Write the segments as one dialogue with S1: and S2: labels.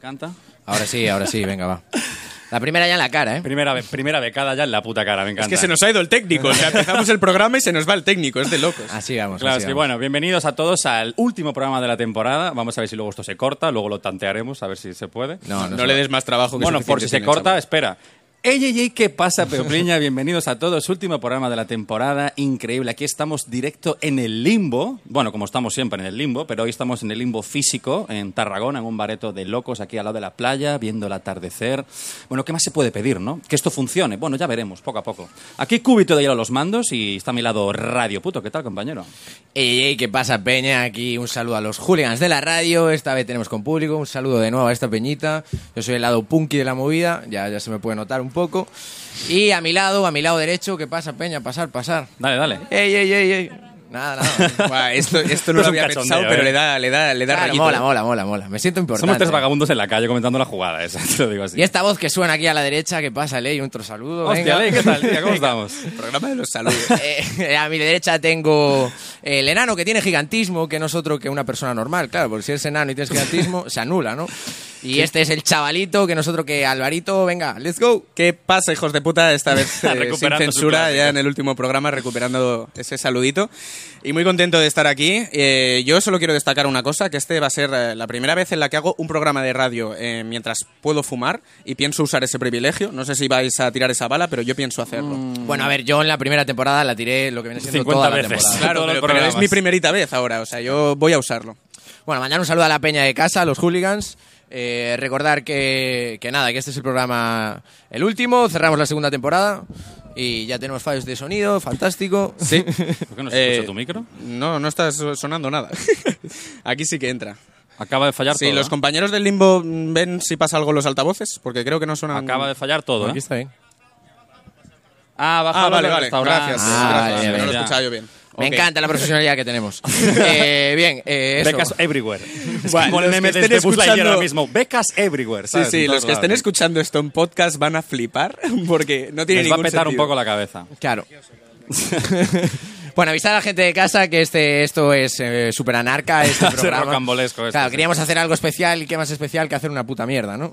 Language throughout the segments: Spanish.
S1: canta.
S2: Ahora sí, ahora sí, venga, va. La primera ya en la cara, ¿eh?
S1: Primera, be- primera becada ya en la puta cara, me encanta.
S3: Es que se nos ha ido el técnico. O sea, empezamos el programa y se nos va el técnico. Es de locos.
S1: Ah,
S2: Así vamos.
S1: Claro,
S2: así
S1: es que
S2: vamos.
S1: bueno, bienvenidos a todos al último programa de la temporada. Vamos a ver si luego esto se corta, luego lo tantearemos, a ver si se puede.
S2: No, no,
S3: No le des más trabajo que
S1: Bueno, por
S3: suficiente
S1: si se
S3: tiene,
S1: corta,
S3: chaval.
S1: espera. Ey, ey, ey, ¿qué pasa, Peopliña? Bienvenidos a todos. Último programa de la temporada. Increíble. Aquí estamos directo en el limbo. Bueno, como estamos siempre en el limbo, pero hoy estamos en el limbo físico, en Tarragona, en un bareto de locos aquí al lado de la playa, viendo el atardecer. Bueno, ¿qué más se puede pedir, no? Que esto funcione. Bueno, ya veremos, poco a poco. Aquí Cúbito de Hielo a los mandos y está a mi lado Radio Puto. ¿Qué tal, compañero?
S2: Ey, ey, ¿qué pasa, Peña? Aquí un saludo a los hooligans de la radio. Esta vez tenemos con público. Un saludo de nuevo a esta peñita. Yo soy el lado punky de la movida. Ya, ya se me puede notar un poco. Y a mi lado, a mi lado derecho, ¿qué pasa, Peña? Pasar, pasar.
S1: Dale, dale.
S2: Ey, ey, ey, ey. Nada, nada.
S3: Buah, esto, esto no
S1: Es
S3: lo
S1: un
S3: había
S1: cachondeo,
S3: pensado, pero
S1: ¿eh?
S3: le da, le da, le da
S2: Claro,
S3: rayito.
S2: mola, mola, mola, mola. Me siento importante.
S1: Somos tres vagabundos en la calle comentando la jugada esa, te lo digo así.
S2: Y esta voz que suena aquí a la derecha, ¿qué pasa, Ley? Otro saludo.
S1: Hostia,
S2: venga.
S1: Ley, ¿qué tal, tía? ¿Cómo estamos?
S3: Programa de los saludos.
S2: Eh, a mi derecha tengo el enano que tiene gigantismo, que no es otro que una persona normal, claro, porque si eres enano y tienes gigantismo, se anula, ¿no? Y este es el chavalito, que no es otro que Alvarito, venga, let's go.
S3: ¿Qué pasa, hijos de puta? Esta vez eh, sin
S1: Recuperando su
S3: censura,
S1: clásico.
S3: ya en el último programa, recuperando ese saludito. Y muy contento de estar aquí. Eh, yo solo quiero destacar una cosa, que este va a ser eh, la primera vez en la que hago un programa de radio eh, mientras puedo fumar y pienso usar ese privilegio. No sé si vais a tirar esa bala, pero yo pienso hacerlo.
S1: Mm,
S2: Bueno, a ver, yo en la primera temporada la tiré lo que viene siendo
S1: 50
S2: toda la
S1: veces.
S2: temporada.
S3: Claro,
S1: Todos los
S3: pero, pero es
S1: programas.
S3: mi primerita vez ahora, o sea, yo voy a usarlo.
S2: Bueno, mandar un saludo a la peña de casa, a los hooligans. Eh, recordar que, que nada, que este es el programa el último, cerramos la segunda temporada y ya tenemos fallos de sonido, fantástico.
S3: Sí.
S1: ¿Por qué no se escucha tu micro?
S3: No, no está so- sonando nada. Aquí sí que entra.
S1: Acaba de fallar
S3: Sí,
S1: todo.
S3: los
S1: ¿eh?
S3: compañeros del limbo mm, ven si pasa algo en los altavoces, porque creo que no suenan.
S1: Acaba de fallar todo. ¿eh?
S2: Aquí está bien.
S1: Ah,
S3: Ah,
S1: bájalo
S3: vale,
S1: del
S3: vale.
S1: restaurante.
S3: Gracias.
S2: Ah,
S3: gracias.
S2: vale,
S3: no
S2: vale.
S3: lo
S1: Ya.
S3: escuchaba yo bien.
S2: Me
S3: Ok.
S2: encanta la profesionalidad que tenemos. Eh, bien, eh, eso.
S1: Becas everywhere. Es
S3: Buah,
S1: como el
S3: los
S1: meme
S3: que
S1: de
S3: estén
S1: este Buzz Lightyear
S3: escuchando-
S1: ahora mismo. Becas everywhere.
S3: Sí,
S1: ¿sabes?
S3: sí,
S1: En
S3: los
S1: todos
S3: que estén
S1: lados.
S3: escuchando esto en podcast van a flipar, porque no tiene
S1: Les va a
S3: ningún
S1: petar un
S3: sentido.
S1: poco la cabeza.
S2: Claro. bueno, avisar a la gente de casa que este esto es eh, súper anarca, este
S1: Es
S2: programa.
S1: rocambolesco
S3: este,
S1: esto,
S2: claro,
S1: sí.
S2: queríamos hacer algo especial y qué más especial que hacer una puta mierda, ¿no?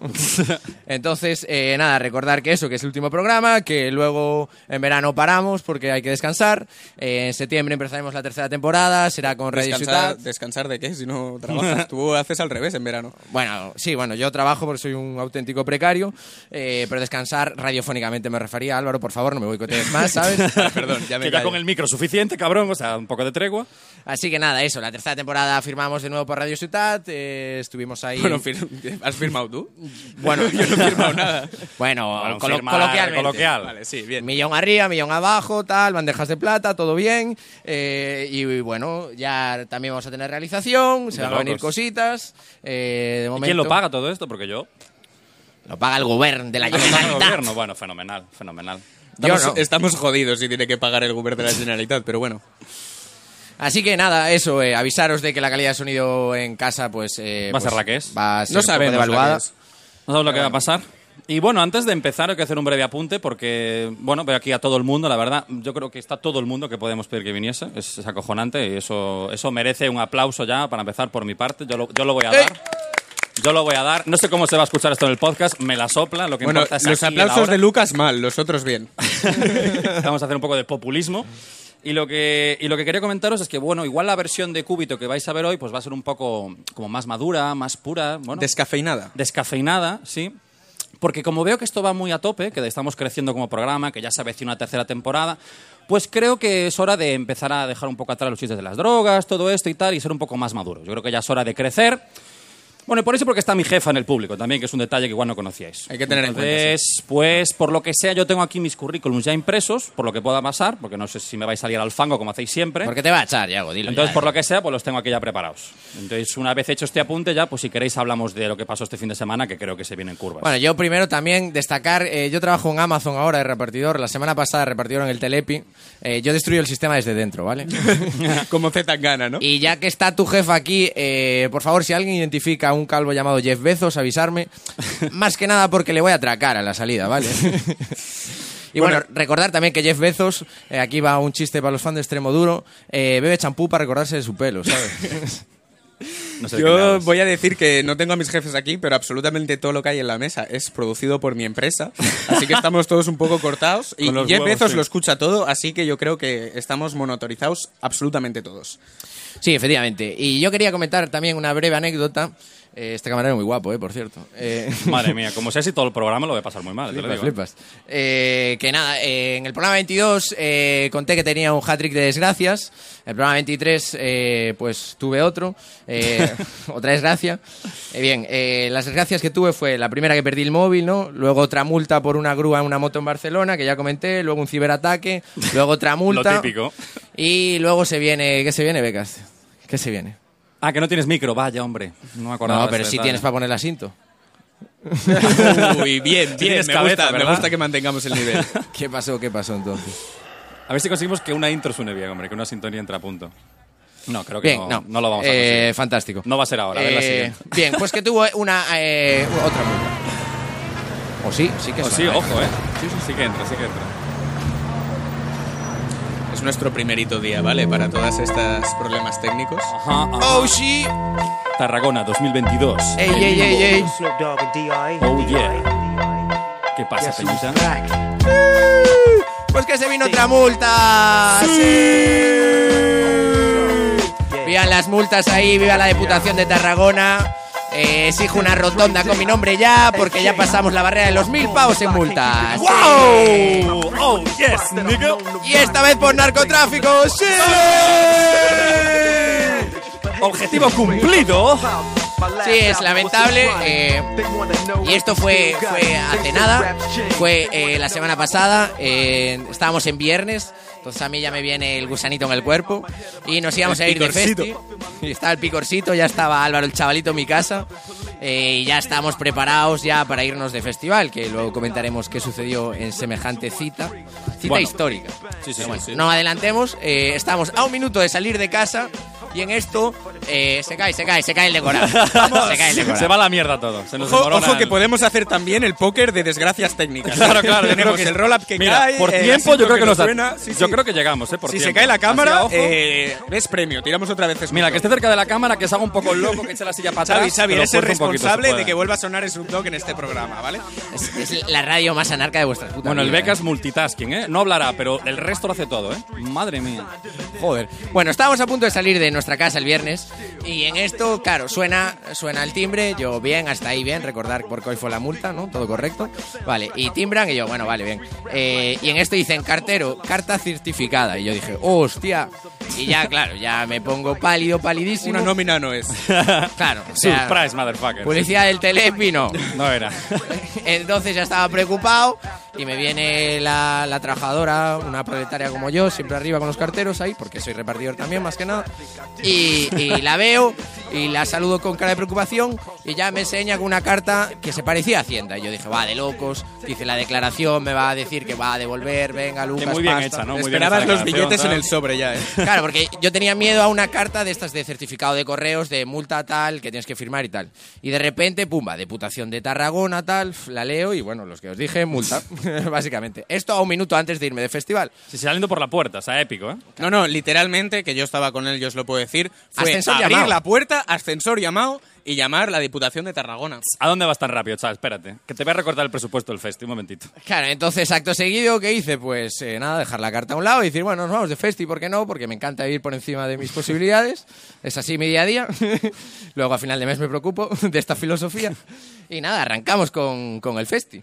S2: Entonces, eh, nada, recordar que eso, que es el último programa, que luego en verano paramos porque hay que descansar. Eh, en septiembre empezaremos la tercera temporada, será con Radio
S3: Descansar,
S2: Ciutat.
S3: ¿Descansar de qué? Si no trabajas. Tú haces al revés en verano.
S2: Bueno, sí, bueno, yo trabajo porque soy un auténtico precario, eh, pero descansar radiofónicamente me refería, Álvaro, por favor, no me boicotees más, ¿sabes?
S3: Ah, Perdón, ya me
S1: que ya
S3: callo.
S1: con el micro suficiente, cabrón. O sea, un poco de tregua.
S2: Así que nada, eso, la tercera temporada firmamos de nuevo por Radio Ciutat, eh, estuvimos ahí...
S3: Bueno, fir- ¿Has firmado tú?
S2: bueno, yo no he firmado nada. Bueno,
S1: Bueno,
S2: colo-
S1: firmar,
S2: coloquialmente.
S1: coloquial.
S3: Vale, sí, bien.
S2: Millón arriba, millón abajo, tal, bandejas de plata, todo bien. eh, y, bueno, ya también vamos a tener realización, se
S1: De
S2: van a venir
S1: locos.
S2: cositas. eh, de
S1: ¿Y
S2: momento,
S1: quién lo paga todo esto? Porque yo.
S2: Lo paga el gobierno de la
S1: Ah, lo paga el
S2: Generalitat.
S1: gobierno. Bueno, fenomenal, fenomenal.
S2: Yo
S3: Estamos,
S2: no.
S3: estamos jodidos si tiene que pagar el gobierno de la Generalitat, pero bueno.
S2: Así que nada, eso, eh, avisaros de que la calidad de sonido en casa, pues... eh,
S1: Va a ser
S2: pues,
S1: la que es.
S2: Va a ser
S3: No
S2: un poco
S3: sabemos.
S2: devaluada.
S3: la que es.
S1: No sabes lo
S3: Eh.
S1: que va a pasar. Y bueno, antes de empezar hay que hacer un breve apunte porque, bueno, veo aquí a todo el mundo, la verdad, yo creo que está todo el mundo que podemos pedir que viniese, es, es acojonante y eso, eso merece un aplauso ya para empezar por mi parte, yo lo, yo lo voy
S3: Eh.
S1: a dar. Yo lo voy a dar, no sé cómo se va a escuchar esto en el podcast, me la sopla, lo que
S3: Bueno,
S1: importa es
S3: los
S1: aquí y
S3: aplausos
S1: ahora.
S3: de Lucas mal, los otros bien.
S1: Vamos a hacer un poco de populismo. Y lo, que, y lo que quería comentaros es que, bueno, igual la versión de Cúbito que vais a ver hoy pues va a ser un poco como más madura, más pura, bueno,
S3: Descafeinada.
S1: descafeinada, sí. Porque como veo que esto va muy a tope, que estamos creciendo como programa, que ya se avecina una tercera temporada, pues creo que es hora de empezar a dejar un poco atrás los chistes de las drogas, todo esto y tal, y ser un poco más maduros. Yo creo que ya es hora de crecer. Bueno, y por eso porque está mi jefa en el público también, que es un detalle que igual no conocíais.
S3: Hay que tener en cuenta,
S1: Entonces, pues, por lo que sea, yo tengo aquí mis currículums ya impresos, por lo que pueda pasar, porque no sé si me vais a salir al fango como hacéis siempre.
S2: Porque te va a echar, Yago, dilo.
S1: Entonces,
S2: ya.
S1: por lo que sea, pues los tengo aquí ya preparados. Entonces, una vez hecho este apunte, ya, pues si queréis, hablamos de lo que pasó este fin de semana, que creo que se vienen curvas.
S2: Bueno, yo primero también destacar, eh, yo trabajo en Amazon ahora de repartidor, la semana pasada repartidor en el Telepi, Eh, yo destruyo el sistema desde dentro, ¿vale?
S3: Como Z gana, ¿no?
S2: y ya que está tu jefa aquí, eh, por favor, si alguien identifica a un calvo llamado Jeff Bezos, avisarme, más que nada porque le voy a atracar a la salida, ¿vale? Y bueno, recordar también que Jeff Bezos, eh, aquí va un chiste para los fans de Extremo Duro, eh, bebe champú para recordarse de su pelo, ¿sabes?
S1: No sé de qué me
S3: Yo
S1: hablas.
S3: voy a decir que no tengo a mis jefes aquí, pero absolutamente todo lo que hay en la mesa es producido por mi empresa. Así que estamos todos un poco cortados. Y
S1: Con los
S3: Jeff
S1: huevos,
S3: Bezos
S1: sí.
S3: lo escucha todo, así que yo creo que estamos monotorizados absolutamente todos.
S2: Sí, efectivamente. Y yo quería comentar también una breve anécdota. Eh, este camarero muy guapo, eh, por cierto. Eh,
S1: Madre mía, como sea así todo el programa lo voy a pasar muy mal, te lo
S2: Flipas,
S1: digo.
S2: flipas. Eh, que nada, eh, en el programa 22 eh, conté que tenía un hat-trick de desgracias. En el programa 23, eh, pues tuve otro, eh, otra desgracia. Eh, bien, eh, las desgracias que tuve fue la primera que perdí el móvil, ¿no? Luego otra multa por una grúa en una moto en Barcelona, que ya comenté. Luego un ciberataque. Luego otra multa.
S1: Lo típico.
S2: Y luego se viene, ¿qué se viene, Becas? ¿Qué se viene?
S1: Ah, que no tienes micro, vaya, hombre. No me acordaba.
S2: No,
S1: de
S2: pero
S1: este
S2: sí
S1: detalle.
S2: tienes para poner la cinto.
S3: Uy, bien, bien.
S1: Tienes
S3: Me,
S1: cabeza,
S3: gusta, me
S1: ¿verdad?
S3: gusta que mantengamos el nivel.
S2: ¿Qué pasó? ¿Qué pasó entonces?
S1: A ver si conseguimos que una intro suene bien, hombre, que una sintonía entre a punto. No, creo que
S2: Bien,
S1: no,
S2: no.
S1: no lo vamos a
S2: Eh,
S1: conseguir.
S2: fantástico.
S1: No va a ser ahora, a ver la
S2: Eh,
S1: siguiente.
S2: Bien, pues que tuvo una eh, otra multa. O sí, sí que
S1: Oh,
S2: suena,
S1: sí,
S2: ¿eh?
S1: ojo, ¿eh? Sí, sí, sí que entra, sí que entra.
S3: Es nuestro primerito día, ¿vale? Para todas estas problemas técnicos.
S1: Ajá, ajá.
S2: Oh sí.
S1: Tarragona 2022.
S2: Ey, ey, ey, ey.
S4: Snoop Dogg and E. D.I.
S1: Oh,
S4: yeah.
S1: ¿Qué pasa,
S4: Guess who's
S1: Peñita?
S4: back?
S2: Pues que se vino otra multa. Sí. Vivan las multas ahí, viva la Deputación de Tarragona. Eh, exijo una rotonda con mi nombre ya, porque ya pasamos la barrera de los mil pavos en multas. Sí.
S1: ¡Wow! ¡Oh, yes, nigga!
S2: Y esta vez por narcotráfico. ¡Sí!
S1: Objetivo cumplido.
S4: Sí, es lamentable. eh,
S2: Y esto fue, fue hace nada, fue eh, la semana pasada, eh, estábamos en viernes, entonces a mí ya me viene el gusanito en el cuerpo y nos íbamos a ir de festi. Y estaba el picorcito, ya estaba Álvaro el chavalito en mi casa eh, y ya estábamos preparados ya para irnos de festival, que luego comentaremos qué sucedió en semejante cita, cita
S1: Bueno.
S2: histórica.
S1: Sí, sí,
S2: Pero bueno,
S1: sí, sí.
S2: No adelantemos, eh, estamos a un minuto de salir de casa y en esto eh, se cae, se cae, se cae el decorado. Se cae el decorado.
S1: Se va a la mierda todo. Se nos
S3: Ojo,
S1: desmorona
S3: ojo, que
S1: el-
S3: podemos hacer también el póker de desgracias técnicas.
S1: Claro, claro, yo creo
S3: Tenemos
S1: que
S3: el roll-up que
S1: Mira,
S3: cae. eh,
S1: por
S3: el
S1: tiempo
S3: asunto
S1: yo creo que, nos da-
S3: suena. Sí,
S1: Yo
S3: sí.
S1: creo que llegamos, ¿eh? Por
S3: si se
S1: tiempo.
S3: cae la
S1: Hacia
S3: cámara,
S1: abajo.
S3: eh, es premio. Tiramos otra vez.
S1: Mira, que este esté cerca de la cámara, que se haga un poco loco, que eche la silla para atrás.
S3: Xavi, Xavi,
S1: pero
S3: eres el
S1: fuerza un poquito, si
S3: responsable
S1: puede.
S3: de que vuelva a sonar Snoop Dogg en este programa, ¿vale?
S2: Es, es la radio más anarca de vuestra puta
S1: Bueno, el
S2: vida,
S1: Beca es
S2: ¿eh?
S1: multitasking, ¿eh? No hablará, pero el resto lo hace todo, ¿eh? Madre mía.
S2: Joder. Bueno, estábamos a punto de salir de nuestra casa el viernes y en esto, claro, suena, suena el timbre, yo bien, hasta ahí bien, recordar por qué hoy fue la multa, ¿no? Todo correcto. Vale, y timbran y yo, bueno, vale, bien. Eh, y en esto dicen, cartero, carta certificada. Y yo dije, hostia. Y ya, claro, ya me pongo pálido, palidísimo.
S3: Una nómina no es.
S2: Claro, Pues o sea,
S1: Surprise, motherfucker.
S2: Policía del Telepi, no.
S1: No era.
S2: Entonces ya estaba preocupado y me viene la, la trabajadora, una proletaria como yo, siempre arriba con los carteros ahí, porque soy repartidor también, más que nada. Y, y la veo y la saludo con cara de preocupación y ya me enseña con una carta que se parecía a Hacienda. Y yo dije, va, de locos, dice la declaración, me va a decir que va a devolver, venga,
S1: Que
S2: Lucas,
S1: muy bien
S2: pasta".
S1: hecha, ¿no? Muy bien
S3: Esperabas
S1: hecha la
S3: los
S1: declaración,
S3: billetes en
S1: tal.
S3: el sobre ya, ¿eh?
S2: Claro, porque yo tenía miedo a una carta de estas de certificado de correos, de multa tal, que tienes que firmar y tal. Y de repente, pumba, Deputación de Tarragona tal, la leo y bueno, los que os dije, multa, básicamente. Esto a un minuto antes de irme de festival.
S1: Sí, saliendo por la puerta, o sea, épico, ¿eh?
S3: No, no, literalmente, que yo estaba con él, yo os lo puedo decir, fue
S2: Ascensor
S3: abrir
S2: llamado.
S3: la puerta, ascensor llamado y llamar la Diputación de Tarragona.
S1: ¿A dónde vas tan rápido, Chal? Espérate, que te voy a recortar el presupuesto del festi, un momentito.
S2: Claro, entonces acto seguido, ¿qué hice? Pues eh, nada, dejar la carta a un lado y decir, bueno, nos vamos de festi, ¿por qué no? Porque me encanta vivir por encima de mis posibilidades. Es así mi día a día. Luego a final de mes me preocupo de esta filosofía. Y nada, arrancamos con, con el festi.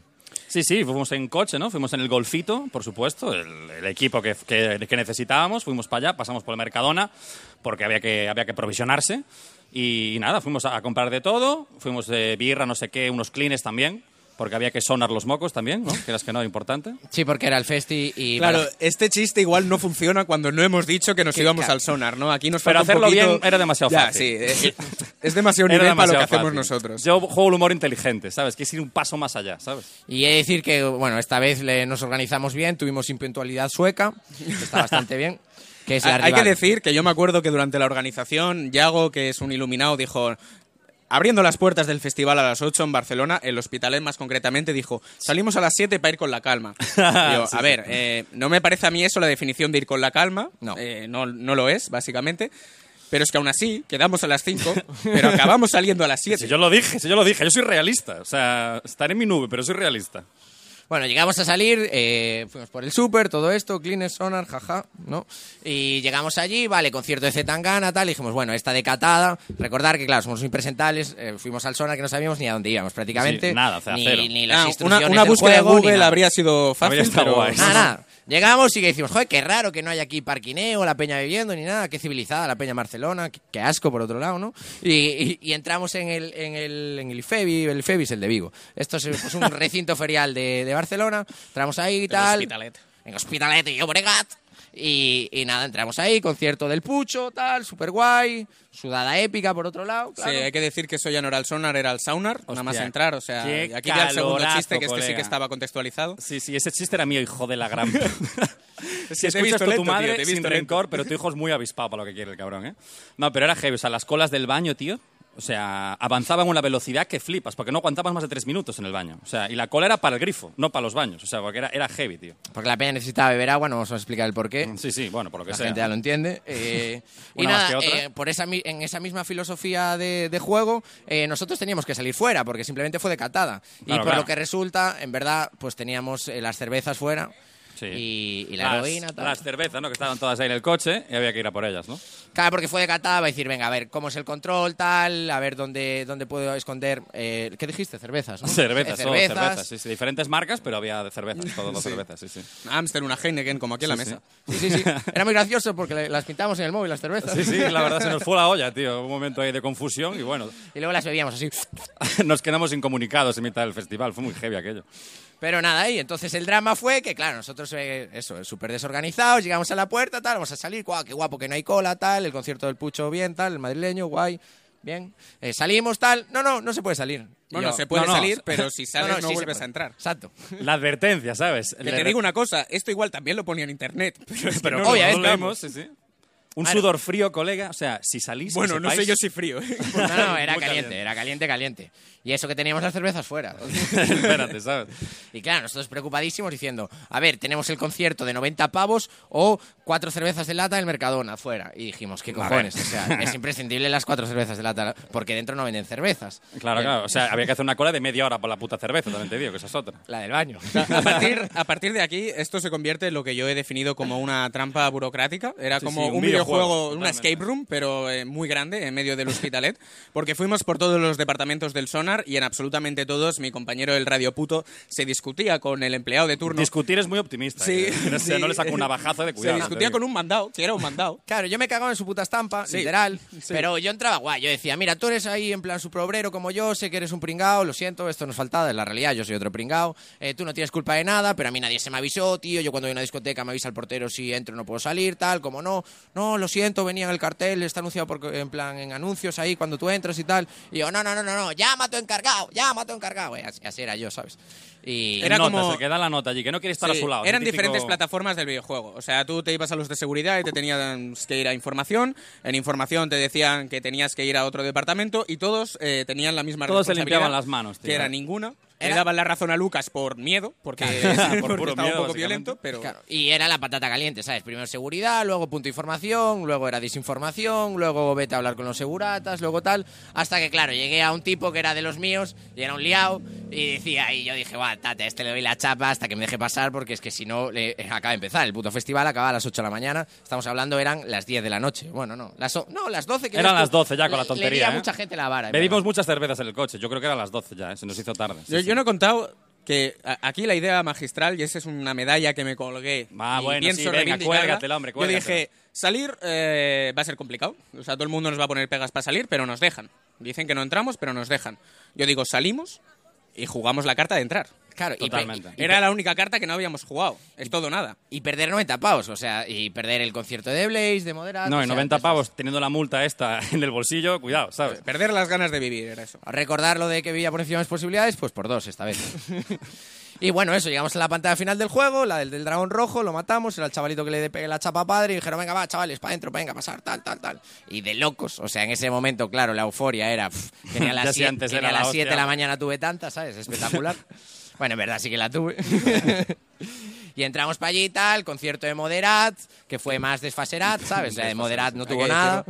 S1: Sí, sí, fuimos en coche, ¿no? Fuimos en el golfito, por supuesto, el, el equipo que, que- que necesitábamos, fuimos para allá, pasamos por el Mercadona, porque había que, había que provisionarse. Y, nada, fuimos a, a comprar de todo, fuimos de birra, no sé qué, unos clines también, porque había que sonar los mocos también, ¿no? Que que no, importante.
S2: Sí, porque era el festi y...
S3: Claro,
S2: para-
S3: este chiste igual no funciona cuando no hemos dicho que nos
S2: Que-
S3: íbamos
S2: claro.
S3: al sonar, ¿no? Aquí nos
S1: Pero
S3: falta un
S1: hacerlo
S3: poquito-
S1: bien era demasiado
S3: Ya,
S1: fácil.
S3: sí, eh, eh, es demasiado
S1: Era
S3: nivel para lo que
S1: demasiado
S3: hacemos
S1: fácil.
S3: nosotros.
S1: Yo juego el humor inteligente, ¿sabes? Que es ir un paso más allá, ¿sabes?
S2: Y he de decir que, bueno, esta vez le- nos organizamos bien, tuvimos impuntualidad sueca, que está bastante bien, que es la
S3: Hay- Hay que
S2: rival.
S3: decir que yo me acuerdo que durante la organización, Yago, que es un iluminado, dijo... Abriendo las puertas del festival a las 8 en Barcelona, el Hospitalet más concretamente, dijo, salimos a las 7 para ir con la calma. Y yo, a ver, eh, no me parece a mí eso la definición de ir con la calma,
S2: No.
S3: Eh, no, no lo es, básicamente. pero es que aún así quedamos a las 5, pero acabamos saliendo a las 7.
S1: Si yo lo dije, si yo lo dije, yo soy realista. O sea, estaré en mi nube, pero soy realista.
S2: Bueno, llegamos a salir, eh, fuimos por el súper, todo esto, Clean Sonar, jaja, ¿no? Y llegamos allí, vale, concierto de Zetangana, tal, y dijimos, bueno, esta decatada, recordar que, claro, somos impresentables, eh, fuimos al Sonar que no sabíamos ni a dónde íbamos prácticamente.
S1: Sí, nada, o sea, cero.
S2: ni, ni las
S3: Ah, una,
S2: instrucciones
S3: una
S2: del
S3: búsqueda de
S2: juego, ni
S3: Google
S2: nada. Ah,
S3: habría sido fácil,
S1: Habría estado
S3: pero-
S1: guay.
S2: Nada, nada. Llegamos y que decimos, joder, qué raro que no haya aquí parquineo, la peña viviendo, ni nada, qué civilizada la peña Barcelona, qué, qué asco por otro lado, ¿no? Y, y- y entramos en el, en el, en el IFEBI, el IFEBI es el de Vigo. Esto es pues, un recinto ferial de, de Barcelona, entramos ahí y tal.
S3: Hospitalet.
S2: En Hospitalet y Obregat. Y, y nada, entramos ahí, concierto del Pucho, tal, super guay, sudada épica por otro lado.
S3: Sí, eh.
S2: Claro.
S3: hay que decir que eso ya no era el sonar, era el saunar, nada más
S1: Hostia.
S3: entrar, o sea,
S1: Qué
S3: aquí ya el segundo
S1: calorazo,
S3: chiste, que este sí
S1: colega.
S3: que estaba contextualizado.
S1: Sí, sí, ese chiste era mío, hijo de la gran. si
S3: he
S1: escuchas
S3: visto
S1: tú a
S3: lento,
S1: tu
S3: tío,
S1: madre
S3: te he
S1: sin
S3: visto
S1: rencor, pero tu hijo es muy avispado para lo que quiere el cabrón, ¿eh? No, pero era heavy. O sea, las colas del baño, tío. O sea, avanzaban a una velocidad que flipas, porque no aguantabas más de tres minutos en el baño. O sea, y la cola era para el grifo, no para los baños. O sea, porque era, era heavy, tío.
S2: Porque la peña necesitaba beber agua, no vamos a explicar el porqué.
S1: Sí, sí, bueno, por lo que
S2: la
S1: sea.
S2: gente ya lo entiende. eh, y
S1: Una más
S2: nada,
S1: que otra.
S2: eh, por esa, mi- en esa misma filosofía de, de juego, eh, nosotros teníamos que salir fuera, porque simplemente fue de catada. y
S1: Claro,
S2: por
S1: claro.
S2: lo que resulta, en verdad, pues teníamos eh, las cervezas fuera
S1: Sí.
S2: y, y la
S1: Las-
S2: heroína. Tal.
S1: Las cervezas, ¿no? Que estaban todas ahí en el coche y había que ir a por ellas, ¿no?
S2: Claro, porque fue de catada, va a decir, venga, a ver, ¿cómo es el control, tal? A ver, ¿dónde, dónde puedo esconder? eh, ¿Qué dijiste? Cervezas, ¿no?
S1: Cervezas,
S2: Eh,
S1: todo cervezas. Sí, sí, diferentes marcas, pero había de cervezas, todo de
S3: Sí.
S1: cervezas, sí, sí.
S3: Amster, una Heineken, como aquí en la
S1: Sí,
S3: mesa.
S2: Sí, sí, sí. Era muy gracioso porque le- las pintamos en el móvil, las cervezas.
S1: Sí, sí, la verdad se nos fue la olla, tío. Un momento ahí de confusión y bueno,
S2: Y luego las bebíamos así.
S1: nos quedamos incomunicados en mitad del festival. Fue muy heavy aquello.
S2: Pero nada, y entonces el drama fue que, claro, nosotros, eh, eso, súper desorganizados, llegamos a la puerta, tal, vamos a salir, guau, qué guapo que no hay cola, tal, el concierto del Pucho bien, tal, el madrileño, guay, bien. Eh, salimos, tal, no, no, no se puede salir. Y
S3: Bueno,
S2: yo,
S3: se
S1: no,
S3: puede
S1: no.
S3: salir, pero si sales no,
S2: sí se
S3: vuelves
S2: puede.
S3: a entrar.
S2: Exacto.
S1: La advertencia, ¿sabes?
S3: Que te digo una cosa, esto igual también lo ponía en internet. Pero, es que
S1: Pero no,
S3: no lo
S2: obviamente,
S1: no lo
S3: leemos.
S1: leemos, sí, sí. Un
S2: Bueno.
S1: sudor frío, colega. O sea, si salís. que
S3: Bueno, no sé
S1: sepáis-
S3: yo si frío. ¿eh?
S2: No, no, era
S1: Muy
S2: caliente, era caliente, caliente. Y eso que teníamos las cervezas fuera.
S1: Espérate, ¿sabes?
S2: Y claro, nosotros preocupadísimos diciendo, a ver, tenemos el concierto de 90 pavos o cuatro cervezas de lata en el Mercadona afuera. Y dijimos, ¿qué cojones? O sea, es imprescindible las cuatro cervezas de lata porque dentro no venden cervezas.
S1: Claro,
S2: Eh,
S1: claro. O sea, había que hacer una cola de media hora por la puta cerveza, también te digo, que esa es otra.
S2: La del baño.
S3: A partir, a partir de aquí, esto se convierte en lo que yo he definido como una trampa burocrática. Era
S1: Sí,
S3: como
S1: sí, un
S3: un, videojuego,
S1: videojuego,
S3: una
S1: totalmente.
S3: escape room, pero eh, muy grande, en medio del hospitalet. Porque fuimos por todos los departamentos del sonar y en absolutamente todos, mi compañero el radio puto se discutía con el empleado de turno.
S1: Discutir es muy optimista.
S3: Sí,
S1: ¿eh? O sea,
S3: sí.
S1: no le saco una bajaza de
S3: se
S1: cuidado.
S3: discutía con un mandado, que era un mandado.
S2: Claro, yo me cagaba en su puta estampa, literal. Pero yo entraba guay. Yo decía, mira, tú eres ahí en plan superobrero como yo, sé que eres un pringao, lo siento, esto nos faltaba, es la realidad, yo soy otro pringao. Eh, tú no tienes culpa de nada, pero a mí nadie se me avisó, tío. Yo cuando voy a una discoteca me avisa el portero si entro o no puedo salir, tal, como no. No, lo siento, venía en el cartel, está anunciado por, en plan en anuncios ahí cuando tú entras y tal. Y yo, no, no, no, no, no, llama a tu encargado, llama a tu encargado. Eh, así, así era yo, ¿sabes? Y
S1: Era
S3: Era
S1: como.
S3: como-
S1: Se queda la nota allí, que no quiere estar a
S3: Sí,
S1: su lado.
S3: Eran
S1: el típico-
S3: diferentes plataformas del videojuego. O sea, tú te ibas a los de seguridad y te tenías que ir a información. En información te decían que tenías que ir a otro departamento y todos eh, tenían la misma
S1: Todos se
S3: responsabilidad,
S1: limpiaban las manos, tío.
S3: Que era ninguna.
S2: Era-
S3: Le daban la razón a Lucas por miedo, porque,
S1: Por
S3: porque
S1: puro
S3: estaba
S1: miedo,
S3: un poco
S1: básicamente.
S3: violento, pero...
S2: Claro, y era la patata caliente, ¿sabes? Primero seguridad, luego punto información, luego era desinformación, luego vete a hablar con los seguratas, luego tal. Hasta que, claro, llegué a un tipo que era de los míos y era un liao y decía, y yo dije, guau, tate, a este le doy la chapa hasta que me deje pasar porque es que si no, le- eh, acaba de empezar. El puto festival acaba a las 8 de la mañana, estamos hablando, eran las 10 de la noche. Bueno, no, las, o- no, las 12 que
S1: Eran
S2: dices tú.
S1: las 12 ya con la
S2: Le-
S1: tontería,
S2: Le, di a
S1: ¿eh?
S2: mucha gente la vara. en
S1: Bebimos
S2: verdad.
S1: muchas cervezas en el coche. Yo creo que eran las 12 ya, ¿eh? se nos hizo tarde. sí,
S3: yo,
S1: sí.
S3: yo no he contado que a- aquí la idea magistral, y esa es una medalla que me colgué.
S1: Ah,
S3: y
S1: bueno,
S3: pienso
S1: sí, venga,
S3: reivindicarla,
S1: cuélgatela, hombre,
S3: Yo
S1: cuélgatela.
S3: dije, salir eh, va a ser complicado. O sea, todo el mundo nos va a poner pegas para salir, pero nos dejan. Dicen que no entramos, pero nos dejan. Yo digo, salimos y jugamos la carta de entrar.
S2: Claro, y pe-
S1: Totalmente.
S2: y-
S3: Era la única carta que no habíamos jugado. Es todo o nada.
S2: Y perder 90 pavos, o sea, y perder el concierto de Blaze, de Moderat.
S1: No,
S2: o
S1: y
S2: sea,
S1: 90
S2: pues,
S1: pavos teniendo la multa esta en el bolsillo, cuidado, ¿sabes?
S3: Perder las ganas de vivir era eso.
S2: recordar lo de que vivía por encima de mis posibilidades, pues por dos esta vez. y bueno, eso, llegamos a la pantalla final del juego, la del, del dragón rojo, lo matamos, era el chavalito que le pegué la chapa a padre y dijeron, venga, va, chavales, para adentro, venga, pasar, tal, tal, tal. Y de locos, o sea, en ese momento, claro, la euforia era, pff, tenía
S1: Ya
S2: las
S1: si
S2: 7
S1: antes era la hostia.
S2: de la mañana tuve tantas, ¿sabes? Espectacular. bueno, en verdad sí que la tuve. Y entramos para allí y tal, concierto de Moderat, que fue más desfaserat, ¿sabes? La de Moderat no
S3: Hay que
S2: tuvo nada.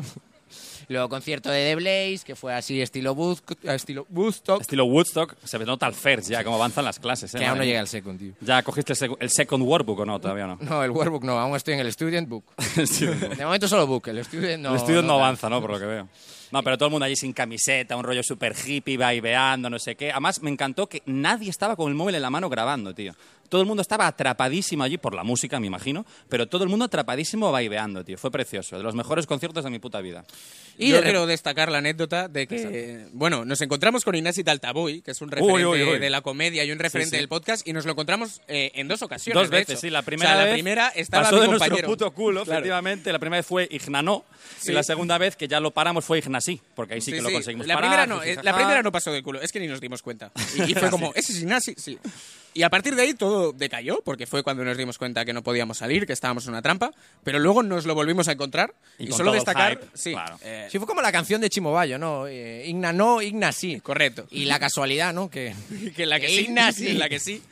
S2: Luego concierto de The Blaze, que fue así estilo, Wood- estilo Woodstock.
S1: Estilo Woodstock, se nota al first ya, cómo avanzan las clases. ¿eh?
S2: que
S1: Madre
S2: aún no
S1: mía.
S2: llega al second, tío.
S1: ¿Ya cogiste el, sec- el second workbook o no? Todavía no.
S2: No, el workbook no, aún estoy en el student book.
S1: Sí, el
S2: De momento solo book, el student no.
S1: estudio no,
S2: da.
S1: avanza, ¿no? Por lo que veo. No, pero todo el mundo allí sin camiseta, un rollo super hippie, vaiveando, no sé qué. Además, me encantó que nadie estaba con el móvil en la mano grabando, tío. Todo el mundo estaba atrapadísimo allí, por la música, me imagino, pero todo el mundo atrapadísimo vaiveando, tío. Fue precioso, de los mejores conciertos de mi puta vida.
S3: Y
S2: Yo
S3: yo
S2: creo-
S3: quiero destacar la anécdota de que, eh, bueno, nos encontramos con Ignacio Taltaboy, que es un
S1: uy,
S3: referente
S1: uy.
S3: de la comedia y un referente
S1: sí.
S3: del podcast, y nos lo encontramos eh, en dos ocasiones.
S1: Dos
S3: de
S1: veces,
S3: hecho.
S1: sí. La
S3: O sea,
S1: primera vez
S3: la primera estaba
S1: pasó
S3: mi
S1: de nuestro
S3: compañero.
S1: puto culo,
S3: Claro.
S1: efectivamente. La primera vez fue Ignanó
S3: Sí.
S1: y la segunda vez que ya lo paramos fue Ignasí, porque ahí sí, que lo conseguimos
S3: La
S1: parar, pues, Ah.
S3: primera no,
S1: jiji,
S3: eh, la
S1: jaja.
S3: primera no pasó del culo, es que ni nos dimos cuenta. Y,
S1: Ah,
S3: y fue como, ese es Ignasi, sí. Y a partir de ahí todo decayó, porque fue cuando nos dimos cuenta que no podíamos salir, que estábamos en una trampa, pero luego nos lo volvimos a encontrar
S1: Y
S3: y,
S1: con
S3: solo
S1: todo el
S3: destacar,
S1: hype,
S3: sí,
S1: claro.
S3: eh,
S2: Sí, fue como la canción de Chimo Bayo, ¿no? Eh, Igna no, Igna sí.
S3: correcto.
S2: Y la casualidad, ¿no? Que
S3: que la que sí,
S2: Ignasi.
S3: en la que sí.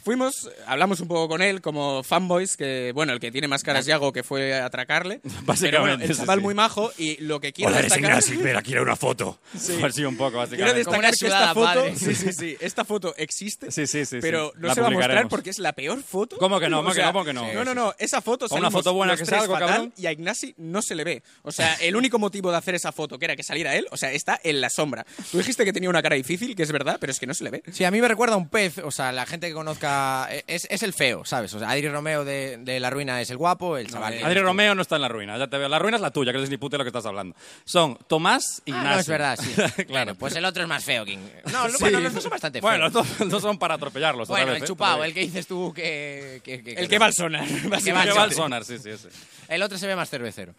S3: Fuimos, hablamos un poco con él como fanboys, que bueno, el que tiene más caras Yago que fue a atracarle. Pero bueno,
S1: Ah. Básicamente,
S3: el
S1: sí,
S3: chaval
S1: sí.
S3: muy majo y lo que quiero destacar.
S1: pero quiero una foto. Así un poco,
S3: Quiero
S1: básicamente.
S3: destacar
S2: Como una
S3: que
S2: sudada
S3: esta foto,
S2: madre.
S3: sí, sí, sí, esta foto existe,
S1: Sí, sí, sí, sí.
S3: pero no
S1: La
S3: se va a mostrar
S1: publicaremos.
S3: porque es la peor foto.
S1: ¿Cómo que no?
S3: O
S1: ¿Cómo que no? ¿Cómo que no?
S3: No, no, no, esa foto
S1: Pon una
S3: salimos
S1: foto buena
S3: los
S1: que
S3: tres
S1: salgo,
S3: fatal
S1: cabrón.
S3: Y a Ignasi no se le ve. O sea, el único motivo de hacer esa foto, que era que saliera él, o sea, está en la sombra. Tú dijiste que tenía una cara difícil, que es verdad, pero es que no se le ve.
S2: Sí, a mí me recuerda a un pez, o sea, la gente que conozca eh, es, es el feo, ¿sabes? O sea, Adri Romeo de, de La Ruina es el guapo, el chaval. este. que-
S1: Adri Romeo no está en la ruina, ya te veo. La ruina es la tuya, que no es ni puta lo que estás hablando. Son Tomás y
S2: Ah,
S1: Ignacio.
S2: no, es verdad, sí.
S1: claro.
S2: Bueno, pues el otro es más feo, King. No, lo-
S1: Sí.
S2: bueno, los dos son bastante feos.
S1: Bueno, los dos, los dos son para atropellarlos.
S2: Bueno,
S1: otra vez,
S2: el
S1: ¿eh?
S2: chupado,
S1: Todavía.
S2: el que dices tú que... que- que-
S3: El que va al sonar,
S1: Sí,
S3: básicamente.
S1: que va al sonar, sí, sí, sí.
S2: El otro se ve más cervecero.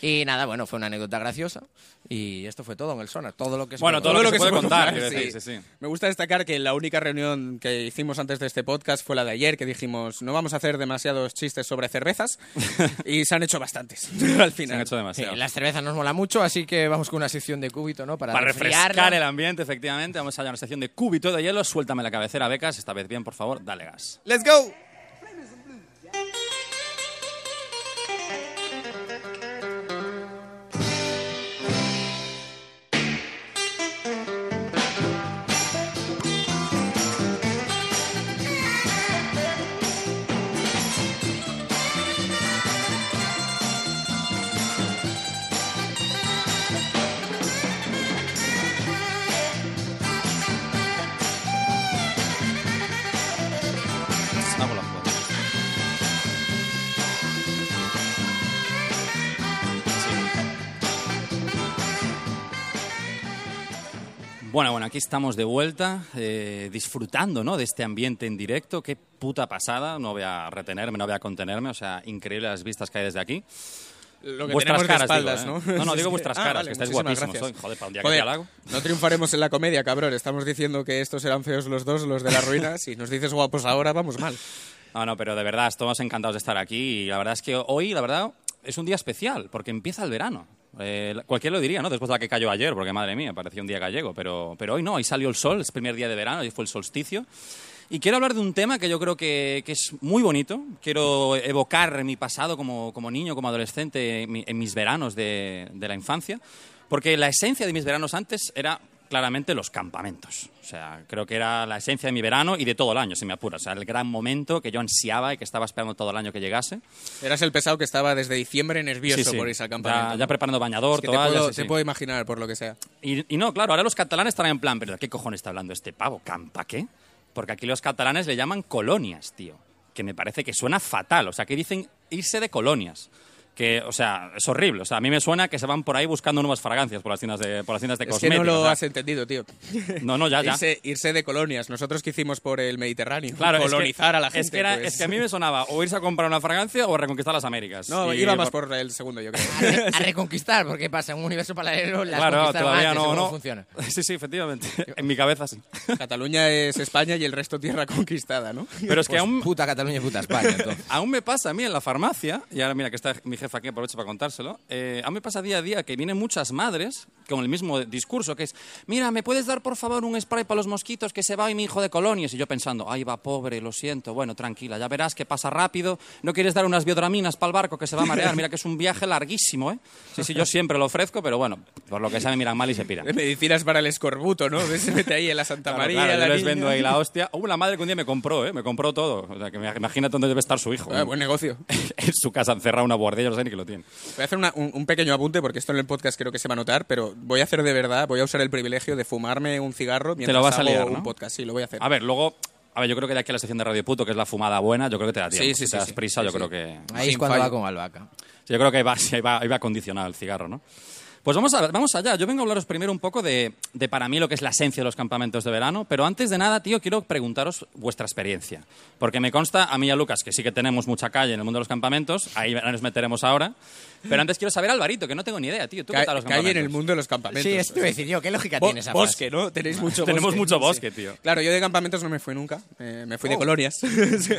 S2: Y nada, bueno, fue una anécdota graciosa. Y esto fue todo en el sonar. Todo lo que se
S1: Bueno,
S2: puede
S1: todo
S2: contar.
S1: lo que se puede contar,
S3: contar,
S1: quiero
S3: sí.
S1: decir, sí, sí.
S3: Me gusta destacar que la única reunión que hicimos antes de este podcast fue la de ayer, que dijimos no vamos a hacer demasiados chistes sobre cervezas y se han hecho bastantes al
S1: Se han
S3: final.
S1: hecho
S2: Sí,
S1: demasiado.
S2: las cervezas nos mola mucho, así que vamos con una sección de cúbito, ¿no? Para,
S1: Para refrescar
S2: resfriarla.
S1: el ambiente, efectivamente, vamos allá a una sección de cúbito de hielo. Suéltame la cabecera, becas. Esta vez bien, por favor, dale gas.
S2: ¡Let's go!
S1: Vamos a jugar. Bueno, bueno, aquí estamos de vuelta, eh, disfrutando ¿no? de este ambiente en directo. Qué puta pasada, no voy a retenerme, no voy a contenerme, o sea, increíbles las vistas que hay desde aquí.
S3: Lo que
S1: Vuestras
S3: tenemos de
S1: caras,
S3: espaldas,
S1: digo, ¿eh?
S3: ¿no?
S1: No, no,
S3: Sí,
S1: digo
S3: sí.
S1: vuestras
S3: Ah,
S1: caras,
S3: vale,
S1: que estáis
S3: muchísimas
S1: guapísimos
S3: gracias.
S1: hoy. Joder, para un día que
S3: Joder,
S1: te halago.
S3: No triunfaremos en la comedia, cabrón. Estamos diciendo que estos eran feos los dos, los de la ruina. Si nos dices guapos ahora, vamos mal.
S1: No, no, pero de verdad, estamos encantados de estar aquí y la verdad es que hoy, la verdad, es un día especial porque empieza el verano. Eh, la- cualquiera lo diría, ¿no? Después de la que cayó ayer, porque madre mía, parecía un día gallego, pero, pero hoy no, hoy salió el sol, es el primer día de verano, hoy fue el solsticio. Y quiero hablar de un tema que yo creo que, que es muy bonito. Quiero evocar mi pasado como, como niño, como adolescente, en mi- en mis veranos de, de la infancia, porque la esencia de mis veranos antes era claramente los campamentos. O sea, creo que era la esencia de mi verano y de todo el año, si me apuras. O sea, el gran momento que yo ansiaba y que estaba esperando todo el año que llegase.
S3: Eras el pesado que estaba desde diciembre nervioso
S1: Sí, sí.
S3: por irse al
S1: Ya-
S3: campamento.
S1: Ya, preparando bañador,
S3: Es que te,
S1: toallas,
S3: puedo,
S1: sí,
S3: te
S1: sí.
S3: puedo imaginar por lo que sea.
S1: Y, y no, claro, ahora los catalanes estarán en plan, ¿pero de qué cojones está hablando este pavo? ¿Campa qué? Porque aquí los catalanes le llaman colonias, tío. Que me parece que suena fatal. O sea, que dicen irse de colonias. Que, o sea, es horrible. O sea, a mí me suena que se van por ahí buscando nuevas fragancias por las tiendas de, por las tiendas de
S3: Es que no
S1: cosméticos.
S3: lo
S1: o sea.
S3: has entendido, tío.
S1: No, no, ya, ya.
S3: Irse, irse de colonias. Nosotros que hicimos por el Mediterráneo.
S1: Claro, es que-
S3: colonizar a la gente.
S1: Es que, era-
S3: pues.
S1: es que a mí me sonaba o irse a comprar una fragancia o a reconquistar las Américas.
S3: No,
S1: Y-
S3: iba más por el segundo, yo creo.
S2: A, re- a reconquistar, porque pasa en un universo paralelo, las
S1: Claro,
S2: conquistaron
S1: todavía
S2: antes,
S1: no,
S2: ¿cómo
S1: no.
S2: funciona?
S1: Sí, sí, efectivamente. En mi cabeza sí.
S3: Cataluña es España y el resto tierra conquistada, ¿no?
S1: Pero es que aún,
S2: Puta Cataluña y puta España, entonces.
S1: Aún me pasa a mí en la farmacia, y ahora mira que está mi jefa aquí aprovecho para contárselo. Eh, a mí me pasa día a día que vienen muchas madres con el mismo discurso, que es, mira, ¿me puedes dar por favor un spray para los mosquitos que se va hoy mi hijo de colonias? Y yo pensando, ahí va pobre, lo siento, bueno, tranquila, ya verás que pasa rápido, no quieres dar unas biodraminas para el barco que se va a marear, mira que es un viaje larguísimo, ¿eh? Sí, sí, yo siempre lo ofrezco, pero bueno, por lo que sea me miran mal y se piran.
S3: Medicinas para el escorbuto, ¿no? Se mete ahí en la Santa
S1: Claro,
S3: María.
S1: claro,
S3: la
S1: yo les
S3: niña. Ah,
S1: vendo ahí la hostia. Hubo una madre que un día me compró, ¿eh? Me compró todo. O sea, que me- imagínate dónde debe estar su hijo.
S3: Ah, buen negocio.
S1: en su casa encerrado en una guardia, yo no sé ni que lo tiene.
S3: Voy a hacer una- un, un pequeño apunte porque esto en el podcast creo que se va a notar, pero voy a hacer de verdad, voy a usar el privilegio de fumarme un cigarro mientras
S1: vas a
S3: hago
S1: liar,
S3: un
S1: ¿no?
S3: podcast. Sí, lo voy a hacer.
S1: A ver, luego... A ver, yo creo que de aquí a la sección de Radio Puto, que es la fumada buena, yo creo que te da tiempo.
S3: Sí, sí,
S1: Si
S3: sí,
S1: te das
S3: sí.
S1: prisa,
S3: Sí,
S1: yo
S3: sí.
S1: creo que...
S2: Ahí es
S3: Sin
S2: cuando
S3: fallo.
S2: va con albahaca.
S1: Sí, Yo creo que ahí va, sí, ahí va, ahí va condicionado el cigarro, ¿no? Pues vamos, a- vamos allá. Yo vengo a hablaros primero un poco de, de para mí lo que es la esencia de los campamentos de verano, pero antes de nada, tío, quiero preguntaros vuestra experiencia. Porque me consta, a mí y a Lucas, que sí que tenemos mucha calle en el mundo de los campamentos, ahí nos meteremos ahora. Pero antes quiero saber, Alvarito, que no tengo ni idea, tío. ¿Tú qué
S3: Ca-
S1: tal los
S3: calle en el
S1: campamentos?
S3: mundo de los campamentos.
S2: Sí, esto iba a decir yo. ¿Qué lógica
S3: Bo-
S2: tiene esa frase?
S3: bosque, ¿no? Tenéis mucho
S1: Tenemos
S3: bosque.
S1: mucho bosque, tío.
S3: Claro, yo de campamentos no me fui nunca. eh, me fui de
S1: Oh.
S3: colonias.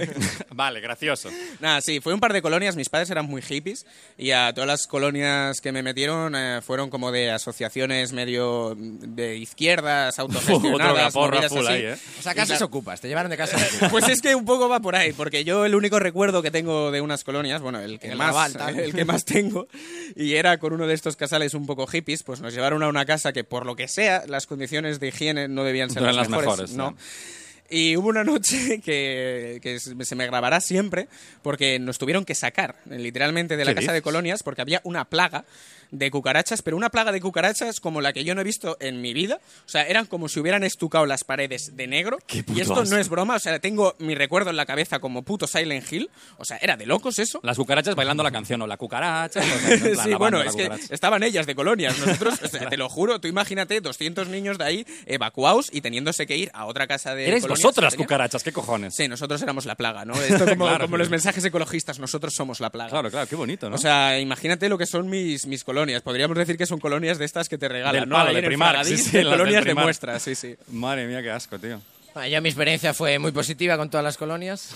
S1: Vale, gracioso.
S3: Nada, sí, fue un par de colonias. Mis padres eran muy hippies y a todas las colonias que me metieron eh, fueron como de asociaciones medio mm, de izquierdas, autogestionadas,
S1: gaporra
S3: movidas
S1: full
S3: así.
S1: ahí, ¿eh?
S2: O sea, casas ocupas. Te llevaron de casa
S3: Pues es que un poco va por ahí, porque yo el único recuerdo que tengo de unas colonias, bueno, el que,
S2: El
S3: más,
S2: Raval, tal.
S3: el que más tengo, y era con uno de estos casales un poco hippies, pues nos llevaron a una casa que por lo que sea, las condiciones de higiene no debían ser
S1: No
S3: las,
S1: eran las
S3: mejores,
S1: mejores,
S3: ¿no?
S1: no.
S3: Y hubo una noche que, que se se me grabará siempre porque nos tuvieron que sacar eh, literalmente de la
S1: ¿Qué
S3: casa de
S1: dices?
S3: colonias porque había una plaga de cucarachas, pero una plaga de cucarachas como la que yo no he visto en mi vida. O sea, eran como si hubieran estucado las paredes de negro. Y
S1: puto
S3: esto no
S1: asco.
S3: es broma, o sea, tengo mi recuerdo en la cabeza como puto Silent Hill. O sea, era de locos eso.
S1: Las cucarachas bailando la canción, o la cucaracha. o sea, en plan,
S3: Sí,
S1: la banda,
S3: bueno,
S1: la
S3: es que
S1: cucaracha.
S3: estaban ellas de colonias. Nosotros, o sea, te lo juro, tú imagínate 200 niños de ahí evacuados y teniéndose que ir a otra casa de.
S1: Eres
S3: eh, colonias que
S1: vosotras,
S3: tenía.
S1: cucarachas, ¿qué cojones?
S3: Sí, nosotros éramos la plaga, ¿no? Esto como,
S1: Claro,
S3: como
S1: claro.
S3: los mensajes ecologistas, nosotros somos la plaga.
S1: Claro, claro, qué bonito, ¿no?
S3: O sea, imagínate lo que son mis, mis colonias. Podríamos decir que son colonias de estas que te regalan,
S1: Del
S3: ¿no?
S1: palo,
S3: Ahí
S1: de
S3: en el
S1: Primark,
S3: Fragadís,
S1: sí, sí,
S3: de
S1: las del
S3: colonias de
S1: Primark.
S3: muestras, sí, sí.
S1: Madre mía, qué asco, tío.
S2: Bueno, yo mi experiencia fue muy positiva con todas las colonias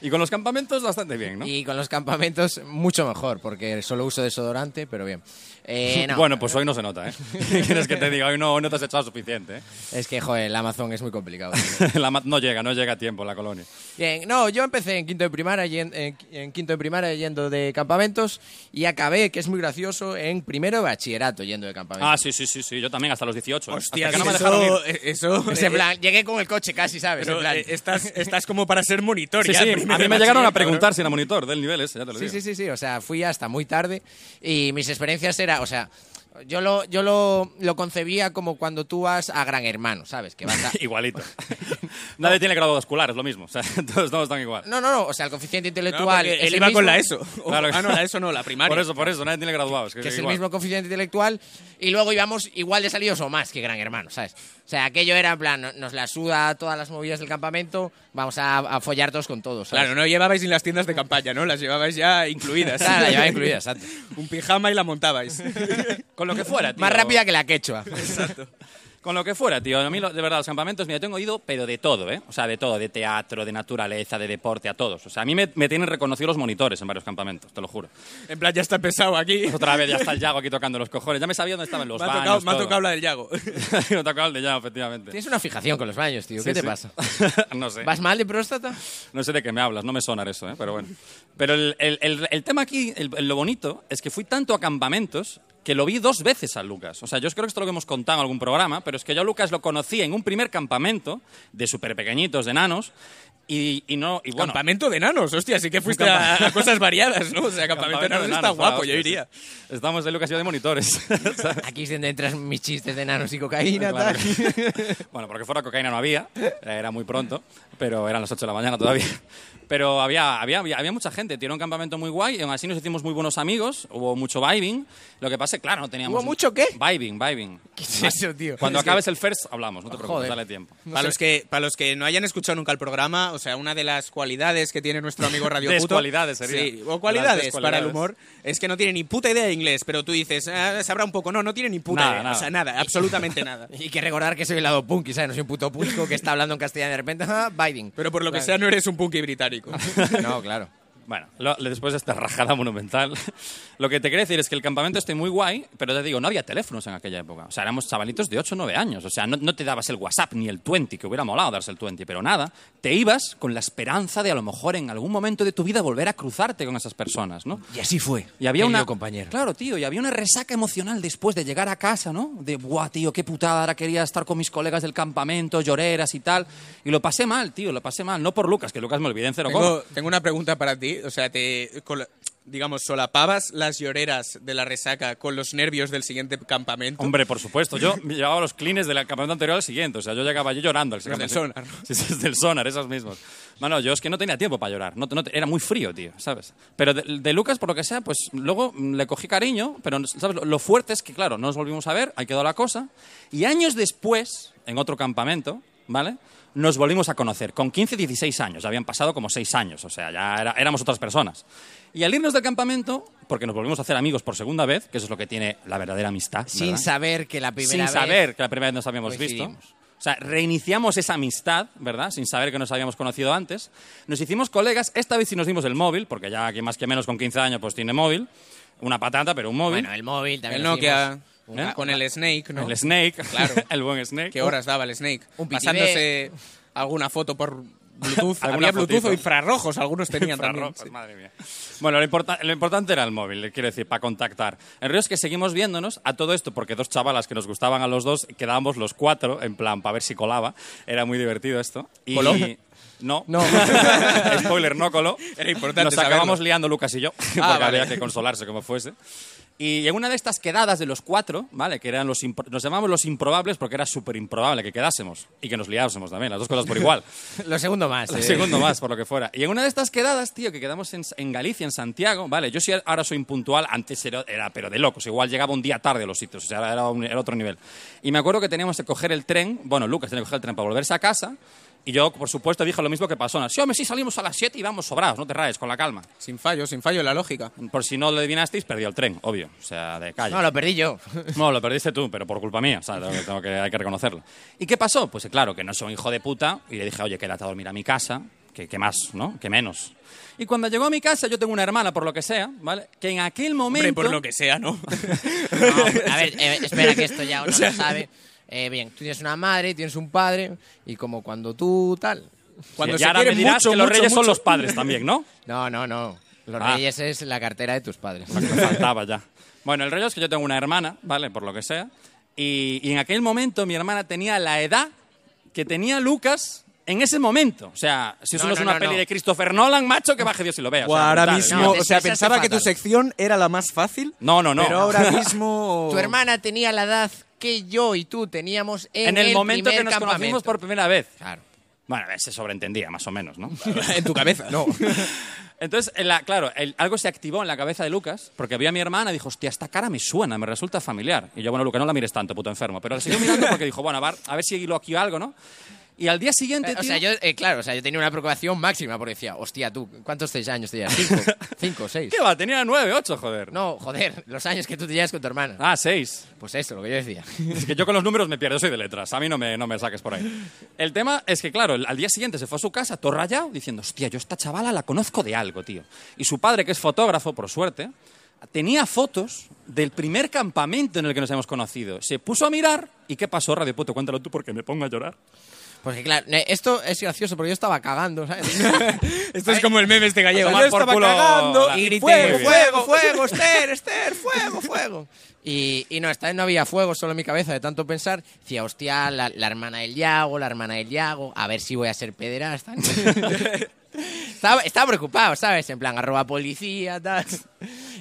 S1: y con los campamentos bastante bien, ¿no?
S2: y con los campamentos mucho mejor, porque solo uso desodorante, pero bien. Eh, no,
S1: Bueno, pues hoy no se nota, ¿eh? ¿Qué quieres que te diga? Hoy no, hoy no te has echado suficiente, ¿eh?
S2: Es que, joder, el Amazon es muy complicado.
S1: La mat no llega, no llega a tiempo la colonia.
S2: Bien, no, yo empecé en quinto de primaria, yen- en, en quinto de primaria yendo de campamentos y acabé, que es muy gracioso, en primero de bachillerato yendo de
S1: Ah,
S2: campamentos.
S1: sí, sí, sí, sí. Yo también hasta los 18. ¿eh?
S3: Hostia,
S1: hasta que no me dejaron ir.
S3: eso, eso-
S2: Es en plan, llegué con el coche casi, ¿sabes?
S3: Pero,
S2: En plan,
S3: eh, estás, estás como para ser monitor.
S1: Sí,
S3: ya,
S1: sí,
S3: en
S1: a
S3: primero
S1: mí
S3: de
S1: me llegaron a
S3: bachillerato,
S1: preguntar si era monitor del nivel ese, ya te lo
S2: Sí,
S1: digo.
S2: sí, sí, sí, o sea, fui hasta muy tarde y mis experiencias era, o sea, yo lo, yo lo, lo concebía como cuando tú vas a Gran Hermano, ¿sabes? Que vas a...
S1: Igualito. Nadie tiene grado vascular, es lo mismo. O sea, todos estamos tan igual.
S2: No, no, no, o sea, el coeficiente
S3: ¿no? No,
S2: intelectual...
S3: porque
S2: es
S3: él
S2: el
S3: iba con
S2: mismo-
S3: la ESO. O-
S1: Claro.
S3: Ah, no, la ESO no, la primaria.
S1: Por eso, por eso, nadie tiene graduados.
S2: que es el
S1: igual.
S2: mismo coeficiente intelectual, y luego íbamos igual de salidos o más que Gran Hermano, ¿sabes? O sea, aquello era en plan, no- nos la suda todas las movidas del campamento, vamos a, a follar todos con todos, ¿sabes?
S3: Claro, no llevabais ni las tiendas de campaña, ¿no? Las llevabais ya incluidas.
S2: Claro, la llevaba incluida, exacto.
S3: Un pijama y la montabais.
S1: Con lo que fuera, tío.
S2: Más rápida que la quechua.
S1: Con lo que fuera, tío. A mí, lo- de verdad, los campamentos, mira, tengo ido, pero de todo, ¿eh? O sea, de todo, de teatro, de naturaleza, de deporte, a todos. O sea, a mí me, me tienen reconocido los monitores en varios campamentos, te lo juro.
S3: En plan, ya está pesado aquí.
S1: Otra vez ya está el Yago aquí tocando los cojones. Ya me sabía dónde estaban los
S3: me ha,
S1: baños.
S3: tocado, me ha
S1: todo.
S3: tocado la del Yago.
S1: Me ha tocado el de Yago, efectivamente.
S2: Tienes una fijación con los baños, tío, ¿qué
S1: Sí,
S2: te
S1: sí.
S2: pasa?
S1: no sé.
S2: ¿Vas mal de próstata?
S1: No sé de qué me hablas, no me sonar eso, ¿eh? pero bueno. Pero el, el- el- el tema aquí, el- el- lo bonito, es que fui tanto a campamentos que lo vi dos veces a Lucas. O sea, yo creo que esto lo que hemos contado en algún programa, pero es que yo a Lucas lo conocí en un primer campamento de súper pequeñitos, de enanos, y, y no... Y bueno,
S3: Campamento de enanos, hostia, así que fuiste
S1: campa-
S3: a, a cosas variadas, ¿no? O sea, campamento, de enanos está
S1: enanos,
S3: guapo,
S1: ah,
S3: yo
S1: hostia,
S3: iría.
S1: sí. Estamos de Lucas y yo de monitores. ¿sabes?
S2: Aquí es donde entran mis chistes de nanos y cocaína,
S1: Claro.
S2: tal.
S1: bueno, porque fuera cocaína no había, era muy pronto, pero eran las 8 de la mañana todavía. Pero había, había, había, había mucha gente, tiene un campamento muy guay, y aún así nos hicimos muy buenos amigos, hubo mucho vibing. Lo que pasa es que, claro, no teníamos.
S2: ¿Hubo mucho qué?
S1: Vibing, vibing.
S2: ¿Qué es eso, tío?
S1: Cuando
S2: Es que-
S1: acabes el first, hablamos, no te preocupes,
S2: Joder.
S1: dale tiempo.
S3: para, los que, para los que no hayan escuchado nunca el programa, o sea, una de las cualidades que tiene nuestro amigo Radio Puto...
S1: Descualidades sería.
S3: Sí, o
S1: Las
S3: cualidades para
S1: descualidades.
S3: el humor, es que no tiene ni puta idea de inglés, pero tú dices, "Ah, sabrá un poco. No, no tiene ni puta
S1: Nada,
S3: idea,
S1: nada.
S3: o sea, nada, absolutamente nada.
S2: Y que recordar que soy el lado punky, ¿sabes? No soy un puto público que está hablando en castellano y de repente, ah, Biden.
S3: Pero por lo que
S2: Claro.
S3: sea, no eres un punky británico.
S2: No, claro.
S1: Bueno, lo- después de esta rajada monumental, lo que te quería decir es que el campamento esté muy guay, pero te digo, no había teléfonos en aquella época. O sea, éramos chavalitos de 8 o 9 años. O sea, no, no te dabas el WhatsApp ni el 20, que hubiera molado darse el 20, pero nada. Te ibas con la esperanza de a lo mejor en algún momento de tu vida volver a cruzarte con esas personas, ¿no?
S2: Y así fue.
S1: Y había
S2: querido
S1: una.
S2: compañero.
S1: Claro, tío, y había una resaca emocional después de llegar a casa, ¿no? De, buah, tío, qué putada, ahora quería estar con mis colegas del campamento, lloreras y tal. Y lo pasé mal, tío, lo pasé mal. No por Lucas, que Lucas me olvidé en cero coma.
S3: Tengo, tengo una pregunta para ti. O sea, te, col- digamos, solapabas las lloreras de la resaca con los nervios del siguiente campamento.
S1: Hombre, por supuesto. Yo me llevaba los clines del campamento anterior al siguiente. O sea, yo llegaba allí llorando. Al
S3: Los del
S1: campamento.
S3: Sonar,
S1: Sí, sí, del sonar, esos mismos. Mano, yo es que no tenía tiempo para llorar. No, no- era muy frío, tío, ¿sabes? Pero de, de Lucas, por lo que sea, pues luego mm, le cogí cariño. Pero, ¿sabes? Lo, lo fuerte es que, claro, no nos volvimos a ver. Ahí quedó la cosa. Y años después, en otro campamento, ¿vale? Nos volvimos a conocer. Con 15, 16 años. Ya habían pasado como 6 años. O sea, ya era- éramos otras personas. Y al irnos del campamento, porque nos volvimos a hacer amigos por segunda vez, que eso es lo que tiene la verdadera amistad.
S2: Sin
S1: ¿verdad?
S2: saber que la
S1: sin
S2: primera vez-
S1: saber que la primera vez nos habíamos visto.
S2: coincidimos.
S1: O sea, reiniciamos esa amistad, ¿verdad? Sin saber que nos habíamos conocido antes. Nos hicimos colegas, esta vez sí nos dimos el móvil, porque ya que más que menos con 15 años pues tiene móvil. Una patata, pero un móvil.
S2: Bueno, el móvil también.
S3: el
S2: nos
S3: Nokia,
S2: dimos una-
S3: ¿eh? con el Snake, ¿no?
S1: El Snake,
S3: Claro.
S1: el buen Snake.
S3: ¿Qué horas daba el Snake?
S2: Un PTV.
S3: Pasándose alguna foto por Bluetooth.
S1: Alguna
S3: Había Bluetooth
S1: fotito.
S3: o infrarrojos, algunos tenían también.
S1: Infrarrojos, pues madre mía. Bueno, lo, importa- lo importante era el móvil, quiero decir, para contactar. El río es que seguimos viéndonos a todo esto, porque dos chavalas que nos gustaban a los dos, quedábamos los cuatro, en plan, para ver si colaba. Era muy divertido esto. Y
S3: ¿Coló?
S1: No.
S2: No.
S1: Spoiler, no coló.
S3: Era importante
S1: Nos
S3: saberlo. Ah,
S1: acabamos liando Lucas y yo, porque
S3: vale.
S1: había que consolarse como fuese. Y en una de estas quedadas de los cuatro, ¿vale? Que eran los impro- nos llamamos los improbables porque era súper improbable que quedásemos y que nos liásemos también, las dos cosas por igual.
S2: Lo segundo más.
S1: El
S2: eh.
S1: segundo más, por lo que fuera. Y en una de estas quedadas, tío, que quedamos en, en Galicia, en Santiago, vale, yo sí ahora soy impuntual, antes era, era, pero de locos, igual llegaba un día tarde a los sitios, o sea, era, un- era otro nivel. Y me acuerdo que teníamos que coger el tren, bueno, Lucas tenía que coger el tren para volverse a casa, y yo, por supuesto, dije lo mismo que pasó. Sí, hombre, sí, salimos a las 7 y vamos sobrados, no te rayes, con la calma.
S3: Sin fallo, sin fallo, la lógica.
S1: Por si no lo adivinasteis, perdió el tren, obvio, o sea, de calle.
S2: No, lo perdí yo.
S1: No, lo perdiste tú, pero por culpa mía, o sea, tengo que- tengo que- hay que reconocerlo. ¿Y qué pasó? Pues claro, que no soy un hijo de puta, y le dije, oye, quédate a dormir a mi casa, que, que más, ¿no? Que menos. Y cuando llegó a mi casa, yo tengo una hermana, por lo que sea, ¿vale? Que en aquel momento...
S3: Hombre, por lo que sea, ¿no?
S2: No, a ver, eh, espera que esto ya uno lo sabe. Eh, bien, tú tienes una madre, tienes un padre, y como cuando tú tal.
S3: Cuando
S1: y
S3: se
S1: ahora
S3: quiere
S1: me dirás
S3: mucho,
S1: que los
S3: mucho,
S1: reyes son
S3: mucho.
S1: los padres también, ¿no?
S2: No, no, no. Los
S1: Ah.
S2: reyes es la cartera de tus padres.
S1: Lo que me faltaba ya. Bueno, el rollo es que yo tengo una hermana, ¿vale? Por lo que sea. Y, y en aquel momento mi hermana tenía la edad que tenía Lucas en ese momento. O sea, si eso no,
S2: No,
S1: es
S2: no,
S1: una
S2: no,
S1: peli
S2: no.
S1: de Christopher Nolan, macho, que baje Dios y lo vea. O sea,
S3: ahora
S1: brutal.
S3: mismo,
S2: no,
S3: o sea, ¿eh?
S2: esa- esa
S3: pensaba
S2: es
S3: que tu
S2: fatal.
S3: sección era la más fácil.
S1: No, no, no.
S3: Pero ahora mismo.
S2: Tu hermana tenía la edad que yo y tú teníamos en,
S1: en el, momento
S2: primer
S1: que nos
S2: campamento.
S1: conocimos por primera vez.
S2: Claro.
S1: Bueno, a ver, se sobreentendía, más o menos, ¿no?
S3: en tu cabeza. No.
S1: Entonces, en la- claro, el- algo se activó en la cabeza de Lucas, porque vio a mi hermana y dijo, hostia, esta cara me suena, me resulta familiar. Y yo, bueno, Lucas, no la mires tanto, puto enfermo. Pero la siguió mirando porque dijo, bueno, a ver, a ver si lo aquí algo, ¿no? Y al día siguiente,
S2: O sea,
S1: tío,
S2: yo, eh, claro, o sea, yo tenía una preocupación máxima porque decía, hostia, tú, ¿cuántos seis años te llevas? ¿Cinco? ¿Cinco? ¿Seis?
S1: ¿qué va? Tenía nueve, ocho, joder.
S2: No, joder, los años que tú te llevas con tu hermana.
S1: Ah, seis.
S2: Pues eso, lo que yo decía.
S1: Es que yo con los números me pierdo, soy de letras. A mí no me, no me saques por ahí. El tema es que, claro, al día siguiente se fue a su casa, todo rayado, diciendo, hostia, yo esta chavala la conozco de algo, tío. Y su padre, que es fotógrafo, por suerte, tenía fotos del primer campamento en el que nos hemos conocido. Se puso a mirar y ¿qué pasó, Radio Puto? Cuéntalo tú porque me pongo a llorar.
S2: Porque claro, ne- esto es gracioso porque yo estaba cagando, ¿sabes?
S3: Esto es como el meme este gallego.
S1: Tomar por culo la-
S2: y grité,
S1: Muy
S2: fuego,
S1: bien.
S2: fuego, fuego, Esther, Esther, fuego, fuego. Y, y no, esta vez no había fuego, solo en mi cabeza de tanto pensar. Decía, hostia, la, la hermana del Yago, la hermana del Yago, a ver si voy a ser pederasta. estaba, estaba preocupado, ¿sabes? En plan, arroba policía, tal.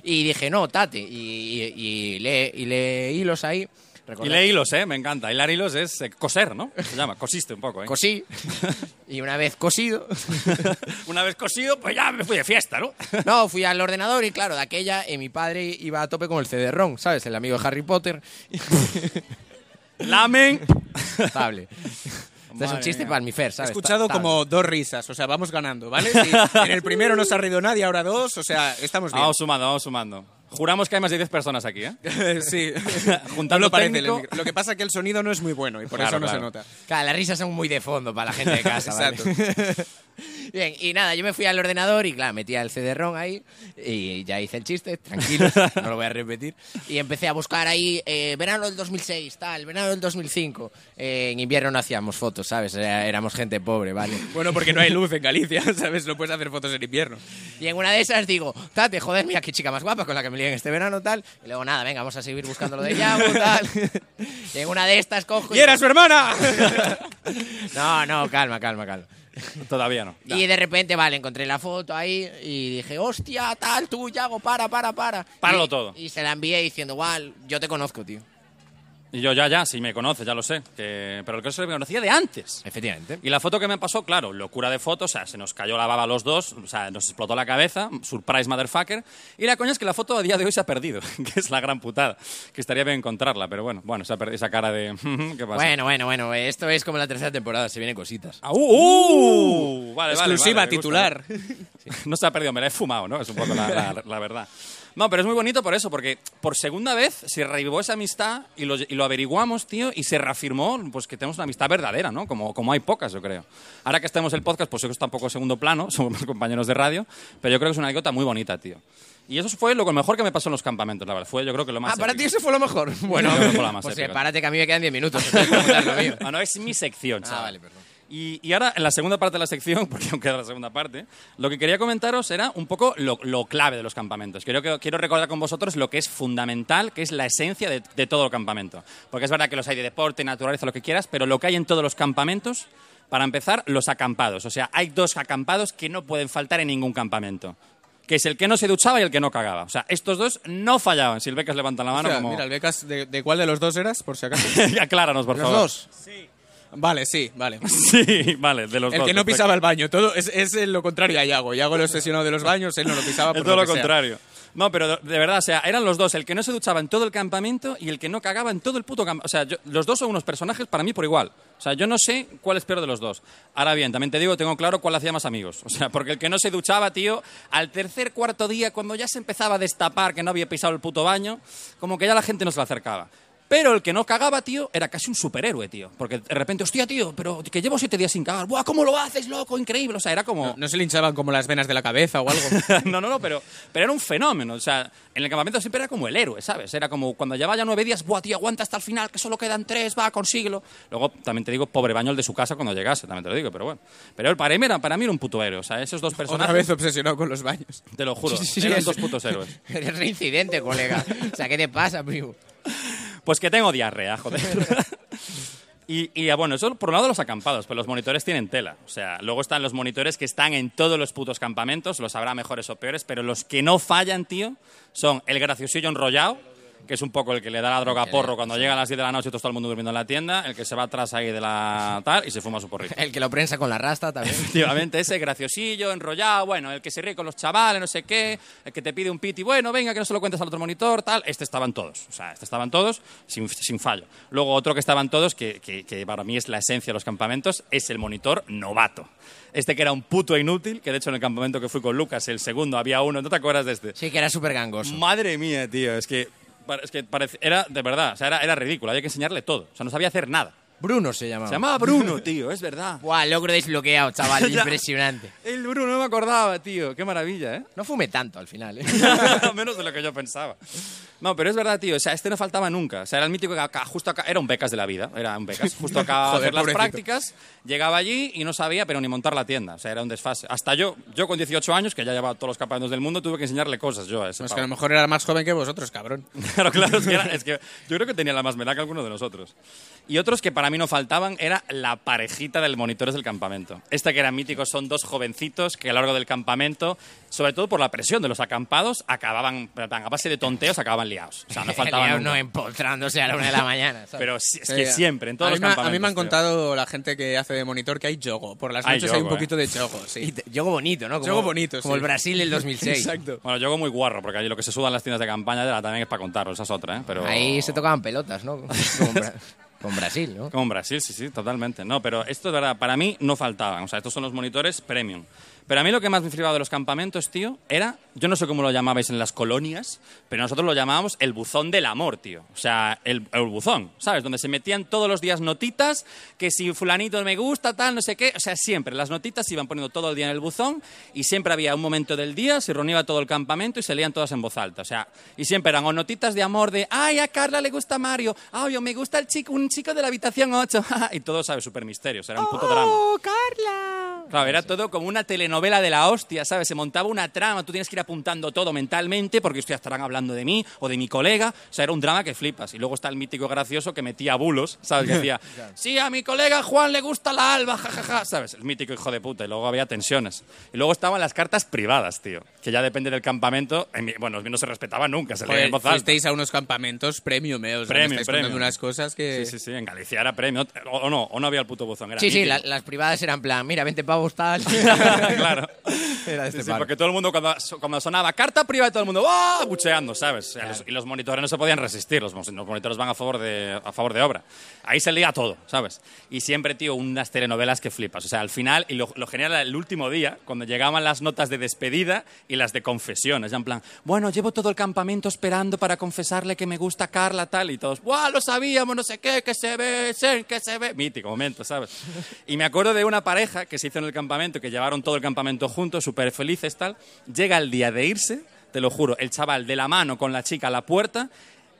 S2: Y dije, no, tate. Y, y, y le, y le hilos ahí.
S1: Y
S2: Recordé-
S1: le hilos, ¿eh? Me encanta. Hilar hilos es eh, coser, ¿no? Se llama, cosiste un poco, ¿eh?
S2: Cosí. Y una vez cosido,
S1: Una vez cosido, pues ya me fui de fiesta, ¿no?
S2: No, fui al ordenador y claro, de aquella eh, mi padre iba a tope con el CD-ROM, ¿sabes? El amigo de Harry Potter.
S1: Lamen.
S2: Estable. Este es un
S1: Madre
S2: chiste
S1: mía.
S2: para mi Fer,
S3: He
S2: ¿sabes?
S3: escuchado
S2: Ta-
S3: como dos risas, o sea, vamos ganando, ¿vale? Si en el primero no se ha reído nadie, ahora dos, o sea, estamos bien.
S1: Vamos sumando, vamos sumando. Juramos que hay más de 10 personas aquí, ¿eh?
S3: sí,
S1: Juntando
S3: No lo, parece,
S1: técnico.
S3: el micro. lo que pasa es que el sonido no es muy bueno y por
S1: Claro,
S3: eso no
S1: claro.
S3: se nota.
S2: table. Claro, las risas son muy de fondo para la gente de casa, ¿vale?
S3: Exacto.
S2: Bien, y nada, yo me fui al ordenador y, claro, metía el CD-ROM ahí y ya hice el chiste, tranquilo, no lo voy a repetir. Y empecé a buscar ahí eh, verano del 2006, tal, verano del 2005. Eh, en invierno no hacíamos fotos, ¿sabes? Era- éramos gente pobre, ¿vale?
S3: Bueno, porque no hay luz en Galicia, ¿sabes? No puedes hacer fotos en invierno.
S2: Y en una de esas digo, Tate, joder, mira qué chica más guapa con la que me lié en este verano, tal. Y luego, nada, venga, vamos a seguir buscando lo de Yago, tal. Y en una de estas cojo.
S3: ¡Y era su hermana!
S2: No, no, calma, calma, calma.
S1: Todavía no.
S2: Y de repente, vale, encontré la foto ahí y dije, hostia, tal, tú, Yago, para, para, para.
S1: Páralo
S2: Y-
S1: todo.
S2: Y se la envié diciendo, guau, yo te conozco, tío.
S1: Y yo ya, ya, si me conoce, ya lo sé. Que... Pero el caso es que me conocía de antes.
S2: Efectivamente.
S1: Y la foto que me pasó, claro, locura de foto, o sea, se nos cayó la baba a los dos, o sea, nos explotó la cabeza, surprise motherfucker. Y la coña es que la foto a día de hoy se ha perdido, que es la gran putada, que estaría bien encontrarla, pero bueno, bueno, esa, per- esa cara de... ¿Qué pasa?
S2: Bueno, bueno, bueno, esto es como la tercera temporada, se vienen cositas.
S1: Ah, uh, uh, vale, vale,
S3: Exclusiva,
S1: vale, me gusta,
S3: titular.
S1: No se ha perdido, me la he fumado, ¿no? Es un poco la, la- la verdad. No, pero es muy bonito por eso, porque por segunda vez se reavivó esa amistad y lo, y lo averiguamos, tío, y se reafirmó pues, que tenemos una amistad verdadera, ¿no? Como, como hay pocas, yo creo. Ahora que estamos en el podcast, pues eso está un poco en segundo plano, somos compañeros de radio, pero yo creo que es una anécdota muy bonita, tío. Y eso fue lo mejor que me pasó en los campamentos, la verdad. Fue yo creo que lo más...
S2: Ah, para ti
S1: épico.
S2: eso fue lo mejor. Bueno,
S1: Yo creo que fue la más
S2: pues eh,
S1: épica.
S2: párate que a mí me quedan 10 minutos. entonces voy a contar lo mío.
S1: Ah, no, es mi sección,
S2: Ah,
S1: chaval.
S2: vale, perdón.
S1: Y, y ahora, en la segunda parte de la sección, porque aún queda la segunda parte, lo que quería comentaros era un poco lo, lo clave de los campamentos. Creo que quiero recordar con vosotros lo que es fundamental, que es la esencia de, de todo el campamento. Porque es verdad que los hay de deporte, naturaleza, lo que quieras, pero lo que hay en todos los campamentos, para empezar, los acampados. O sea, hay dos acampados que no pueden faltar en ningún campamento. Que es el que no se duchaba y el que no cagaba. O sea, estos dos no fallaban. Silvecas levanta la mano
S3: O sea,
S1: Ah, como...
S3: Mira, el Becas, ¿de, de cuál de los dos eras, por si acaso?
S1: Acláranos, por favor.
S3: Vale, sí, vale.
S1: Sí, vale, de los
S3: El
S1: dos,
S3: que no
S1: perfecto.
S3: pisaba el baño. Todo es, es lo contrario a Yago. Yago lo obsesionado de los baños, él no lo pisaba.
S1: Es
S3: por
S1: todo lo
S3: que sea.
S1: contrario. No, pero de- de verdad, o sea, eran los dos, el que no se duchaba en todo el campamento y el que no cagaba en todo el puto campamento. O sea, yo- los dos son unos personajes para mí por igual. O sea, yo no sé cuál es peor de los dos. Ahora bien, también te digo, tengo claro cuál hacía más amigos. O sea, porque el que no se duchaba, tío, al tercer, cuarto día, cuando ya se empezaba a destapar que no había pisado el puto baño, como que ya la gente no se le acercaba. Pero el que no cagaba, tío, era casi un superhéroe, tío. Porque de repente, hostia, tío, pero que llevo siete días sin cagar. ¡Buah, cómo lo haces, loco! Increíble. O sea, era como...
S3: No, no se le hinchaban como las venas de la cabeza o algo.
S1: no, no, no, pero, pero era un fenómeno. O sea, en el campamento siempre era como el héroe, ¿sabes? Era como cuando llevaba ya nueve días, buah, tío, aguanta hasta el final, que solo quedan tres, va, consíguelo. Luego, también te digo, pobre baño el de su casa cuando llegase, también te lo digo, pero bueno. Pero él, para mí era, para mí era un puto héroe. O sea, esos dos
S3: Otra
S1: personajes,
S3: vez obsesionado con los baños.
S1: te lo juro,
S2: Sí, sí, sí,
S1: eran
S2: es-
S1: dos putos héroes.
S2: Eres reincidente, colega. O sea, ¿qué te pasa, primo?
S1: Pues que tengo diarrea, joder. Y, y, ah, bueno, eso por un lado los acampados, pero los monitores tienen tela. O sea, luego están los monitores que están en todos los putos campamentos, los habrá mejores o peores, pero los que no fallan, tío, son el graciosillo enrollado, que es un poco el que le da la droga a porro cuando llega a las 10 de la noche y todo está el mundo durmiendo en la tienda, el que se va atrás ahí de la tal y se fuma su porrito.
S2: El que lo prensa con la rasta también.
S1: Efectivamente, ese graciosillo, enrollado, bueno, el que se ríe con los chavales, no sé qué, el que te pide un piti, bueno, venga, que no se lo cuentes al otro monitor, tal. Este estaban todos, o sea, este estaban todos sin, sin fallo. Luego otro que estaban todos, que, que- que para mí es la esencia de los campamentos, es el monitor novato. Este que era un puto inútil, que de hecho en el campamento que fui con Lucas, el segundo, había uno, ¿no te acuerdas de este?
S2: Sí, que era súper gangoso.
S1: Madre mía, tío, es que, es que parece- era de verdad, o sea, era, era ridículo, había que enseñarle todo, o sea, no sabía hacer nada.
S2: Bruno se llamaba.
S1: Se llamaba Bruno, tío, es verdad.
S2: Buah, logro desbloqueado, chaval.
S1: Ya.
S2: Impresionante.
S1: El Bruno no me acordaba, tío. Qué maravilla, ¿eh?
S2: No fume tanto al final, ¿eh?
S1: Menos de lo que yo pensaba. No, pero es verdad, tío. O sea, este no faltaba nunca. O sea, era el mítico que acá- justo acá, era un becas de la vida. Era un becas. Justo acá
S3: Joder,
S1: hacer las
S3: pobrecito.
S1: prácticas, llegaba allí y no sabía, pero ni montar la tienda. O sea, era un desfase. Hasta yo, yo con 18 años, que ya llevaba todos los campamentos del mundo, tuve que enseñarle cosas yo a ese.
S3: Es que a
S1: pavo.
S3: lo mejor era más joven que vosotros, cabrón.
S1: Claro, claro, es que, era- es que yo creo que tenía la más melá que alguno de nosotros. Y otros que para mí no faltaban era la parejita del monitores del campamento. Esta que era mítico son dos jovencitos que a lo largo del campamento, sobre todo por la presión de los acampados, acababan, en plan, a base de tonteos, acababan liados. O sea, no faltaban
S2: Leao
S1: nunca.
S2: no empotrándose a la una de la mañana. ¿sabes?
S1: Pero sí, es
S3: Sí,
S1: que
S3: a-
S1: siempre, en todos
S3: a mí
S1: los
S3: me-
S1: campamentos.
S3: A mí me han
S1: tío.
S3: contado la gente que hace de monitor que hay yogo. Por las
S1: Hay
S3: noches hay un
S1: yogo, eh.
S3: poquito de yogo,
S2: Y
S3: sí.
S2: te- Yogo bonito, ¿no? Como,
S3: Yogo bonito,
S2: Como
S3: sí.
S2: el Brasil del 2006.
S3: Exacto.
S1: Bueno, yo hago muy guarro, porque allí lo que se suda en las tiendas de campaña ya también es para contarlo, esa es otra, ¿eh? Pero...
S2: Ahí se tocaban pelotas, ¿no? Con, Bra- con Brasil, ¿no?
S1: Con Brasil, sí, sí, totalmente. No, pero esto de verdad, para mí no faltaban. O sea, estos son los monitores premium. Pero a mí lo que más me flipaba de los campamentos, tío, era, yo no sé cómo lo llamabais en las colonias, pero nosotros lo llamábamos el buzón del amor, tío. O sea, el, el buzón, ¿sabes? Donde se metían todos los días notitas, que si fulanito me gusta, tal, no sé qué. O sea, siempre las notitas se iban poniendo todo el día en el buzón y siempre había un momento del día, se reunía todo el campamento y se leían todas en voz alta. O sea, y siempre eran o notitas de amor de, ay, a Carla le gusta Mario, ay, o me gusta el chico, un chico de la habitación 8. y todo, ¿sabes? Súper misterios, era un puto drama. Claro, era todo como una telenovela de la hostia, ¿sabes? Se montaba una trama, tú tienes que ir apuntando todo mentalmente porque ya estarán hablando de mí o de mi colega. O sea, era un drama que flipas. Y luego está el mítico gracioso que metía bulos, ¿sabes? Que decía, sí, a mi colega Juan le gusta la alba, jajaja, ¿sabes? El mítico hijo de puta. Y luego había tensiones. Y luego estaban las cartas privadas, tío, que ya depende del campamento. En mi- bueno, no se respetaba nunca, se leía
S3: Joder,
S1: en voz alta.
S3: fuisteis a unos campamentos premium, eh. Os
S1: Premium,
S3: estáis
S1: premium.
S3: contando unas cosas que...
S1: Sí, sí, sí, en Galicia era premio. O, o no, o no había el puto buzón. Era
S2: Sí, sí,
S1: mítico.
S2: la- las privadas eran plan, mira, 20 pavos tal.
S1: claro.
S2: Era de este
S1: Sí,
S2: palo.
S1: porque todo el mundo, cuando, cuando sonaba carta privada, todo el mundo ¡ah! bucheando, ¿sabes? O sea, los- y los monitores no se podían resistir, los, mos- los monitores van a favor, de, a favor de obra. Ahí se lía todo, ¿sabes? Y siempre, tío, unas telenovelas que flipas. O sea, al final, y lo, lo genial era el último día, cuando llegaban las notas de despedida y las de confesiones, ya en plan, bueno, llevo todo el campamento esperando para confesarle que me gusta Carla, tal, y todos, ¡guau! Lo sabíamos, no sé qué, que se ve, se- que se ve. Mítico momento, ¿sabes? Y me acuerdo de una pareja que se hizo en el campamento, que llevaron todo el campamento juntos, súper felices, tal. Llega el día de irse, te lo juro, el chaval de la mano con la chica a la puerta,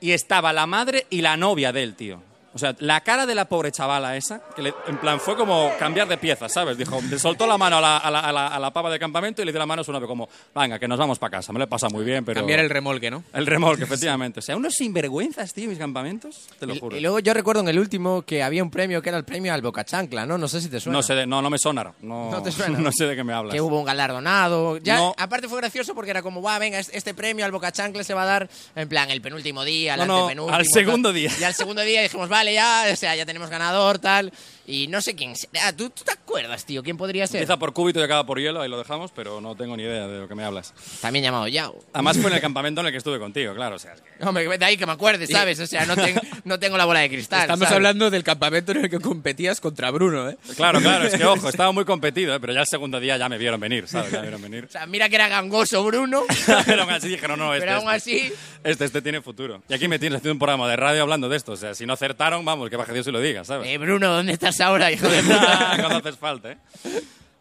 S1: y estaba la madre y la novia del tío. O sea, la cara de la pobre chavala esa, que le- en plan fue como cambiar de pieza, ¿sabes? Dijo, le soltó la mano a la, a la- a la- a la pava del campamento y le dio la mano a su novio, como, venga, que nos vamos para casa, me lo he pasado muy bien, pero.
S3: Cambiar el remolque, ¿no?
S1: El remolque, efectivamente. O sea, unos sinvergüenzas, tío, mis campamentos, te lo
S2: Y,
S1: juro.
S2: y luego yo recuerdo en el último que había un premio que era el premio al Boca Chancla, ¿no? No sé si te suena.
S1: No, sé de- no, no me sonar. No,
S2: No te suena.
S1: no sé de qué me hablas.
S2: Que hubo un galardonado. Ya,
S1: No.
S2: aparte fue gracioso porque era como, va, venga, es- este premio al Boca Chancla se va a dar en plan el penúltimo día, al
S1: No, no,
S2: antepenúltimo,
S1: al segundo día.
S2: Y al segundo día dijimos, vale, ya, o sea, ya tenemos ganador, tal. Y no sé quién será. ¿Tú, tú te acuerdas, tío? ¿Quién podría ser?
S1: Empieza por cúbito y acaba por hielo, ahí lo dejamos, pero no tengo ni idea de lo que me hablas.
S2: También llamado Yao.
S1: Además fue en el campamento en el que estuve contigo, claro. O sea, es que-
S2: Hombre, de ahí que me acuerdes, ¿sabes? O sea, no, ten- no tengo la bola de cristal.
S3: Estamos
S2: ¿sabes?
S3: hablando del campamento en el que competías contra Bruno, ¿eh?
S1: Claro, claro, es que ojo, estaba muy competido, ¿eh? pero ya el segundo día ya me vieron venir, ¿sabes? Ya me vieron venir.
S2: O sea, mira que era gangoso Bruno.
S1: pero aún así dije, no, no, este,
S2: Pero aún
S1: este.
S2: así-
S1: Este, este tiene futuro. Y aquí me tienes haciendo un programa de radio hablando de esto. O sea, si no acertaron, vamos, que baje Dios y lo diga, ¿sabes?
S2: Eh, Bruno, ¿dónde estás ahora, hijo de puta?
S1: cuando haces falta, ¿eh?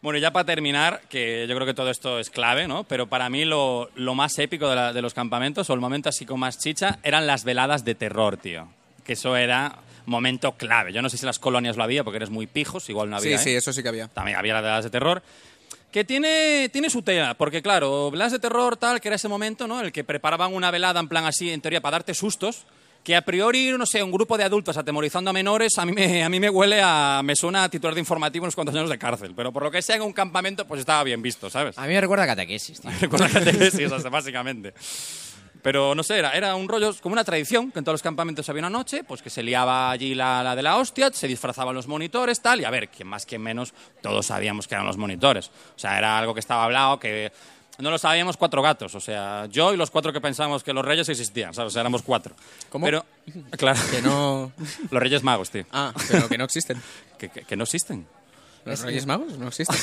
S1: Bueno, y ya para terminar, que yo creo que todo esto es clave, ¿no? Pero para mí lo, lo más épico de, la- de los campamentos, o el momento así con más chicha, eran las veladas de terror, tío. Que eso era momento clave. Yo no sé si en las colonias lo había, porque eres muy pijos, igual no
S3: Sí,
S1: había.
S3: sí,
S1: ¿eh?
S3: eso sí que había.
S1: También había las veladas de terror. Que tiene, tiene su tela, porque claro, veladas de terror tal, que era ese momento, ¿no? El que preparaban una velada en plan así, en teoría, para darte sustos. Que a priori, no sé, un grupo de adultos atemorizando a menores, a mí me, a mí me huele a. Me suena a titular de informativo unos cuantos años de cárcel. Pero por lo que sea, en un campamento, pues estaba bien visto, ¿sabes?
S2: A mí me recuerda a catequesis, tío.
S1: Recuerda catequesis, o sea, básicamente. Pero no sé, era, era un rollo, como una tradición, que en todos los campamentos había una noche, pues que se liaba allí la, la de la hostia, se disfrazaban los monitores, tal, y a ver, que más que menos todos sabíamos que eran los monitores. O sea, era algo que estaba hablado, que no lo sabíamos cuatro gatos, o sea, yo y los cuatro que pensábamos que los reyes existían, ¿sabes? O sea, éramos cuatro.
S3: ¿Cómo?
S1: Pero, claro,
S3: Que no...
S1: los reyes magos, tío,
S3: Ah, pero que no existen.
S1: que, que- que no existen.
S3: ¿Los Reyes Magos no existen?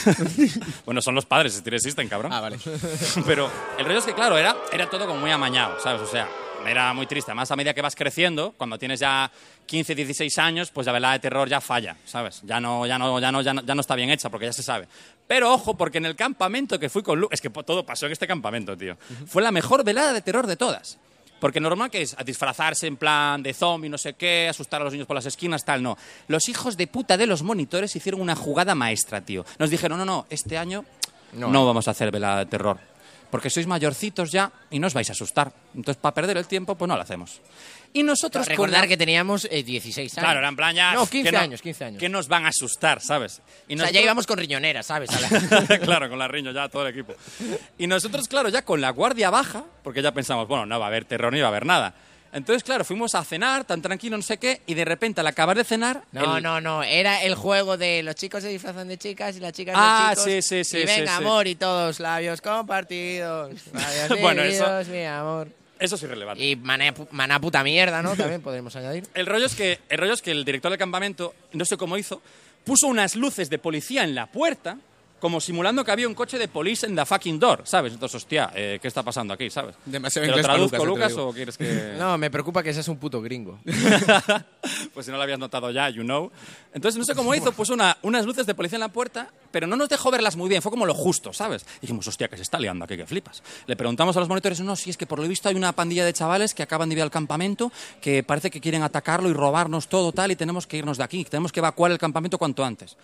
S1: Bueno, son los padres, si existen, cabrón.
S3: ah, vale.
S1: Pero el rollo es que, claro, era, era todo como muy amañado, ¿sabes? O sea, era muy triste. Además, a medida que vas creciendo, cuando tienes ya 15, 16 años, pues la velada de terror ya falla, ¿sabes? Ya no, ya no, ya no, ya no, ya no está bien hecha porque ya se sabe. Pero ojo, porque en el campamento que fui con Lu, es que po- todo pasó en este campamento, tío. Fue la mejor velada de terror de todas. Porque normal que es a disfrazarse en plan de zombie, no sé qué, asustar a los niños por las esquinas, tal, no. Los hijos de puta de los monitores hicieron una jugada maestra, tío. Nos dijeron, no, no, este año no, vamos a hacer velada de terror. Porque sois mayorcitos ya y no os vais a asustar. Entonces, para perder el tiempo, pues no lo hacemos. Y nosotros... con
S2: Recordar
S1: la-
S2: que teníamos eh, 16 años.
S1: Claro, era en plan ya...
S2: No,
S1: que
S2: 15 años, 15 años.
S1: Que nos van a asustar, ¿sabes? Y
S2: O sea, ya
S1: nosotros-
S2: íbamos con riñonera, ¿sabes? A la-
S1: claro, con la riño ya todo el equipo. Y nosotros, claro, ya con la guardia baja, porque ya pensamos, bueno, no va a haber terror ni va a haber nada. Entonces, claro, fuimos a cenar, tan tranquilo, no sé qué, y de repente al acabar de cenar.
S2: No,
S1: el-
S2: no, no. Era el juego de los chicos se disfrazan de chicas y las chicas
S1: Ah,
S2: de chicos.
S1: sí, sí, sí,
S2: Y
S1: sí,
S2: venga,
S1: sí.
S2: amor, y todos labios compartidos. Labios
S1: Bueno,
S2: bueno,
S1: eso-
S2: mi amor.
S1: Eso es irrelevante.
S2: Y maná, pu- maná puta mierda, ¿no? También podremos añadir.
S1: El rollo, es que, el rollo es que el director del campamento, no sé cómo hizo, puso unas luces de policía en la puerta como simulando que había un coche de police en la fucking door, ¿sabes? Entonces, hostia, eh, ¿qué está pasando aquí, sabes?
S3: Demasiado
S1: ¿Te lo
S3: inglés para
S1: traduzco,
S3: Lucas,
S1: Lucas,
S3: ya te
S1: o quieres que...?
S2: No, me preocupa que seas un puto gringo.
S1: pues si no lo habías notado ya, you know. Entonces, no sé cómo hizo, puso una- unas luces de policía en la puerta, pero no nos dejó verlas muy bien, fue como lo justo, ¿sabes? Y dijimos, hostia, que se está liando aquí, que flipas. Le preguntamos a los monitores, no, si es que por lo visto hay una pandilla de chavales que acaban de ir al campamento, que parece que quieren atacarlo y robarnos todo tal, y tenemos que irnos de aquí, tenemos que evacuar el campamento cuanto antes.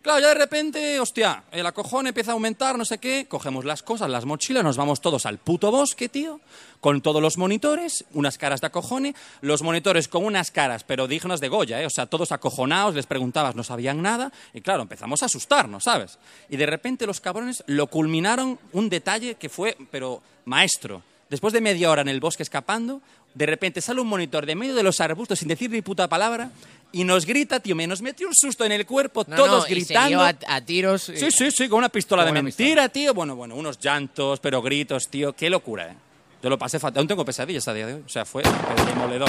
S1: Claro, ya de repente, hostia, el acojón empieza a aumentar, no sé qué, cogemos las cosas, las mochilas, nos vamos todos al puto bosque, tío, con todos los monitores, unas caras de acojone, los monitores con unas caras, pero dignos de Goya, ¿eh? o sea, todos acojonados, les preguntabas, no sabían nada, y claro, empezamos a asustarnos, ¿sabes? Y de repente los cabrones lo culminaron un detalle que fue, pero maestro, después de media hora en el bosque escapando, de repente sale un monitor de medio de los arbustos sin decir ni puta palabra. Y nos grita, tío, me nos metió un susto en el cuerpo,
S2: No,
S1: todos
S2: no, y se lió
S1: gritando.
S2: a, a tiros.
S1: Sí, sí, sí, con una pistola
S2: Con
S1: de
S2: una
S1: mentira, tío. Bueno, bueno, unos llantos, pero gritos, tío. Qué locura, ¿eh? Yo lo pasé fatal. Aún tengo pesadillas a día de hoy. O sea, fue pero demoledor.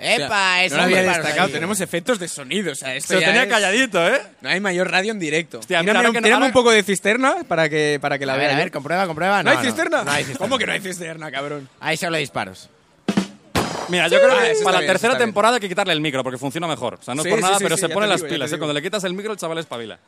S2: ¡Epa!
S3: no
S2: ese
S3: lo había
S2: hombre para
S3: destacado.
S2: salir.
S3: Tenemos efectos de sonido. O sea, esto
S1: Se lo
S3: ya
S1: tenía
S3: es-
S1: calladito, ¿eh?
S3: No hay mayor radio en directo.
S1: Hostia,
S3: Tírame
S1: mira, ahora
S3: un,
S1: que no-
S3: tírame un
S1: ahora-
S3: poco de cisterna para que, para que la
S2: A
S3: vea.
S2: ver, a
S3: yo.
S2: ver, comprueba, comprueba.
S3: ¿No,
S2: No,
S3: hay cisterna?
S2: No, hay cisterna.
S3: ¿Cómo que no hay cisterna, cabrón?
S2: Hay solo disparos.
S1: Mira, yo creo
S3: Ah, eso
S1: que
S3: está
S1: para la
S3: bien, eso
S1: tercera
S3: está bien.
S1: temporada hay que quitarle el micro porque funciona mejor. O sea, no
S3: Sí,
S1: es por
S3: sí,
S1: nada,
S3: sí,
S1: pero
S3: sí,
S1: se
S3: ya
S1: ponen
S3: te
S1: las
S3: digo, ya
S1: pilas.
S3: te
S1: ¿eh?
S3: digo.
S1: Cuando le quitas el micro, el chaval espabila.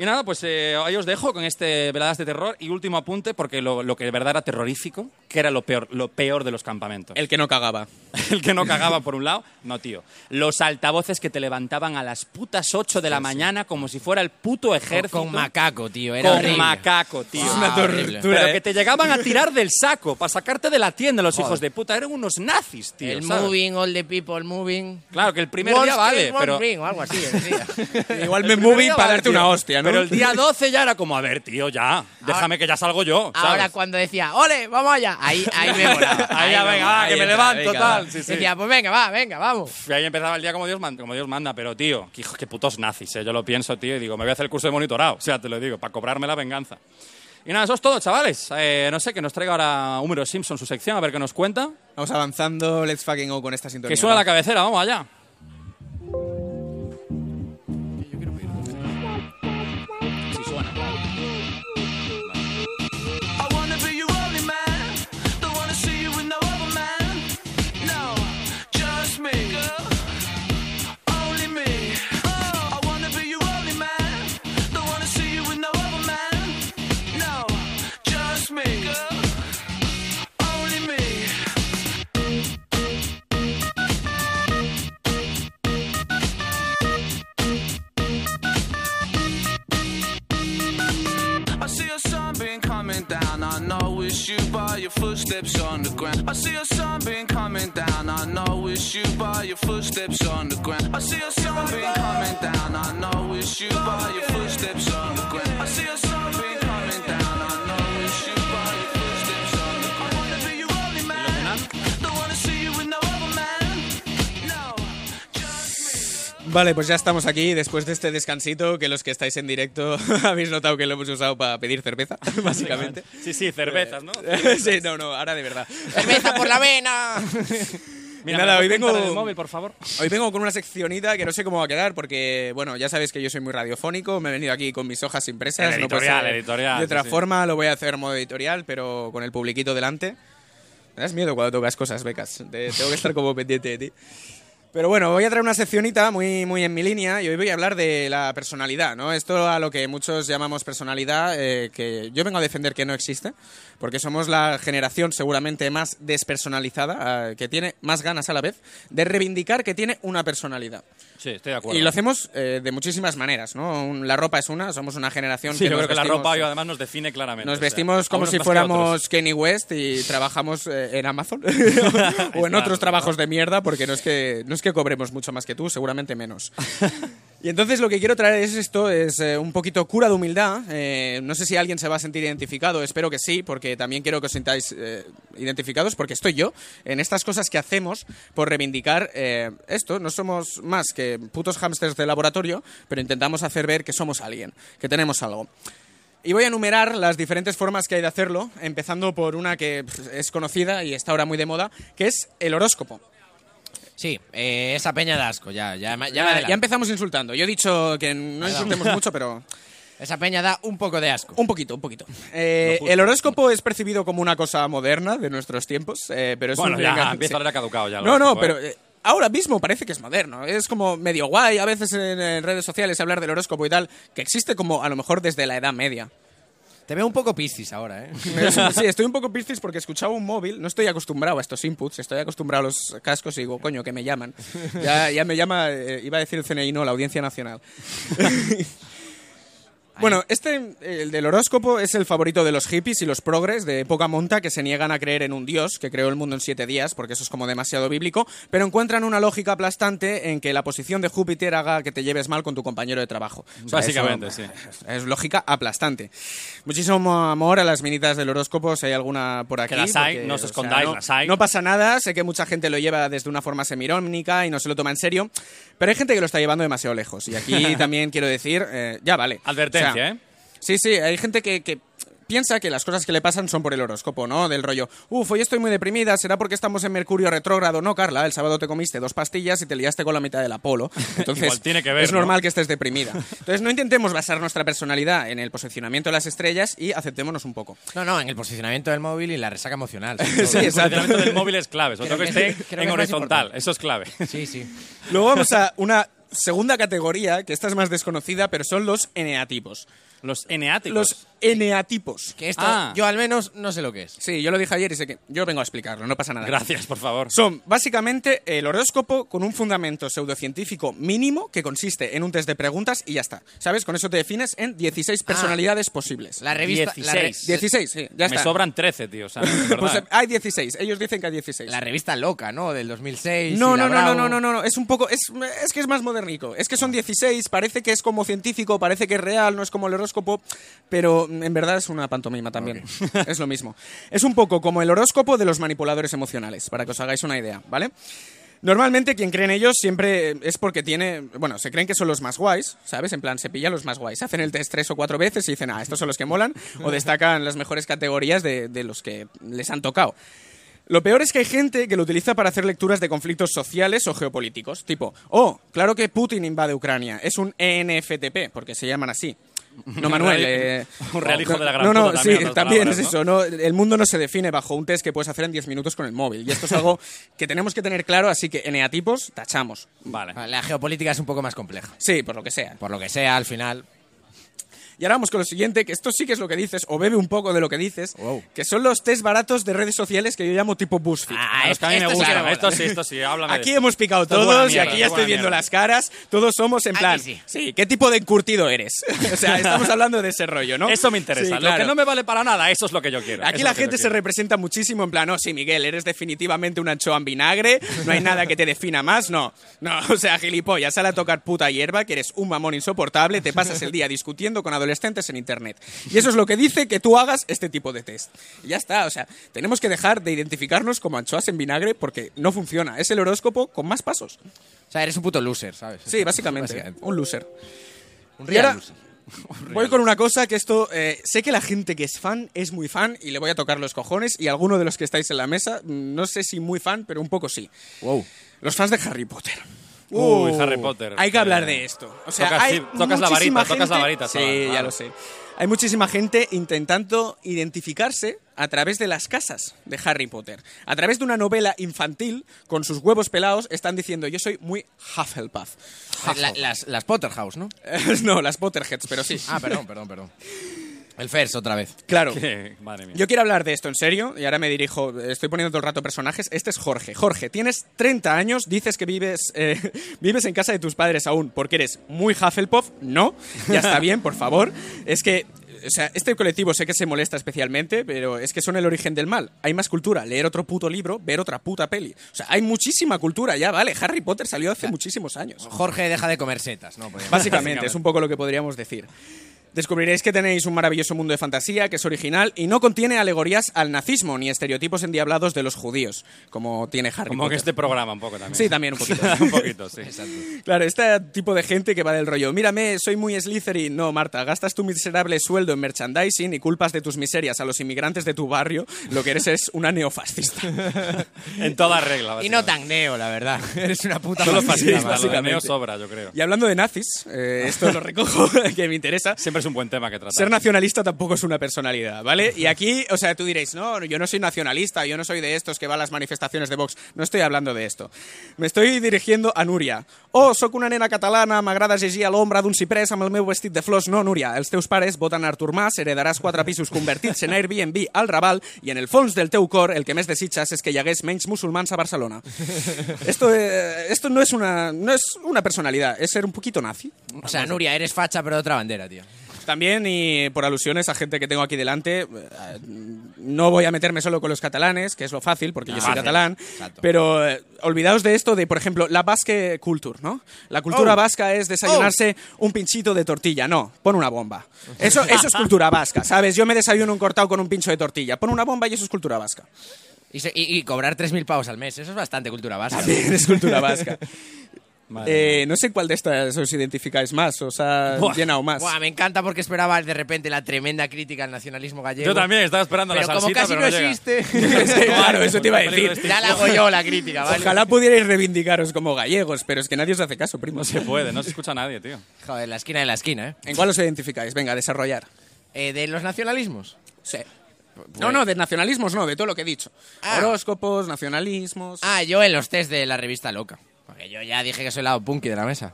S1: Y nada, pues eh, ahí os dejo con este veladas de terror y último apunte porque lo, lo que de verdad era terrorífico, que era lo peor, lo peor de los campamentos.
S3: El que no cagaba.
S1: El que no cagaba por un lado, no, tío. Los altavoces que te levantaban a las putas 8 de la mañana como si fuera el puto ejército.
S2: Con macaco, tío. Era
S1: Con
S2: horrible.
S1: macaco, tío. Ah,
S2: Es una
S3: tortura,
S1: Pero
S3: eh.
S1: que te llegaban a tirar del saco para sacarte de la tienda los hijos de puta. Eran unos nazis, tío.
S2: El
S1: ¿sabes?
S2: moving, all the people moving.
S1: Claro, que el primer
S2: One
S1: día
S2: street,
S1: vale,
S2: one
S1: pero...
S2: ring, o algo así. decía.
S3: Igual me
S1: el primer
S3: moví
S1: día
S3: para
S1: vale,
S3: darte
S1: tío.
S3: una hostia, ¿no?
S1: Pero el día 12 ya era como, a ver, tío, ya, déjame que ya salgo yo. ¿sabes?
S2: Ahora cuando decía, ¡ole, vamos allá! Ahí, ahí me molaba.
S1: Ahí ya,
S2: me
S1: venga,
S2: molaba.
S1: va, que
S3: ahí
S1: me
S3: entra,
S1: levanto,
S3: venga,
S1: tal.
S3: va.
S1: Sí, sí.
S2: Decía, pues venga, va, venga, vamos.
S1: Y ahí empezaba el día como Dios, man- como Dios manda, pero tío, qué, hijo- qué putos nazis, eh. yo lo pienso, tío, y digo, me voy a hacer el curso de monitorado, o sea, te lo digo, para cobrarme la venganza. Y nada, eso es todo, chavales. Eh, no sé, que nos traiga ahora Homero Simpson su sección, a ver qué nos cuenta.
S3: Vamos avanzando, let's fucking go con esta sintonía.
S1: Que suena
S3: ¿no?
S1: la cabecera, vamos allá. Sí, suena.
S5: I wanna be your only man. Don't wanna see you with no other man. No, just me, girl. Only me. Oh, I wanna be your only man. Don't wanna see you with no other man. No, just me, girl. Only me. I see a sunbeam coming down. I know it's you by your footsteps on the ground. I see a sunbeam coming down. I know it's you by your footsteps on the ground. I see a sunbeam coming down. I know it's you by your footsteps on the ground. I see a sunbeam coming down. I know it's you by your footsteps on the ground. I wanna be your only man. Don't wanna see you with no other man. No, just me.
S3: Vale, pues ya estamos aquí después de este descansito que los que estáis en directo habéis notado que lo hemos usado para pedir cerveza, básicamente.
S1: Sí, sí, cervezas, ¿no?
S3: sí, no, no, ahora de verdad.
S2: ¡Cerveza por la vena!
S1: Mira,
S3: Nada,
S1: ¿me
S3: hoy
S1: puedes contar
S3: vengo-
S1: el móvil, por favor?
S3: Hoy vengo con una seccionita que no sé cómo va a quedar porque, bueno, ya sabéis que yo soy muy radiofónico, me he venido aquí con mis hojas impresas.
S1: El
S3: no puede
S1: editorial,
S3: ser
S1: editorial,
S3: De otra
S1: sí, sí.
S3: forma lo voy a hacer en modo editorial, pero con el publiquito delante. Me das miedo cuando tocas cosas, becas. Te- tengo que estar como pendiente de ti. Pero bueno, voy a traer una seccionita muy, muy en mi línea y hoy voy a hablar de la personalidad, ¿no? Esto a lo que muchos llamamos personalidad, eh, que yo vengo a defender que no existe, porque somos la generación seguramente más despersonalizada, eh, que tiene más ganas a la vez de reivindicar que tiene una personalidad.
S1: Sí, estoy de acuerdo.
S3: Y lo hacemos eh, de muchísimas maneras, ¿no? Un- la ropa es una, somos una generación
S1: Sí,
S3: que
S1: yo
S3: nos
S1: creo que la
S3: vestimos-
S1: ropa hoy además nos define claramente. o
S3: nos
S1: sea,
S3: vestimos como
S1: a unos
S3: si
S1: más que a otros.
S3: fuéramos Kenny West y trabajamos eh, en Amazon o en
S1: Claro,
S3: otros trabajos de mierda, porque no es, que, no es que cobremos mucho más que tú, seguramente menos. Y entonces lo que quiero traer es esto, es eh, un poquito cura de humildad. Eh, no sé si alguien se va a sentir identificado, espero que sí, porque también quiero que os sintáis eh, identificados, porque estoy yo en estas cosas que hacemos por reivindicar eh, esto. No somos más que putos hámsters de laboratorio, pero intentamos hacer ver que somos alguien, que tenemos algo. Y voy a enumerar las diferentes formas que hay de hacerlo, empezando por una que pff, es conocida y está ahora muy de moda, que es el horóscopo.
S2: Sí, eh, esa peña de asco, ya, ya, ya, me
S3: Eh, Ya,
S2: adelanto.
S3: ya empezamos insultando. Yo he dicho que no insultemos mucho, pero...
S2: Esa peña da un poco de asco.
S3: Un poquito, un poquito. Eh, el horóscopo es percibido como una cosa moderna de nuestros tiempos, eh, pero es
S1: Bueno,
S3: un
S1: ya
S3: reengan-
S1: empieza
S3: sí.
S1: a haber caducado ya. el
S3: No, no,
S1: horóscopo, ¿eh?
S3: pero eh, ahora mismo parece que es moderno. Es como medio guay a veces en, en redes sociales hablar del horóscopo y tal, que existe como a lo mejor desde la Edad Media.
S2: Te veo un poco piscis ahora, ¿eh?
S3: Me- sí, estoy un poco piscis porque escuchaba un móvil. No estoy acostumbrado a estos inputs, estoy acostumbrado a los cascos y digo, coño, que me llaman. Ya, ya me llama, eh, iba a decir el CNI, no, la Audiencia Nacional. Bueno, este, el del horóscopo, es el favorito de los hippies y los progres de poca monta que se niegan a creer en un dios que creó el mundo en siete días, porque eso es como demasiado bíblico, pero encuentran una lógica aplastante en que la posición de Júpiter haga que te lleves mal con tu compañero de trabajo. O sea,
S1: Básicamente,
S3: eso-
S1: sí.
S3: es lógica aplastante. Muchísimo amor a las minitas del horóscopo, si hay alguna por aquí.
S1: Que las hay, no os
S3: o sea,
S1: escondáis,
S3: no-
S1: las hay.
S3: No pasa nada, sé que mucha gente lo lleva desde una forma semirónica y no se lo toma en serio, pero hay gente que lo está llevando demasiado lejos. Y aquí también quiero decir, eh, ya vale.
S1: Advertencia,
S3: O sea,
S1: ¿eh?
S3: Sí, sí, hay gente que... que Piensa que las cosas que le pasan son por el horóscopo, ¿no? Del rollo, uf, hoy estoy muy deprimida, será porque estamos en Mercurio retrógrado. No, Carla, el sábado te comiste dos pastillas y te liaste con la mitad del Apolo. Entonces,
S1: Igual tiene que ver,
S3: es
S1: ¿no?
S3: normal que estés deprimida. Entonces, no intentemos basar nuestra personalidad en el posicionamiento de las estrellas y aceptémonos un poco.
S2: No, no, en el posicionamiento del móvil y la resaca emocional.
S3: Sí,
S1: El
S3: exacto.
S1: funcionamiento del móvil es clave, sobre todo
S2: Creo
S1: que
S2: que-
S1: esté
S2: creo que
S1: en
S2: es más
S1: horizontal,
S2: importante.
S1: eso es clave.
S2: Sí, sí.
S3: Luego vamos a una segunda categoría, que esta es más desconocida, pero son los eneatipos.
S1: Los eneáticos.
S3: Los eneatipos.
S2: Que esto,
S1: Ah.
S2: yo al menos no sé lo que es.
S3: Sí, yo lo dije ayer y sé que yo vengo a explicarlo, no pasa nada.
S1: Gracias, por favor.
S3: Son básicamente el horóscopo con un fundamento pseudocientífico mínimo que consiste en un test de preguntas y ya está. ¿Sabes? Con eso te defines en
S1: Ah.
S3: 16 personalidades posibles.
S2: La revista, la, re-
S1: 16.
S3: 16, sí, ya
S1: Me
S3: está.
S1: sobran 13, tío. o sea, de verdad.
S3: Pues eh, hay 16, ellos dicen que hay 16.
S2: la revista loca, ¿no? Del 2006.
S3: No, no,
S2: y la
S3: no, no,
S2: Bravo.
S3: no, no, no, no, es un poco, es, es que es más modernico. Es que son 16, parece que es como científico, parece que es real, no es como el horóscopo, pero mm, en verdad es una pantomima también. es lo mismo. Es un poco como el horóscopo de los manipuladores emocionales, para que os hagáis una idea, ¿vale? Normalmente quien cree en ellos siempre es porque tiene, bueno, se creen que son los más guays, ¿sabes? En plan, se pilla los más guays. Hacen el test tres o cuatro veces y dicen, ah, estos son los que molan, o destacan las mejores categorías de, de los que les han tocado. Lo peor es que hay gente que lo utiliza para hacer lecturas de conflictos sociales o geopolíticos, tipo, oh, claro que Putin invade Ucrania, es un E ENFTP, porque se llaman así. No, Manuel. eh,
S1: Un real hijo de la gran
S3: No, no,
S1: puta también,
S3: sí,
S1: otras
S3: también
S1: palabras,
S3: es
S1: ¿no?
S3: eso. No, el mundo no se define bajo un test que puedes hacer en 10 minutos con el móvil. Y esto es algo que tenemos que tener claro, así que eneatipos, tachamos.
S1: Vale.
S2: La geopolítica es un poco más compleja.
S3: Sí, por lo que sea.
S2: Por lo que sea, al final.
S3: Y ahora vamos con lo siguiente, que esto sí que es lo que dices, o bebe un poco de lo que dices,
S2: Wow.
S3: que son los test baratos de redes sociales que yo llamo tipo BuzzFeed.
S1: A los que a mí me
S2: esto sí que
S1: gustan.
S2: mola.
S1: Esto sí, esto sí, háblame. de
S3: Aquí
S1: esto.
S3: hemos picado
S1: Esto es buena
S3: todos y
S1: mierda,
S3: aquí
S1: esto es
S3: ya estoy
S1: buena
S3: viendo
S1: mierda.
S3: las caras. Todos somos en
S2: Aquí
S3: plan.
S2: sí.
S3: ¿qué tipo de encurtido eres? o sea, estamos hablando de ese rollo, ¿no?
S1: Eso me interesa.
S3: Sí, claro.
S1: Lo que no me vale para nada, eso es lo que yo quiero.
S3: Aquí
S1: eso
S3: la
S1: es lo que
S3: gente
S1: yo
S3: se
S1: quiero.
S3: representa muchísimo en plan, oh, sí, Miguel, eres definitivamente un anchoa en vinagre, no hay nada que te defina más, no. No, o sea, gilipollas, sale a tocar puta hierba, que eres un mamón insoportable, te pasas el día discutiendo con adolescentes en internet. Y eso es lo que dice que tú hagas este tipo de test. Y ya está, o sea, tenemos que dejar de identificarnos como anchoas en vinagre porque no funciona. Es el horóscopo con más pasos.
S2: O sea, eres un puto loser, ¿sabes?
S3: Sí, básicamente,
S2: Básicamente.
S3: un loser.
S2: Un
S3: Y ahora
S2: real loser.
S3: voy con una cosa que esto eh, sé que la gente que es fan es muy fan y le voy a tocar los cojones y alguno de los que estáis en la mesa mm, no sé si muy fan pero un poco sí.
S2: Wow.
S3: Los fans de Harry Potter.
S1: Uy, Harry Potter.
S3: Hay que hablar
S1: Eh,
S3: de esto. O sea,
S1: tocas-
S3: hay
S1: sí, tocas la
S3: muchísima
S1: varita, tocas la
S3: gente-
S1: varita,
S3: Sí,
S1: chaval,
S3: ya
S1: claro.
S3: lo sé. Hay muchísima gente intentando identificarse a través de las casas de Harry Potter. A través de una novela infantil, con sus huevos pelados, están diciendo yo soy muy Hufflepuff.
S2: Pues La- las, las Potterhouse, ¿no?
S3: no, las Potterheads, pero sí.
S2: Ah, perdón, perdón, perdón. El Fers otra vez.
S3: Claro.
S1: que- Madre mía.
S3: Yo quiero hablar de esto en serio y ahora me dirijo, estoy poniendo todo el rato personajes. Este es Jorge. Jorge, tienes 30 años, dices que vives, eh, vives en casa de tus padres aún porque eres muy Hufflepuff. No, ya está bien, por favor. Es que, o sea, este colectivo sé que se molesta especialmente, pero es que son el origen del mal. Hay más cultura, leer otro puto libro, ver otra puta peli. O sea, hay muchísima cultura ya, vale. Harry Potter salió hace muchísimos años.
S2: Jorge deja de comer setas, ¿no? Podríamos-
S3: Básicamente, es un poco lo que podríamos decir. Descubriréis que tenéis un maravilloso mundo de fantasía que es original y no contiene alegorías al nazismo ni estereotipos endiablados de los judíos, como tiene Harry
S1: Como que
S3: Potter.
S1: este programa un poco también.
S3: Sí, también un poquito.
S1: un poquito, sí.
S3: Claro, este tipo de gente que va del rollo, mírame, soy muy Slytherin. No, Marta, gastas tu miserable sueldo en merchandising y culpas de tus miserias a los inmigrantes de tu barrio, lo que eres es una neofascista.
S1: En toda regla.
S2: Y no tan neo, la verdad. Eres una puta
S1: Solo
S2: basura,
S1: fascismo,
S2: madre.
S1: lo de
S3: básicamente.
S1: neo sobra, yo creo.
S3: Y hablando de nazis, eh, esto lo recojo, que me interesa.
S1: Siempre Siempre es un buen tema que tratar.
S3: Ser nacionalista tampoco es una personalidad, ¿vale? Y aquí, o sea, tú diréis, no, yo no soy nacionalista, yo no soy de estos que va a las manifestaciones de Vox. No estoy hablando de esto. Me estoy dirigiendo a Núria. Oh, sóc una nena catalana, m'agrada llegir a l'ombra d'un ciprés amb el meu vestit de flors. No, Núria, els teus pares voten Artur Mas, heredaràs quatre pisos convertits en Airbnb al Raval i en el fons del teu cor el que més desitges és que hi hagués menys musulmans a Barcelona. Esto, eh, esto no, es una, no es una personalidad, es ser un poquito nazi.
S2: O sea, Nuria, eres facha, pero de otra bandera, tío.
S3: También, y por alusiones a gente que tengo aquí delante, eh, no voy a meterme solo con los catalanes, que es lo fácil, porque yo soy
S2: Ah, Fácil.
S3: catalán,
S2: Exacto.
S3: pero eh, olvidaos de esto de, por ejemplo, la basque culture, ¿no? La
S2: Oh.
S3: cultura vasca es desayunarse un pinchito de tortilla, no, pon una bomba. Eso, eso es cultura vasca, ¿sabes? Yo me desayuno un cortado con un pincho de tortilla, pon una bomba y eso es cultura vasca.
S2: Y, se- y- y cobrar 3.000 pavos al mes, eso es bastante cultura vasca.
S3: es cultura vasca.
S1: Madre
S3: Eh, no sé cuál de estas os identificáis más, os ha
S1: Buah.
S3: llenado más.
S2: Buah, me encanta porque esperaba de repente la tremenda crítica al nacionalismo gallego.
S1: Yo también estaba esperando
S2: Pero
S1: la
S2: como
S1: salsita,
S2: casi
S1: pero
S2: no
S1: llega.
S2: existe.
S3: claro, eso te iba a decir.
S2: ya la hago yo la crítica, ¿vale?
S3: Ojalá pudierais reivindicaros como gallegos, pero es que nadie os hace caso, primo.
S1: No se puede, no se escucha a nadie, tío.
S2: Joder, la esquina de la esquina, ¿eh?
S3: ¿En cuál os identificáis? Venga, desarrollar.
S2: Eh, de los nacionalismos.
S3: Sí. No, no, de nacionalismos no, de todo lo que he dicho.
S2: Ah.
S3: Horóscopos, nacionalismos.
S2: Ah, yo en los test de la revista Loca. Porque yo ya dije que soy el lado punky de la mesa.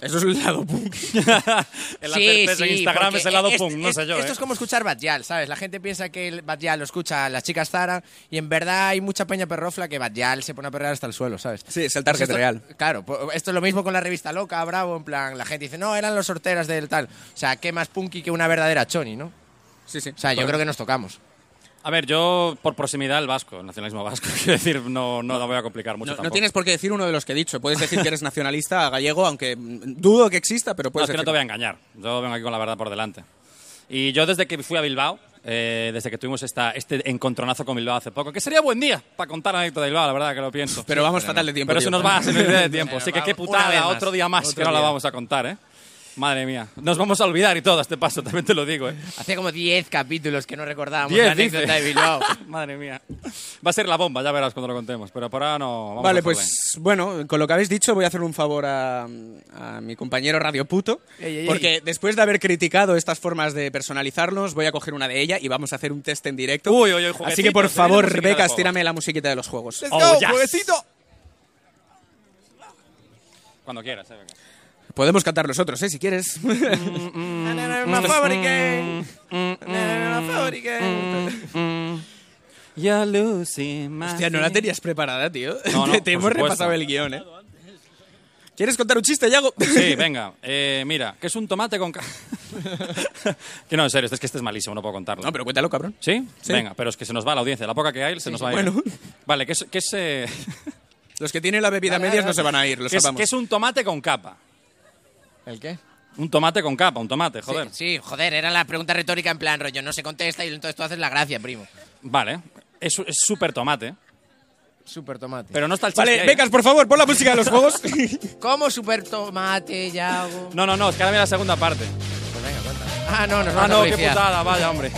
S3: Eso es el lado punk.
S1: El hacer test en Instagram
S2: porque
S1: es el lado
S2: es-
S1: punk, no
S2: es-
S1: sé yo.
S2: Esto
S1: eh.
S2: es como escuchar Batllal, ¿sabes? La gente piensa que el Batllal lo escucha a las chicas Zara y en verdad hay mucha peña perrofla que Batllal se pone a perrear hasta el suelo, ¿sabes? Pues
S3: Sí, es el target
S2: Esto-
S3: real.
S2: Claro, po- esto es lo mismo con la revista Loca, Bravo, en plan, la gente dice, no, eran los sorteras del tal. O sea, qué más punky que una verdadera choni, ¿no?
S3: Sí, sí.
S2: O sea, yo creo que nos tocamos.
S1: A ver, yo por proximidad al vasco, el nacionalismo vasco, quiero decir, no, no la voy a complicar mucho
S3: No, no
S1: tampoco.
S3: tienes por qué decir uno de los que he dicho. Puedes decir que eres nacionalista gallego, aunque mm, dudo que exista, pero
S1: No,
S3: puedes
S1: es que no te
S3: decir.
S1: voy a engañar. Yo vengo aquí con la verdad por delante. Y yo desde que fui a Bilbao, eh, desde que tuvimos esta, este encontronazo con Bilbao hace poco, que sería buen día para contar la anécdota de Bilbao, la verdad que lo pienso.
S3: pero vamos fatal de tiempo.
S1: Pero
S3: tío.
S1: se nos va, se nos va de tiempo.
S2: Bueno,
S1: Así que qué
S2: vamos, una vez
S1: putada,
S2: más.
S1: otro día más
S2: Otro
S1: que no la
S2: día.
S1: vamos a contar, ¿eh? Madre mía. Nos vamos a olvidar y todo a este paso, también te lo digo, ¿eh?
S2: Hacía como 10 capítulos que no recordábamos
S1: Diez,
S2: la anécdota
S1: dice.
S2: de Bilbao.
S1: Madre mía. Va a ser la bomba, ya verás cuando lo contemos. Pero por ahora no. Vamos
S3: Vale,
S1: a dejarla ahí.
S3: pues bueno, con lo que habéis dicho voy a hacer un favor a, a mi compañero Radio Puto,
S2: Ey, ey,
S3: porque después de haber criticado estas formas de personalizarnos, voy a coger una de ellas y vamos a hacer un test en directo.
S1: Uy, uy, uy,
S3: Así que por
S1: jueguecitos, se viene
S3: favor,
S1: musiquita de
S3: Becas,
S1: juego.
S3: tírame la musiquita de los juegos.
S1: Oh, yes. Cuando quieras, eh, venga.
S3: Podemos cantar nosotros, ¿eh? Si
S1: Mm,
S3: quieres.
S1: mm, You're losing my
S3: Hostia, no la tenías preparada, tío.
S1: No, no,
S3: te te
S1: por
S3: hemos
S1: supuesto.
S3: repasado el guión, ¿eh? ¿Quieres contar un chiste, Yago?
S1: Sí, venga. Eh, mira, que es un tomate con... ca- que no, en serio, es que este es malísimo, no puedo contarlo.
S3: No, pero cuéntalo, cabrón.
S1: ¿Sí?
S3: Sí.
S1: Venga, pero es que se nos va la audiencia. La poca que hay, se nos va a ir.
S3: Bueno.
S1: Vale, que es, que es, eh,
S3: Los que tienen la bebida medias no se van a ir, lo
S1: que es-
S3: sabemos.
S1: que es un tomate con capa.
S2: ¿El qué?
S1: Un tomate con capa, un tomate, joder.
S2: Sí, sí, joder, era la pregunta retórica en plan rollo, no se contesta y entonces tú haces la gracia, primo.
S1: Vale. Es es súper tomate,
S2: Super tomate.
S1: pero no está el chiste
S3: Vale,
S1: ahí. ¿eh?
S3: Becas, por favor, pon la música de los juegos.
S2: ¿Cómo super tomate, Yago?
S1: No, no, no, es que ahora viene la segunda parte.
S2: Ah, no, nos
S1: Ah,
S2: vamos
S1: no,
S2: a
S1: qué
S2: publicidad.
S1: putada, vaya, hombre.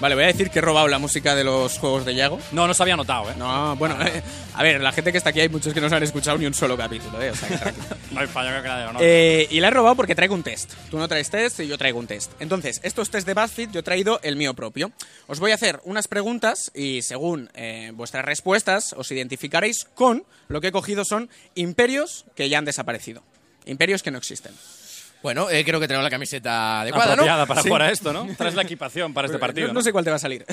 S3: Vale, voy a decir que he robado la música de los juegos de Yago.
S1: No, no se había notado, ¿eh?
S3: No, bueno, eh, a ver, la gente que está aquí hay muchos que no se han escuchado ni un solo capítulo, eh, o sea que tranquilo.
S1: No hay fallo, creo que nadie lo nota.
S3: Eh, y la he robado porque traigo un test. Tú no traes test y yo traigo un test. Entonces, estos test de BuzzFeed yo he traído el mío propio. Os voy a hacer unas preguntas y según eh, vuestras respuestas os identificaréis con lo que he cogido son imperios que ya han desaparecido. Imperios que no existen.
S2: Bueno, eh, creo que tenemos la camiseta adecuada, ¿no?
S1: Apropiada para jugar a esto, ¿no? Traes la equipación para este partido.
S3: eh, No, no sé cuál te va a salir.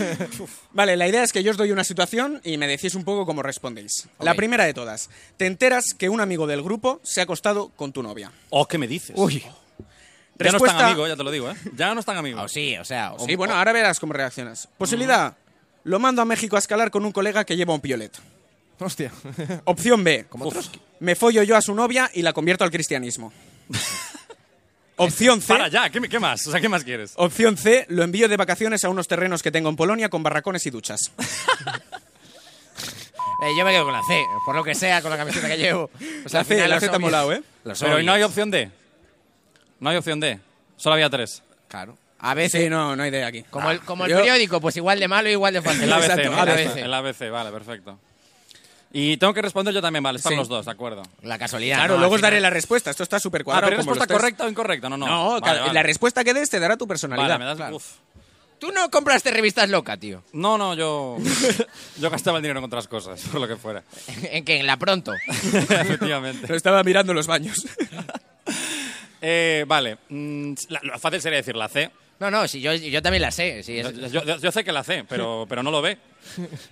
S3: vale, la idea es que yo os doy una situación y me decís un poco cómo respondéis. La
S2: Ok.
S3: primera de todas. Te enteras que un amigo del grupo se ha acostado con tu novia.
S1: Oh, ¿qué me dices?
S2: Uy.
S1: Ya no
S3: Respuesta-
S1: están amigos, ya te lo digo, ¿eh? Ya no están amigos.
S2: Ah, sí, o sea. o-
S3: Sí, bueno, ahora verás cómo reaccionas. Posibilidad. A, Lo mando a México a escalar con un colega que lleva un piolet.
S2: Hostia.
S3: Opción B.
S1: Uf.
S3: Me follo yo a su novia y la convierto al cristianismo. Opción C.
S1: Para ya, ¿qué, qué más? O sea, ¿qué más quieres?
S3: Opción C. Lo envío de vacaciones a unos terrenos que tengo en Polonia con barracones y duchas.
S2: Eh, yo me quedo con la C, por lo que sea, con la camiseta que llevo. O sea,
S3: La
S2: al
S3: C,
S2: final
S3: la
S2: los
S3: C te ha
S2: zombies-
S3: molado, ¿eh?
S2: Los
S1: Pero hoy no hay
S2: zombies.
S1: opción D. No hay opción D. Solo había tres.
S2: Claro. A veces.
S3: Sí, eh, no, no hay idea aquí.
S2: Como el, como el
S3: Yo-
S2: periódico, pues igual de malo, igual de fácil.
S1: El ABC,
S3: Exacto,
S1: ¿no?
S3: ABC.
S1: El ABC, vale, perfecto. Y tengo que responder yo también, vale, están
S3: Sí.
S1: los dos, de acuerdo.
S2: La casualidad.
S3: Claro,
S2: ¿no?
S3: luego os
S2: Al final-
S3: daré la respuesta. Esto está súper
S1: Ah,
S3: cuadrado.
S1: pero
S3: como
S1: respuesta
S3: los tres.
S1: correcta o incorrecta, no, no.
S3: No,
S1: Vale,
S3: claro,
S1: vale.
S3: la respuesta que des te dará tu personalidad.
S1: Vale, me das-
S3: claro.
S1: uf.
S2: Tú no compraste revistas loca, tío.
S1: No, no, yo, yo gastaba el dinero en otras cosas, por lo que fuera.
S2: en que en la pronto.
S1: Efectivamente.
S3: Lo estaba mirando en los baños.
S1: Eh, vale, mm, la- lo fácil sería decir la C.
S2: No, no, si yo, yo también la sé. si
S1: Yo,
S2: es-
S1: yo- yo sé que la C, pero, pero no lo ve.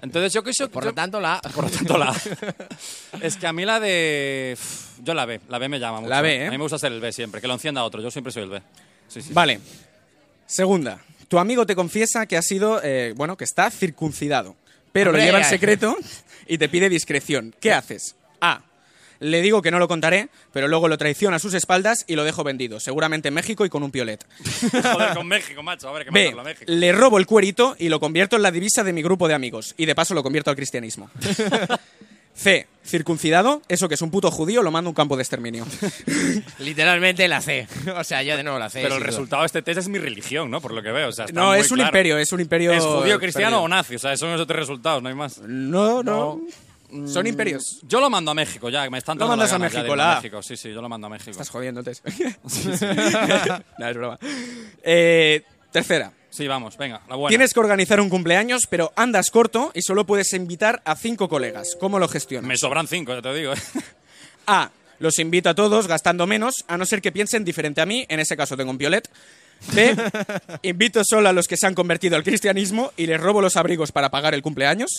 S1: Entonces yo que yo-
S2: por
S1: yo-
S2: lo tanto, la.
S1: por lo tanto la A. Es que a mí la de... pf, Yo la B, la B me llama mucho.
S3: La B, ¿eh?
S1: A mí me gusta ser el B siempre, que lo encienda otro, yo siempre soy el B. Sí, sí.
S3: Vale. Segunda. Tu amigo te confiesa que ha sido, eh, bueno, que está circuncidado, pero
S2: Hombre,
S3: lo lleva en
S2: ay.
S3: secreto y te pide discreción. ¿Qué haces? A. Le digo que no lo contaré, pero luego lo traiciono a sus espaldas y lo dejo vendido, seguramente en México y con un piolet.
S1: Joder, con México, macho, a ver, que me
S3: B.
S1: habla México.
S3: Le robo el cuerito y lo convierto en la divisa de mi grupo de amigos y de paso lo convierto al cristianismo. C. Circuncidado, eso que es un puto judío, lo mando a un campo de exterminio.
S2: Literalmente la C. O sea, yo de nuevo la C.
S1: Pero el
S2: sin duda.
S1: resultado de este test es mi religión, ¿no? Por lo que veo. o sea, está
S3: No,
S1: muy
S3: es un
S1: claro.
S3: imperio, es un imperio.
S1: ¿Es judío,
S3: perdido.
S1: cristiano o nazi? O sea, son esos tres resultados, no hay más.
S3: No, no. Mm. Son imperios.
S1: Yo lo mando a México, ya, que me están
S3: Lo
S1: dando las
S3: mandas a
S1: ganas ya de
S3: México,
S1: irme a
S3: la A.
S1: México, sí, sí, yo lo mando a México.
S3: Estás jodiéndote. no, es broma. Eh, tercera.
S1: Sí, vamos, venga, la buena.
S3: Tienes que organizar un cumpleaños, pero andas corto y solo puedes invitar a cinco colegas. ¿Cómo lo gestionas?
S1: Me sobran cinco, ya te digo. ¿eh?
S3: A. Los invito a todos gastando menos, a no ser que piensen diferente a mí. En ese caso tengo un piolet. B. invito solo a los que se han convertido al cristianismo y les robo los abrigos para pagar el cumpleaños.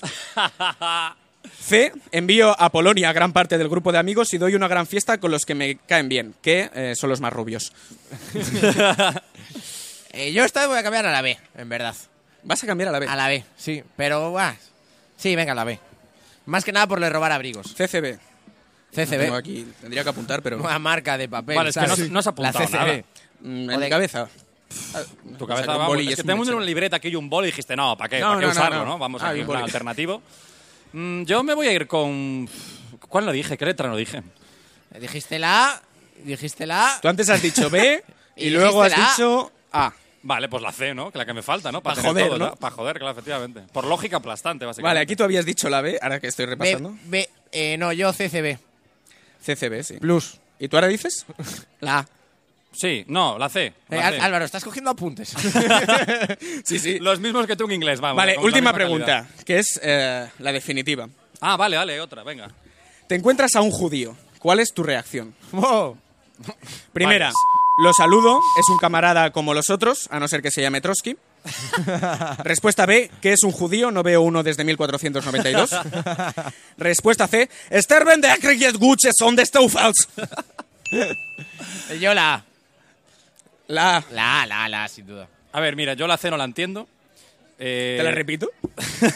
S3: C. Envío a Polonia a gran parte del grupo de amigos y doy una gran fiesta con los que me caen bien, que eh, son los más rubios.
S2: Eh, yo esta vez voy a cambiar a la B, en verdad.
S3: Vas a cambiar a la B.
S2: A la B, sí. Pero, buah, Sí, venga, la B. Más que nada por le robar abrigos.
S3: CCB. Tengo
S2: CCB.
S3: aquí, tendría que apuntar, pero.
S2: Una marca de papel.
S1: Vale, es que no-
S2: ¿sabes?
S1: no has apuntado
S2: La CCB.
S3: Mm,
S2: O
S3: en
S2: de-
S3: mi cabeza.
S1: Tu cabeza,
S3: Saca un
S1: vamos.
S3: boli y
S1: es
S3: es
S1: que
S3: un
S1: tenemos
S3: mechero.
S1: una libreta aquí y un boli y dijiste, no, ¿para qué?
S3: No,
S1: ¿Para qué
S3: no, no,
S1: usarlo, no?
S3: no.
S1: Vamos
S3: Ah,
S1: a
S3: y
S1: ir
S3: un
S1: con
S3: boli.
S1: alternativo. Mm, yo me voy a ir con... ¿Cuál lo dije? ¿Qué letra lo dije?
S2: Dijiste la A. Dijiste la A.
S3: Tú antes has dicho B
S2: Y
S3: y luego has
S2: dijiste la A.
S3: dicho A.
S1: Vale, pues la C, ¿no? Que la que me falta, ¿no?
S3: Pa'
S1: tener
S3: joder,
S1: todo,
S3: ¿no?
S1: Para joder, claro, efectivamente. Por lógica aplastante, básicamente.
S3: Vale, aquí tú habías dicho la B, ahora que estoy
S2: B,
S3: repasando.
S2: B, eh, no, yo CCB.
S3: CCB, sí.
S2: Plus.
S3: ¿Y tú ahora dices?
S2: La A.
S1: Sí, no, la C.
S2: Eh,
S1: la
S2: Al-
S1: C.
S2: Álvaro, estás cogiendo apuntes.
S3: Sí, sí.
S1: Los mismos que tú en inglés, vamos.
S3: Vale,
S1: Ah, con la
S3: última
S1: misma calidad.
S3: pregunta, que es eh, la definitiva.
S1: Ah, vale, vale, otra, venga.
S3: Te encuentras a un judío. ¿Cuál es tu reacción?
S2: Oh.
S3: Primera,
S1: Varias.
S3: lo saludo, es un camarada como los otros, a no ser que se llame Trotsky. Respuesta B, que es un judío, no veo uno desde 1492. Respuesta C, Sterben de Akriget Guche son de Stoufels.
S2: Yo la A.
S3: La A.
S2: La A, la A, la A, sin duda.
S1: A ver, mira, yo la C no la entiendo. Eh,
S3: ¿Te la repito?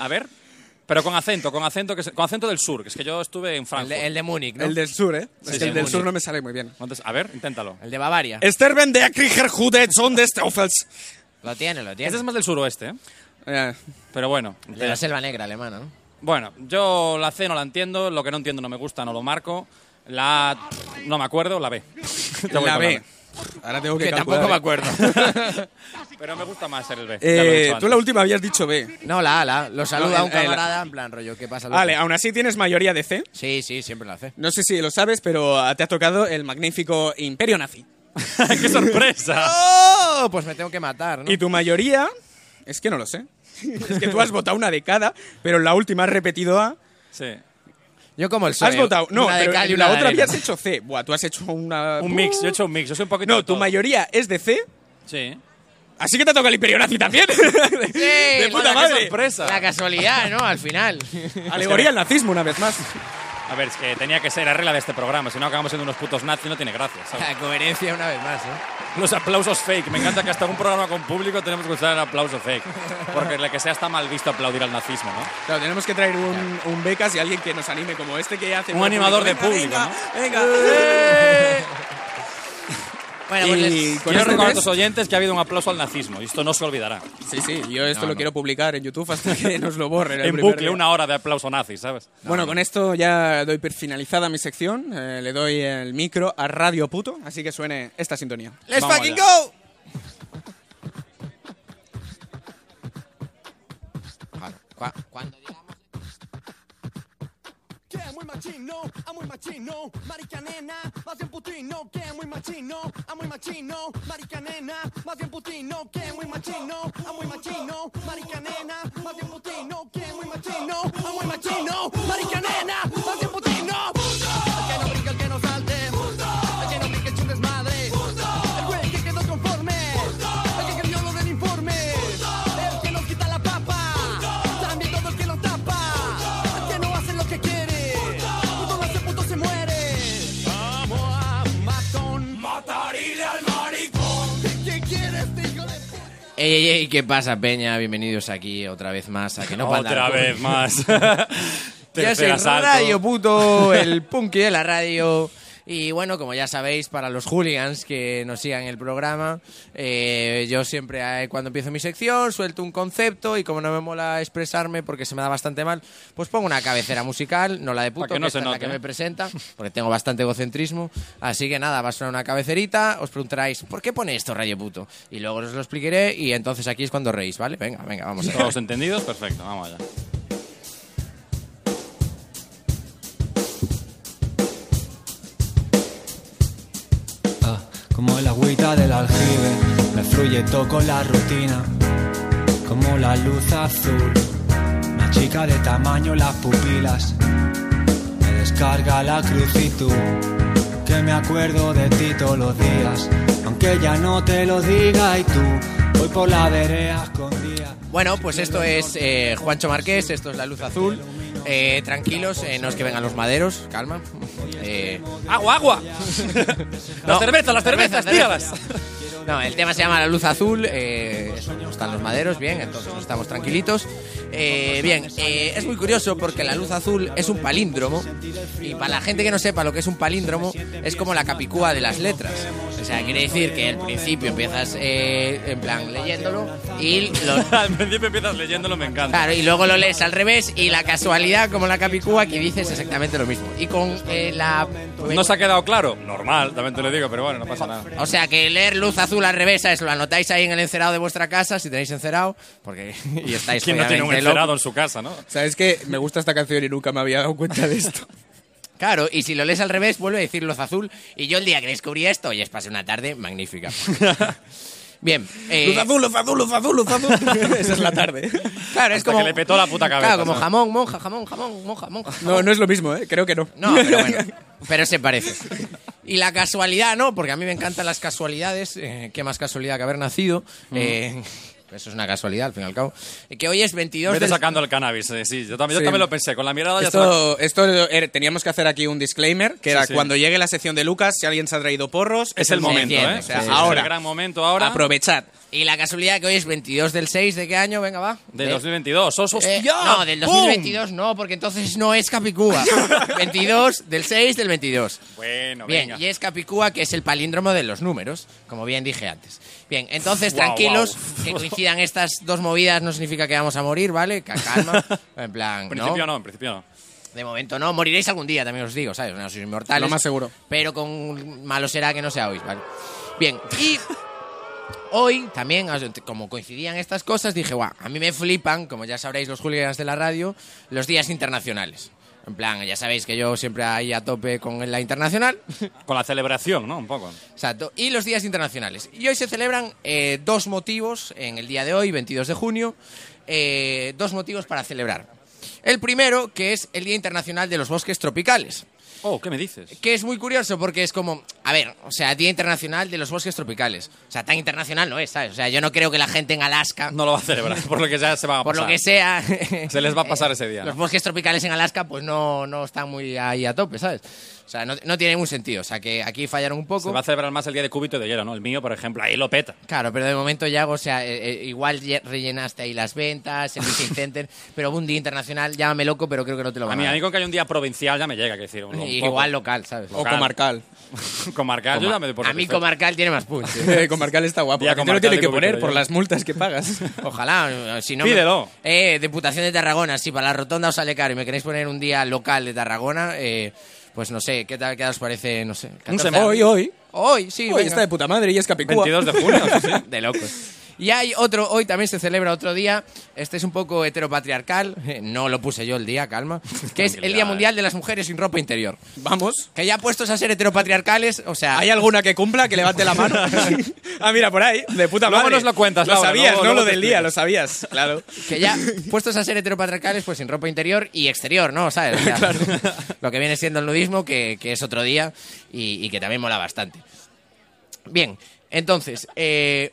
S1: a ver, pero con acento, con acento, que se- con acento del sur, que es que yo estuve en
S2: El
S1: Frankfurt.
S2: de, el de Múnich, ¿no?
S3: El del sur, ¿eh?
S1: Sí,
S3: es
S1: sí,
S3: que el del
S1: muy
S3: sur
S1: bien.
S3: no me sale muy bien.
S1: Entonces, a ver, inténtalo.
S2: El de Bavaria.
S3: Sterben de Akriger Jude son de este- Stoufels.
S2: Lo tiene, lo tiene.
S1: Este es más del suroeste, ¿eh?
S3: Eh,
S1: Pero bueno. eh,
S2: El de la selva negra alemana, ¿no?
S1: Bueno, yo la C no la entiendo, lo que no entiendo no me gusta, no lo marco. La A pff, no me acuerdo, la B. Yo voy
S3: la
S1: con
S3: B. Ahora tengo que,
S2: Que
S3: calcular,
S2: tampoco me
S3: ¿eh?
S2: acuerdo.
S1: Pero me gusta más ser el B. ya lo he
S3: Eh,
S1: dicho
S3: tú la
S1: antes.
S3: última habías dicho B.
S2: No, la A, la A. Lo saluda
S3: No,
S2: a un
S3: el- el-
S2: camarada en plan rollo, ¿qué pasa? loco?
S3: Vale, ah. aún así tienes mayoría de C.
S2: Sí, sí, siempre la C.
S3: No sé si lo sabes, pero ah, te ha tocado el magnífico Imperio Nazi.
S1: ¡Qué sorpresa!
S2: ¡Oh! Pues me tengo que matar, ¿no?
S3: Ah. Y tu mayoría... Es que no lo sé. es que tú has votado una de cada, pero en la última has repetido A.
S1: Sí.
S2: Yo como el
S3: Has
S2: PSOE,
S3: votado... No,
S2: una de
S3: pero
S2: cal y
S3: en
S2: una
S3: la
S2: de
S3: otra
S2: arena.
S3: habías hecho C. Buah, tú has hecho una...
S1: Un mix, yo he hecho un mix, yo soy un poquito. de
S3: No, tu
S1: todo.
S3: mayoría es de C,
S1: Sí.
S3: así que te toca el Imperio Nazi también. de puta
S2: la-
S1: ¡Qué
S3: madre.
S1: sorpresa!
S2: La casualidad, ¿no? Al final.
S3: Alegoría al nazismo una vez más.
S1: A ver, es que tenía que ser la regla de este programa, si no acabamos siendo unos putos nazis, no tiene gracia. ¿sabes?
S2: La coherencia una vez más, ¿eh?
S1: Los aplausos fake, me encanta que hasta un programa con público tenemos que usar el aplauso fake, porque la que sea está mal visto aplaudir al nazismo, ¿no?
S3: Claro, tenemos que traer un, un becas y alguien que nos anime como este que hace...
S1: Un
S3: todo
S1: animador de
S3: Venga,
S1: público,
S3: Venga, ¡Eh!
S2: Bueno, pues
S3: Y-
S2: les-
S3: Con
S1: Quiero
S3: este
S1: recordar a
S3: test-
S1: los oyentes que ha habido un aplauso al nazismo, y esto no se olvidará.
S3: Sí, sí, yo esto
S1: No,
S3: lo
S1: no.
S3: quiero publicar en YouTube hasta que nos lo borren. el
S1: En
S3: primer
S1: bucle,
S3: día.
S1: una hora de aplauso nazi, ¿sabes?
S3: Bueno, con esto ya doy per finalizada mi sección. eh, le doy el micro a Radio Puto, así que suene esta sintonía.
S2: ¡Let's
S1: Vamos
S2: fucking
S1: allá.
S2: go! Cuando digamos-
S6: machino, ah, muy machino, marica nena, más bien putino, que muy machino, ah, muy machino, marica nena, más bien putino, que muy machino, ah, muy machino, marica nena, más bien putino, que muy machino, ah, muy machino, marica nena, más bien putino. El que no brinca, el que no salte, el que no brinca, es un desmadre, el güey que quedó conforme, el que creyó lo del informe, el que nos quita la papa, también todo el que lo tapa, el que no hace lo que quiere, todo ese puto se muere. Vamos a matón, matarile al maricón. ¿Qué quieres, hijo de puta?
S2: Ey, ey, ey, ¿qué pasa, Peña? Bienvenidos aquí otra vez más a que no Panda
S1: Otra
S2: Alcohol.
S1: vez más.
S2: Yo soy
S1: Tercer asalto.
S2: Radio Puto, el punky de la radio. Y bueno, como ya sabéis, para los hooligans que nos sigan el programa, eh, yo siempre eh, cuando empiezo mi sección suelto un concepto y como no me mola expresarme porque se me da bastante mal, pues pongo una cabecera musical, no la de puto,
S1: que no se
S2: esta es la
S1: note,
S2: que
S1: ¿eh?
S2: me presenta, porque tengo bastante egocentrismo. Así que nada, va a sonar una cabecerita, os preguntaréis, ¿por qué pone esto Radio Puto? Y luego os lo explicaré y entonces aquí es cuando reís, ¿vale? Venga, venga, vamos allá.
S1: ¿Todos entendidos? Perfecto, vamos allá.
S7: Ah, como el agüita del aljibe, me fluye todo con la rutina, como la luz azul, una chica de tamaño las pupilas, me descarga la crucitud, que me acuerdo de ti todos los días, aunque ya no te lo diga y tú, voy por la vereda escondida.
S2: Bueno, pues esto es eh, Juancho Marqués, esto es La Luz Azul. Eh, tranquilos, eh, no es que vengan los maderos, calma. Eh,
S1: ¡Agua, agua!
S2: No.
S1: ¡Las cervezas, las cervezas,
S2: Cerveza,
S1: tíralas!
S2: cerveza. No, el tema se llama La Luz Azul. eh, eso, no están los maderos, bien, entonces no estamos tranquilitos. Eh, bien, eh, es muy curioso porque La Luz Azul es un palíndromo. Y para la gente que no sepa lo que es un palíndromo, es como la capicúa de las letras. O sea, quiere decir que al principio empiezas eh, en plan leyéndolo y los,
S1: Al principio empiezas leyéndolo, me encanta.
S2: Claro, y luego lo lees al revés y la casualidad, como la capicúa, que dices exactamente lo mismo. Y con eh, la...
S1: ¿No se ha quedado claro? Normal, también te lo digo, pero bueno, no pasa nada.
S2: O sea, que leer luz azul al revés, eso lo anotáis ahí en el encerado de vuestra casa, si tenéis encerado, porque... y estáis
S1: ¿Quién no tiene un
S2: obviamente locos.
S1: encerado en su casa, no?
S3: ¿Sabes qué? Me gusta esta canción y nunca me había dado cuenta de esto.
S2: Claro, y si lo lees al revés, vuelve a decir luz azul. Y yo el día que descubrí esto, oye, pasé una tarde magnífica. Bien. eh,
S3: Luz azul, luz azul, luz azul, luz azul. Esa es la tarde.
S2: Claro, es
S1: Hasta
S2: como...
S1: que le petó la puta cabeza,
S2: Claro, como
S1: ¿sabes?
S2: jamón, monja, jamón, jamón, monja, monja.
S3: No, no es lo mismo, ¿eh? Creo que no.
S2: No, pero bueno, pero se parece. Y la casualidad, ¿no? Porque a mí me encantan las casualidades. eh, ¿Qué más casualidad que haber nacido?
S1: Mm.
S2: Eh, eso es una casualidad, al fin y al cabo. Eh, Que hoy es 22
S1: Vete
S2: del-
S1: sacando el cannabis, eh, sí. Yo también, yo
S3: Sí.
S1: también lo pensé. Con la mirada ya se va-
S3: Esto, esto er, teníamos que hacer aquí un disclaimer, que era
S1: sí.
S3: cuando llegue la sección de Lucas, si alguien se ha traído porros,
S1: Es el
S2: se
S1: momento,
S2: enciende,
S1: ¿eh?
S2: sí,
S1: O sea,
S2: sí,
S1: ahora. el
S3: sí.
S1: gran momento ahora
S3: Aprovechad.
S2: Y la casualidad que hoy es 22 del 6, ¿de qué año? Venga, va.
S1: de
S2: Eh,
S1: 2022. ¡Os, hostia!
S2: eh, no, del
S1: ¡Pum!
S2: 2022 no, porque entonces no es Capicúa. 22 del 6 del 22.
S1: Bueno,
S2: Bien,
S1: venga.
S2: y es Capicúa, que es el palíndromo de los números, como bien dije antes. Bien, entonces,
S1: Guau,
S2: tranquilos,
S1: guau.
S2: que coincidan estas dos movidas no significa que vamos a morir, ¿vale? Ca- Calma, en plan,
S1: En
S2: ¿no?
S1: principio no, en principio no.
S2: De momento no, moriréis algún día, también os digo, ¿sabes? No sois inmortales.
S3: Lo más seguro.
S2: Pero con malo será que no sea hoy, ¿vale? Bien, y hoy también, as- como coincidían estas cosas, dije, guau, a mí me flipan, como ya sabréis los hooligans de la radio, los días internacionales. En plan, ya sabéis que yo siempre ahí a tope con la internacional.
S1: Con la celebración, ¿no? Un poco.
S2: Exacto. Y los días internacionales. Y hoy se celebran eh, dos motivos en el día de hoy, 22 de junio, eh, dos motivos para celebrar. El primero, que es el Día Internacional de los Bosques Tropicales,
S1: Oh, ¿qué me dices?
S2: que es muy curioso porque es como, a ver, o sea, Día Internacional de los Bosques Tropicales. O sea, tan internacional no es, ¿sabes? O sea, yo no creo que la gente en Alaska,
S1: No lo va a celebrar, por lo que ya se va a
S2: por
S1: pasar.
S2: lo que sea...
S1: Se les va a pasar ese día,
S2: Los
S1: ¿no?
S2: bosques tropicales en Alaska pues no, no están muy ahí a tope, ¿sabes? O sea, no, no tiene ningún sentido. O sea, que aquí fallaron un poco.
S1: Se va a celebrar más el día de cúbito de hielo, ¿no? El mío, por ejemplo, ahí lo peta.
S2: Claro, pero de momento, Yago, o sea, eh, eh, igual ye- rellenaste ahí las ventas, el Visit Center, pero hubo un día internacional, llámame loco, pero creo que no te lo
S1: A
S2: van
S1: mí, a
S2: a
S1: mí
S2: dar.
S1: con que hay un día provincial ya me llega, que decir. un- un
S2: Y
S1: poco.
S2: Igual local, ¿sabes?
S3: O
S1: Claro.
S3: comarcal.
S1: Comarcal, yo ya me doy por
S2: a mí
S1: satisfecho.
S2: comarcal tiene más punch.
S3: Eh, comarcal está guapo.
S1: Día
S3: La gente lo
S1: comarcal
S3: tiene
S1: de
S3: que
S1: Cubito
S3: poner
S1: de
S3: por
S1: Hielo.
S3: las multas que pagas.
S2: Ojalá, eh, si no... me-
S1: Pídelo.
S2: Eh, Diputación de Tarragona, si para la rotonda os sale caro y me queréis poner un día local de Tarragona, eh, pues no sé, ¿qué tal, qué tal os parece? No sé. 14
S1: semáforo.
S3: Hoy, hoy.
S2: Hoy, sí,
S3: Hoy
S2: venga.
S3: está de puta madre y es Capicúa.
S1: 22 de junio. sí, sí.
S2: de locos. Y hay otro, hoy también se celebra otro día, este es un poco heteropatriarcal, eh, no lo puse yo el día, calma, que es el Día
S1: Tranquilidad,
S2: Mundial de las Mujeres sin ropa interior.
S3: Vamos.
S2: Que ya puestos a ser heteropatriarcales, o sea...
S3: ¿Hay alguna que cumpla que levante la mano? ah, mira, por ahí. De puta
S1: Luego
S3: madre.
S1: nos lo cuentas,
S3: Lo
S1: Laura,
S3: sabías,
S1: luego-
S3: ¿no?
S1: luego
S3: lo
S1: te
S3: del día,
S1: explico.
S3: lo sabías. Claro.
S2: que ya puestos a ser heteropatriarcales, pues sin ropa interior y exterior, ¿no? ¿Sabes? O sea, Lo que viene siendo el nudismo, que, que es otro día y, y que también mola bastante. Bien, entonces, eh,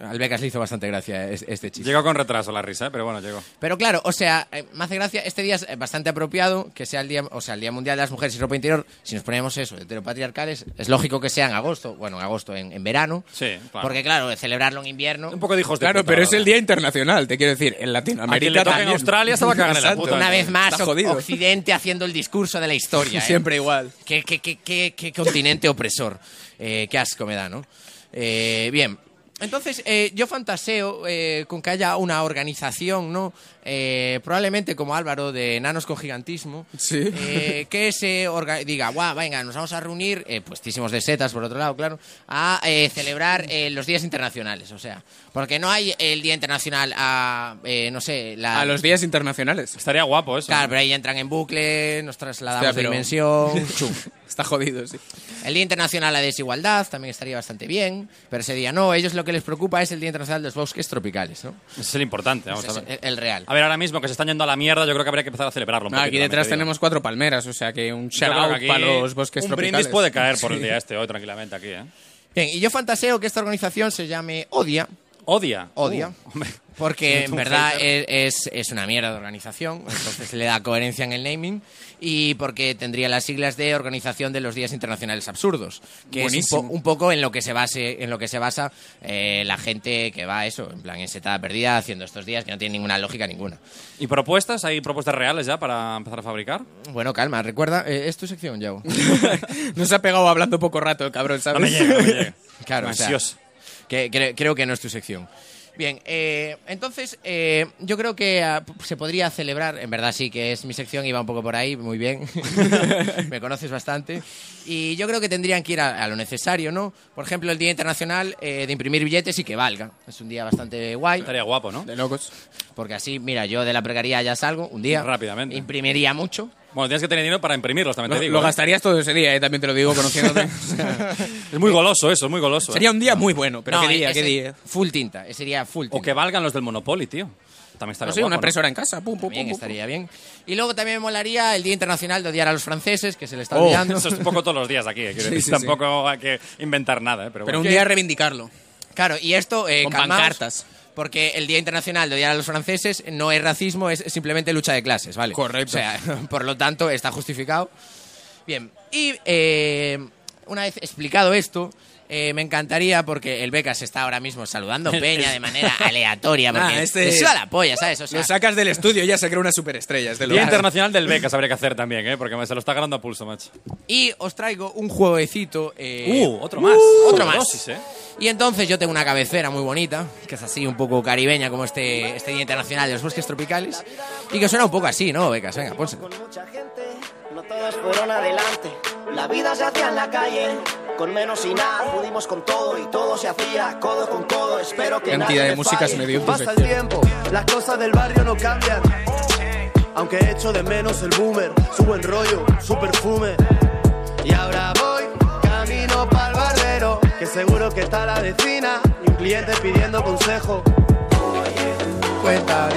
S2: al Becas le hizo bastante gracia es- este chiste.
S1: Llegó con retraso la risa, ¿eh? pero bueno, llegó.
S2: Pero claro, o sea, eh, me hace gracia, este día es eh, bastante apropiado que sea el día, o sea, el Día Mundial de las Mujeres y Ropa Interior, si nos ponemos eso, heteropatriarcales, es lógico que sea en agosto, bueno, en agosto, en, en verano.
S1: Sí, claro.
S2: Porque claro, celebrarlo en invierno...
S1: Un poco de hijos de
S3: Claro,
S1: puta,
S3: pero
S1: la
S3: es el
S1: verdad.
S3: día internacional, te quiero decir. En
S1: A quien le
S3: Latinoamérica
S1: toque en
S3: también.
S1: Australia se va a cagar en la
S3: Exacto.
S1: puta.
S2: Una vez más,
S3: Está
S2: o-
S3: jodido.
S2: Occidente haciendo el discurso de la historia. ¿eh?
S3: Siempre igual.
S2: ¿Qué, qué, qué, qué- qué continente opresor. Eh, qué asco me da, ¿no? Eh, bien. Entonces, eh, yo fantaseo eh, con que haya una organización, ¿no? Eh, probablemente como Álvaro de Enanos con Gigantismo.
S3: Sí.
S2: eh, que se orga- diga, guau, venga, nos vamos a reunir, eh, puestísimos de setas, por otro lado, claro, a eh, celebrar eh, los días internacionales, o sea. Porque no hay el Día Internacional a, eh, no sé, la...
S3: A los días internacionales.
S1: Estaría guapo eso.
S2: Claro, pero ahí entran en bucle, nos trasladamos
S3: Hostia, pero-
S2: de dimensión. chum.
S3: Está jodido, sí.
S2: El Día Internacional de la Desigualdad también estaría bastante bien, pero ese día no. Ellos lo que les preocupa es el Día Internacional de los Bosques Tropicales, ¿no?
S1: Ese es el importante, vamos
S2: Ese
S1: a
S2: es
S1: ver.
S2: el, el real.
S1: A ver, ahora mismo que se están yendo a la mierda, yo creo que habría que empezar a celebrarlo. un
S3: No,
S1: poquito,
S3: aquí
S1: también
S3: detrás
S1: te digo.
S3: tenemos cuatro palmeras, o sea que un
S1: Yo creo
S3: shout out
S1: que aquí
S3: para los bosques
S1: un
S3: tropicales.
S1: brindis puede caer por el día este hoy tranquilamente aquí, ¿eh?
S2: Bien, y yo fantaseo que esta organización se llame ODIA,
S1: Odia.
S2: Odia.
S1: Uh, hombre.
S2: porque
S1: Siento
S2: en
S1: un
S2: verdad
S1: hater.
S2: es, es- es una mierda de organización, entonces le da coherencia en el naming, y porque tendría las siglas de Organización de los Días Internacionales Absurdos, que es
S3: Buenísimo.
S2: un, po- un poco en lo que se base, en lo que se basa eh, la gente que va a eso, en plan en setada perdida, haciendo estos días que no tienen ninguna lógica ninguna.
S1: ¿Y propuestas? ¿Hay propuestas reales ya para empezar a fabricar?
S2: Bueno, calma, recuerda, eh, es tu sección, Yao.
S3: Nos ha pegado hablando poco rato, el cabrón, ¿sabes?
S1: No me llega, no me llega.
S2: Claro, o sea,
S1: Ansioso.
S2: que, cre- creo que no es tu sección. Bien, eh, entonces eh, yo creo que ah, p- se podría celebrar, en verdad sí que es mi sección, iba un poco por ahí, muy bien, me conoces bastante, y yo creo que tendrían que ir a, a lo necesario, ¿no? Por ejemplo, el Día Internacional eh, de imprimir billetes y que valga, es un día bastante guay,
S1: Estaría guapo, ¿no?
S3: De locos.
S2: porque así, mira, yo de la precariedad ya salgo un día,
S1: Rápidamente.
S2: imprimiría mucho,
S1: Bueno, tienes que tener dinero para imprimirlos, también
S3: Lo,
S1: te digo.
S3: lo
S1: ¿eh?
S3: gastarías todo ese día, eh, también te lo digo, conociéndote. O sea,
S1: Es muy goloso eso, es muy goloso. ¿eh?
S3: Sería un día muy bueno, pero
S2: No,
S3: qué día,
S2: ese-
S3: qué día.
S2: Full tinta, ese día full tinta.
S1: O que valgan los del Monopoly, tío. También estaría
S3: No sé,
S1: guapo,
S3: una
S1: ¿no?
S3: impresora en casa, pum, pum, pum.
S2: También
S3: pum.
S2: estaría bien. Y luego también me molaría el Día Internacional de Odiar a los Franceses, que se le está
S3: Oh,
S2: olvidando.
S1: Eso es un poco todos los días aquí. eh, quiero
S3: Sí,
S1: decir,
S3: sí, sí.
S1: Tampoco hay que inventar nada, ¿eh? Pero,
S3: Pero un
S1: bueno.
S3: día reivindicarlo.
S2: Claro, y esto... Eh,
S3: Con
S2: calmaos,
S3: pancartas.
S2: Porque el Día Internacional de Odiar a los Franceses no es racismo, es simplemente lucha de clases, ¿vale?
S3: Correcto.
S2: O sea, por lo tanto, está justificado. Bien, y eh, una vez explicado esto... eh, me encantaría porque el Becas está ahora mismo saludando Peña de manera aleatoria. Porque
S3: Nah, este
S2: le
S3: es-
S2: suda la polla, ¿sabes? O sea,
S3: Lo sacas del estudio y ya se crea una superestrella. Es de
S1: Día
S3: locos.
S1: Internacional del Becas habría que hacer también, ¿eh? Porque se lo está ganando a pulso, macho.
S2: Y os traigo un jueguecito. eh,
S1: Uh, otro más.
S2: otro más.
S1: Sobredosis, ¿eh?
S2: Y entonces yo tengo una cabecera muy bonita, que es así un poco caribeña, como este, este Día Internacional de los Bosques Tropicales. Y que suena un poco así, ¿no, Becas? Venga, pues, pónsela.
S8: Con mucha gente, no todos fueron adelante. La vida se hacía en la calle, con menos y nada. Pudimos con todo y todo se hacía codo con codo. Espero que
S3: Cantidad
S8: nadie
S3: de
S8: me
S3: músicas
S8: falle.
S3: me dio tu
S8: Pasa el
S3: sección.
S8: tiempo, las cosas del barrio no cambian. Aunque echo de menos el boomer, su buen rollo, su perfume. Y ahora voy camino para el barbero, que seguro que está la vecina y un cliente pidiendo consejo. Cuéntame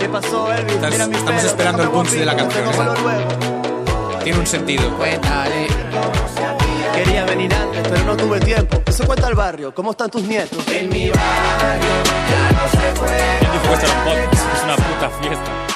S8: ¿Qué pasó, Elvis?
S3: Estás-
S8: Mira mi
S3: estamos
S8: pelo,
S3: esperando el
S8: déjame
S3: punch de la
S8: guapito,
S3: canción, ¿eh?
S8: déjamelo luego.
S3: Tiene un sentido.
S2: Cuéntale.
S8: Quería venir antes, pero no tuve tiempo. Eso cuenta el barrio. ¿Cómo están tus nietos? En mi
S1: ¿Quién dijo que esto era un podcast? Es una puta fiesta.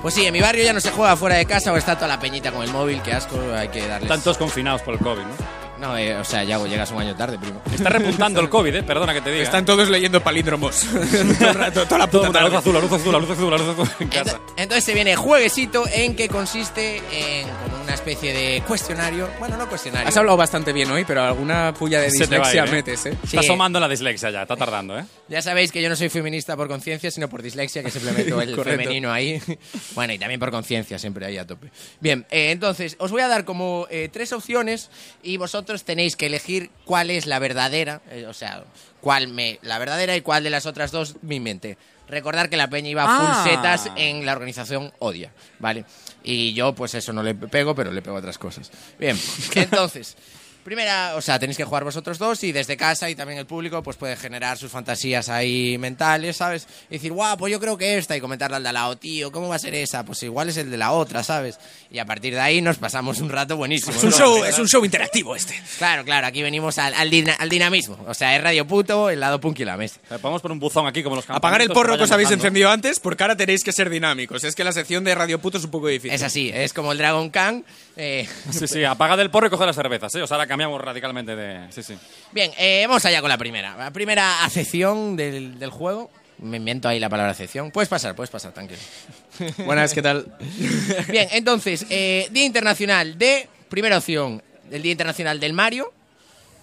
S2: Pues sí, en mi barrio ya no se juega fuera de casa o está toda la peñita con el móvil, qué asco, hay que darles...
S1: Están todos confinados por el COVID, ¿no?
S2: No, eh, o sea, Yago, llegas un año tarde, primo.
S1: Está repuntando el COVID, ¿eh? Perdona que te diga.
S3: Están todos leyendo palíndromos. Todo el rato, toda la
S1: Todo el mundo,
S3: puta
S1: la luz
S3: tarde.
S1: azul, la luz azul, la luz azul, la luz azul en casa.
S2: Ento- Entonces se viene jueguecito en que consiste en como una especie de cuestionario. Bueno, no cuestionario.
S3: Has hablado bastante bien hoy, pero alguna puya de
S1: Se te va a ir,
S3: dislexia
S1: ¿eh?
S3: metes, ¿eh?
S1: Está
S2: Sí.
S1: asomando la dislexia ya, está tardando, ¿eh?
S2: Ya sabéis que yo no soy feminista por conciencia, sino por dislexia, que simplemente el
S3: Correcto.
S2: femenino ahí. Bueno, y también por conciencia, siempre ahí a tope. Bien, eh, entonces, os voy a dar como eh, tres opciones y vosotros vosotros tenéis que elegir cuál es la verdadera, eh, o sea, cuál me la verdadera y cuál de las otras dos me inventé. Recordar que la peña iba
S1: Ah.
S2: full setas en la organización Odia, ¿vale? Y yo, pues eso no le pego, pero le pego a otras cosas. Bien, entonces, primera, o sea, tenéis que jugar vosotros dos y desde casa y también el público, pues puede generar sus fantasías ahí mentales, ¿sabes? Y decir, guau, pues yo creo que esta, y comentarle al de al lado, tío, ¿cómo va a ser esa? Pues igual es el de la otra, ¿sabes? Y a partir de ahí nos pasamos un rato buenísimo.
S9: Es un
S2: ¿no?
S9: show, es un show interactivo este.
S2: Claro, claro, aquí venimos al, al dina- al dinamismo. O sea, es Radio Puto, el lado punk y la mesa.
S1: Eh, Podemos poner un buzón aquí como los
S3: Apagar el
S1: campamentos
S3: porro que
S1: vayan
S3: os habéis
S1: bajando.
S3: encendido antes, porque ahora tenéis que ser dinámicos. Es que la sección de Radio Puto es un poco difícil.
S2: Es así, es como el Dragon Khan. eh,
S1: Sí, sí, apaga del porro y coge las cervezas, ¿eh? O sea, ahora cambiamos radicalmente de... Sí, sí.
S2: Bien, eh, vamos allá con la primera. La primera acepción del, del juego. Me invento ahí la palabra acepción. Puedes pasar, puedes pasar, tranquilo.
S3: Buenas, ¿qué tal?
S2: Bien, entonces, eh, Día Internacional de. Primera opción, el Día Internacional del Mario.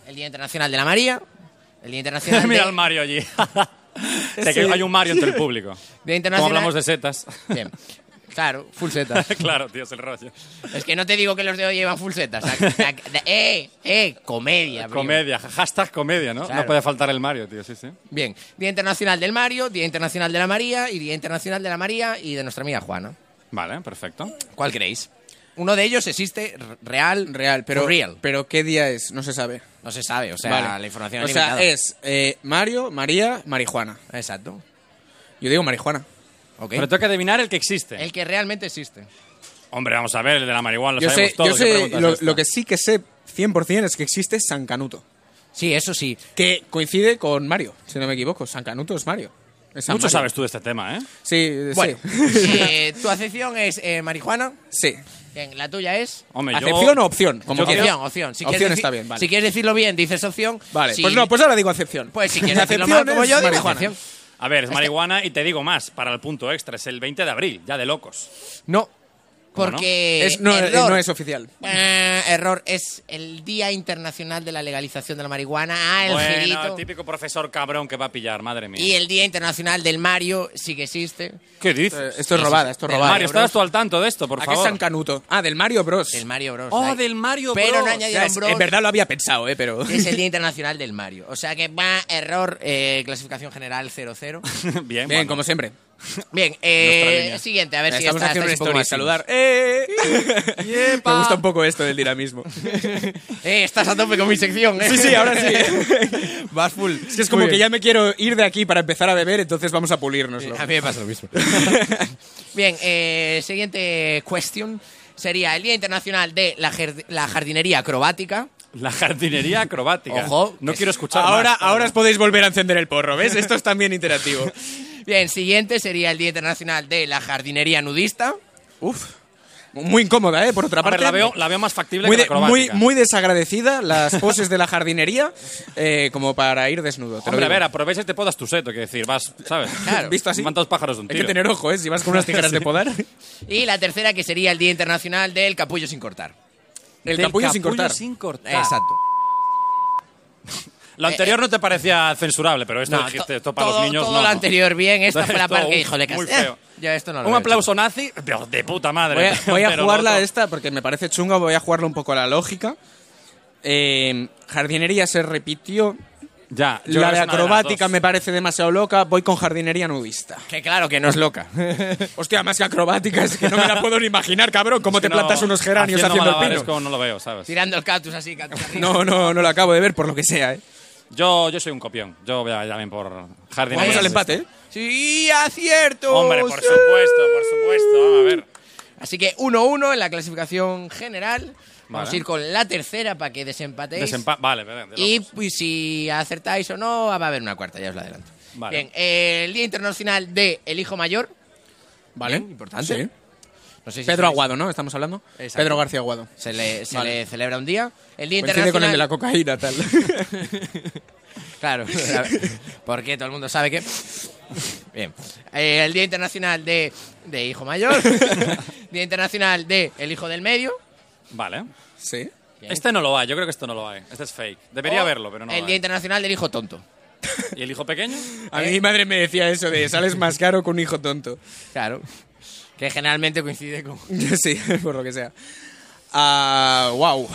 S2: El Día Internacional de la María. El Día Internacional.
S1: Mira
S2: de-
S1: al Mario allí. De que hay un Mario entre el público.
S2: Día
S1: Como
S2: Internacional.
S1: hablamos de setas.
S2: Bien. Claro, full setas.
S1: claro, tío, es el rollo.
S2: Es que no te digo que los de hoy llevan full setas. Ac- ac- ¡Eh! ¡Eh! Comedia, primo.
S1: Comedia, hashtag comedia, ¿no?
S2: Claro.
S1: No puede faltar el Mario, tío, sí, sí.
S2: Bien, Día Internacional del Mario, Día Internacional de la María y Día Internacional de la María y de nuestra amiga Juana.
S1: Vale, perfecto.
S2: ¿Cuál creéis? Uno de ellos existe r- real,
S3: Real, pero,
S2: for real.
S3: pero ¿qué día es? No se sabe.
S2: No se sabe, o sea,
S3: Vale.
S2: la información
S3: O
S2: es
S3: sea,
S2: limitada.
S3: es eh, Mario, María, Marijuana.
S2: Exacto.
S3: Yo digo marijuana.
S2: Ok.
S1: Pero tengo que adivinar el que existe.
S2: El que realmente existe.
S1: Hombre, vamos a ver, el de la marihuana, lo
S3: yo
S1: sabemos
S3: sé,
S1: todos.
S3: yo
S1: ¿qué
S3: sé
S1: pregunta es
S3: lo,
S1: esta?
S3: lo que sí que sé 100% es que existe San Canuto.
S2: Sí, eso sí.
S3: Que coincide con Mario, si no me equivoco. San Canuto es Mario. Es San
S1: Mucho
S3: Mario.
S1: sabes tú de este tema, ¿eh?
S3: Sí,
S2: Bueno,
S3: sí.
S2: eh, tu acepción es eh, marihuana.
S3: sí.
S2: Bien, la tuya es.
S1: Hombre, yo-
S3: ¿Acepción o opción? Como
S1: Yo
S3: quieras.
S2: Opción, opción. Si quieres
S3: opción
S2: deci-
S3: está bien, vale.
S2: Si quieres decirlo bien, dices opción.
S3: Vale,
S2: Si-
S3: pues no, pues ahora digo acepción.
S2: Pues si
S3: La
S2: quieres decirlo mal
S3: acepción
S2: como
S3: es
S2: yo, digo
S3: marihuana.
S2: acepción.
S1: A ver,
S3: Este-
S1: es marihuana y te digo más, para el punto extra, es el 20 de abril, ya de locos.
S2: No.
S1: ¿Cómo
S2: Porque.
S3: Es- no, eh,
S2: error.
S3: no es oficial.
S2: Eh, error, es el Día Internacional de la Legalización de la Marihuana. Ah, el
S1: bueno,
S2: girito.
S1: el típico profesor cabrón que va a pillar, madre mía.
S2: Y el Día Internacional del Mario sí que existe.
S1: ¿Qué
S3: Eh,
S1: dices?
S3: Esto es robada, esto es robada.
S1: Mario, ¿estás tú al tanto de esto, por
S3: ¿A qué
S1: favor?
S3: San Canuto? Ah, del Mario Bros.
S2: Del Mario Bros.
S1: Oh,
S2: like.
S1: del Mario
S2: Pero
S1: Bros.
S2: no
S3: Ya,
S2: añadieron
S3: es-
S2: Bros.
S3: en verdad lo había pensado, eh, pero...
S2: que es el Día Internacional del Mario. O sea que va, error, eh, clasificación general 00.
S1: Bien,
S3: Bien,
S1: bueno.
S3: como siempre.
S2: Bien,
S1: Nuestra
S2: eh,
S1: línea.
S2: siguiente, a ver si
S3: Estamos
S2: esta-
S3: haciendo una
S2: estáis un poco
S3: historia y
S2: más
S3: saludar. ¡Eh! Me gusta un poco esto del dinamismo.
S2: finos. Eh, estás a tope con mi sección, eh.
S3: Sí, sí, ahora sí.
S2: Vas full.
S3: Es que es como que ya me quiero ir de aquí para empezar a beber, entonces vamos a pulirnoslo.
S2: A mí me pasa lo mismo. Bien, eh, siguiente cuestión sería el Día Internacional de la, jer- la Jardinería Acrobática.
S1: La jardinería acrobática.
S2: Ojo,
S1: No
S2: es-
S1: quiero escuchar
S3: Ahora,
S1: más.
S3: ahora os podéis volver a encender el porro, ¿ves? Esto es también interactivo.
S2: Bien, siguiente sería el Día Internacional de la Jardinería Nudista.
S3: Uf. Muy incómoda, ¿eh? Por otra
S1: A
S3: parte.
S1: ver, la veo, la veo más factible
S3: Muy,
S1: que la
S3: de- muy,
S1: acrobática.
S3: muy desagradecida las poses de la jardinería, eh, como para ir desnudo. te lo
S1: Hombre, a
S3: digo.
S1: ver, aprovecha y te podas tu seto, que decir, vas, ¿sabes?
S2: Claro.
S3: Visto así.
S1: Mantos pájaros de un
S3: Hay
S1: tiro.
S3: que tener ojo, ¿eh? Si vas con unas tijeras de podar.
S2: Y la tercera que sería el Día Internacional del Capullo sin cortar.
S3: El
S1: Del
S3: capullo sin cortar.
S1: sin cortar.
S2: Exacto.
S3: eh,
S1: Lo anterior no te parecía censurable, pero esto
S2: No,
S1: dijiste,
S2: to-
S1: esto para
S2: todo-
S1: los niños
S2: todo
S1: no.
S2: lo anterior bien, esta fue la
S1: Esto,
S2: parte que
S1: uf,
S2: dijo de
S1: muy
S2: casa-
S1: feo.
S2: Eh, ya esto no lo
S1: Un
S2: veo
S1: aplauso nazi, de, de puta madre.
S3: Voy a, voy a
S1: Pero
S3: jugarla
S1: lo otro-
S3: esta porque me parece chunga, voy a jugarla un poco a la lógica. Eh, jardinería se repitió.
S1: Ya, yo creo
S3: la
S1: que
S3: de
S1: es una
S3: acrobática
S1: las
S3: me
S1: dos.
S3: parece demasiado loca. Voy con jardinería nudista.
S2: Que claro que no es loca.
S3: Hostia, más que acrobática, es que no me la puedo ni imaginar, cabrón. ¿Cómo
S1: Es que
S3: te plantas
S1: no,
S3: unos geranios haciendo, el
S1: malabares
S3: pino?
S1: como no lo veo, ¿sabes?
S2: Tirando el cactus así, cactus arriba.
S3: No, no, no lo acabo de ver por lo que sea, eh.
S1: Yo, yo soy un copión. Yo voy a también por jardinería.
S3: Vamos al empate, eh.
S2: Sí, acierto.
S1: Hombre, por
S2: sí.
S1: supuesto, por supuesto. Vamos a ver.
S2: Así que 1-1 en la clasificación general. Vamos
S1: Vale.
S2: a ir con la tercera para que desempatéis.
S1: Desempa- vale, vale. de
S2: Y
S1: locos.
S2: pues, si acertáis o no, va a haber una cuarta, ya os la adelanto.
S1: Vale.
S2: Bien, eh, el Día Internacional de El Hijo Mayor.
S3: Vale,
S2: importante.
S3: Sí.
S2: No sé si
S3: Pedro
S2: sabéis-
S3: Aguado, ¿no? Estamos hablando.
S2: Exacto.
S3: Pedro García Aguado.
S2: Se le, se
S3: Vale.
S2: le celebra un día. El Día
S3: Coincide
S2: Internacional.
S3: con el de la cocaína, tal.
S2: Claro, porque todo el mundo sabe que. Bien. Eh, el Día Internacional de, de Hijo Mayor. Día Internacional de El Hijo del Medio.
S1: Vale.
S3: sí.
S2: Bien.
S1: Este no lo hay, yo creo que esto no lo hay. Este es fake. Debería
S2: O
S1: haberlo, pero no
S2: El
S1: lo
S2: Día
S1: hay.
S2: Internacional del Hijo Tonto.
S1: ¿Y el hijo pequeño?
S3: A mí mi madre me decía eso de sales más caro que un hijo tonto.
S2: Claro. Que generalmente coincide con.
S3: Sí, por lo que sea. Ah, wow.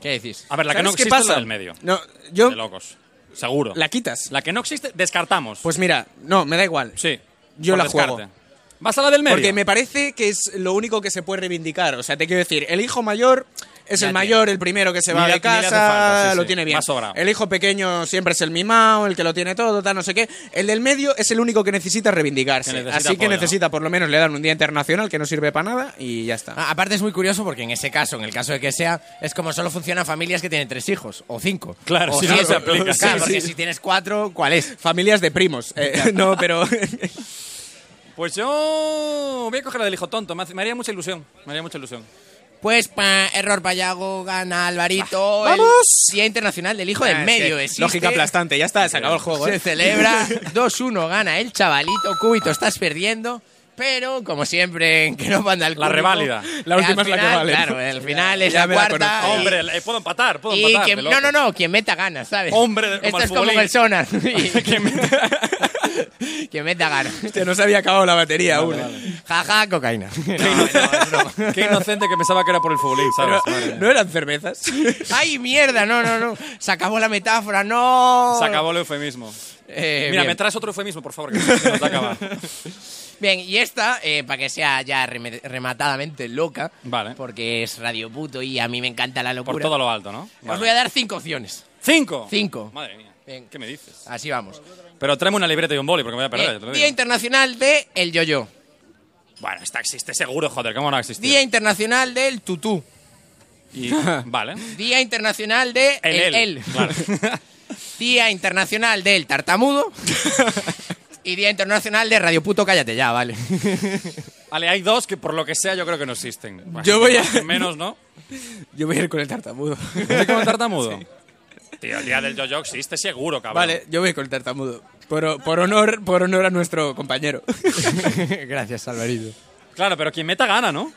S2: ¿Qué decís?
S1: A ver, la que
S3: ¿Sabes
S1: no
S3: qué
S1: existe es
S3: pasa?
S1: la del medio.
S3: No, yo
S1: De locos. Seguro.
S3: la quitas.
S1: La que no existe, descartamos.
S3: Pues mira, no, me da igual.
S1: sí.
S3: yo
S1: por
S3: la juego.
S1: Vas a la del medio.
S3: Porque me parece que es lo único que se puede reivindicar. O sea, te quiero decir, el hijo mayor es
S2: Ya
S3: el
S2: tiene.
S3: mayor, el primero que se
S1: Ni
S3: va
S1: le-
S3: de
S1: ni le hace
S3: casa,
S1: falta, sí,
S3: lo
S1: sí.
S3: tiene bien.
S1: Va sobrado.
S3: El hijo pequeño siempre es el mimado, el que lo tiene todo, tal, no sé qué. El del medio es el único que necesita reivindicarse.
S1: Que necesita
S3: Así que
S1: apoyo, ¿no?
S3: necesita, por lo menos, le dan un día internacional que no sirve para nada y ya está.
S2: Ah, Aparte es muy curioso porque en ese caso, en el caso de que sea, es como solo funcionan familias que tienen tres hijos o cinco.
S1: Claro,
S2: o
S1: si no, no se
S2: siete.
S1: aplica.
S2: Claro,
S1: Sí,
S2: porque
S1: sí.
S2: si tienes cuatro, ¿cuál es?
S3: Familias de primos. Eh, no, pero.
S1: Pues yo voy a coger la del hijo tonto. Me, hace- me haría mucha ilusión. Me haría mucha ilusión.
S2: Pues pa, error payago, gana Alvarito.
S3: Ah,
S2: el
S3: ¡vamos!
S2: Día Internacional del Hijo
S3: Ah,
S2: del
S3: es
S2: Medio.
S3: que
S2: existe.
S3: Lógica aplastante, ya está, se acabó el juego.
S2: Se
S3: ¿eh?
S2: celebra 2-1, gana el chavalito. Cubito, estás perdiendo. Pero, como siempre, en que no manda el
S1: La
S2: Cúbico,
S1: reválida. La
S2: eh,
S3: última
S2: al
S3: es la que
S2: final-
S3: vale.
S2: Claro, el final es
S3: Ya
S2: la
S3: me la
S2: cuarta.
S3: conozco.
S2: y-
S1: Hombre, le- puedo empatar, puedo
S2: Y
S1: empatar.
S2: quien-
S1: de
S2: no,
S1: locos.
S2: no, no, quien meta gana, ¿sabes?
S1: Hombre, como
S2: Esto
S1: al
S2: es como
S1: futbolín.
S2: personas.
S1: Quien meta-
S2: quien meta gana.
S3: Hostia, no se había acabado la batería aún.
S2: Jaja, cocaína.
S1: Qué inocente que pensaba que era por el futbolín, ¿sabes?
S3: Pero,
S1: Madre mía.
S3: ¿No eran cervezas?
S2: Ay, mierda, no, no, no. Se acabó la metáfora, no.
S1: Se acabó el eufemismo.
S2: Eh,
S1: Mira,
S2: bien.
S1: me traes otro eufemismo, por favor, que se nos acaba.
S2: Bien, y esta, eh, para que sea ya reme- rematadamente loca,
S1: Vale.
S2: porque es radio puto y a mí me encanta la locura.
S1: Por todo lo alto, ¿no?
S2: Os
S1: Vale.
S2: voy a dar cinco opciones.
S1: ¡Cinco!
S2: Cinco.
S1: Madre mía.
S2: Venga.
S1: ¿Qué me dices?
S2: Así vamos.
S1: Pero tráeme una libreta y un boli porque me voy a perder. yo
S2: Bien,
S1: te lo
S2: Día
S1: digo.
S2: Internacional de el Yo-Yo.
S1: Bueno, esta existe seguro, joder, ¿cómo no existe?
S2: Día Internacional del Tutú.
S1: vale.
S2: Día Internacional de
S1: El, él.
S2: el.
S1: Claro.
S2: Día Internacional del Tartamudo. y Día Internacional de Radio Puto Cállate Ya, vale.
S1: vale, hay dos que por lo que sea yo creo que no existen. Bueno,
S3: Yo voy a-
S1: Menos, ¿no?
S3: Yo voy a ir con el tartamudo.
S1: ¿Eres como tartamudo? Tío, el día del yo-yo existe seguro, cabrón.
S3: Vale, yo voy a ir con el tartamudo. Por, por honor, por honor a nuestro compañero.
S2: Gracias, Alvarito.
S1: Claro, pero quien meta gana, ¿no?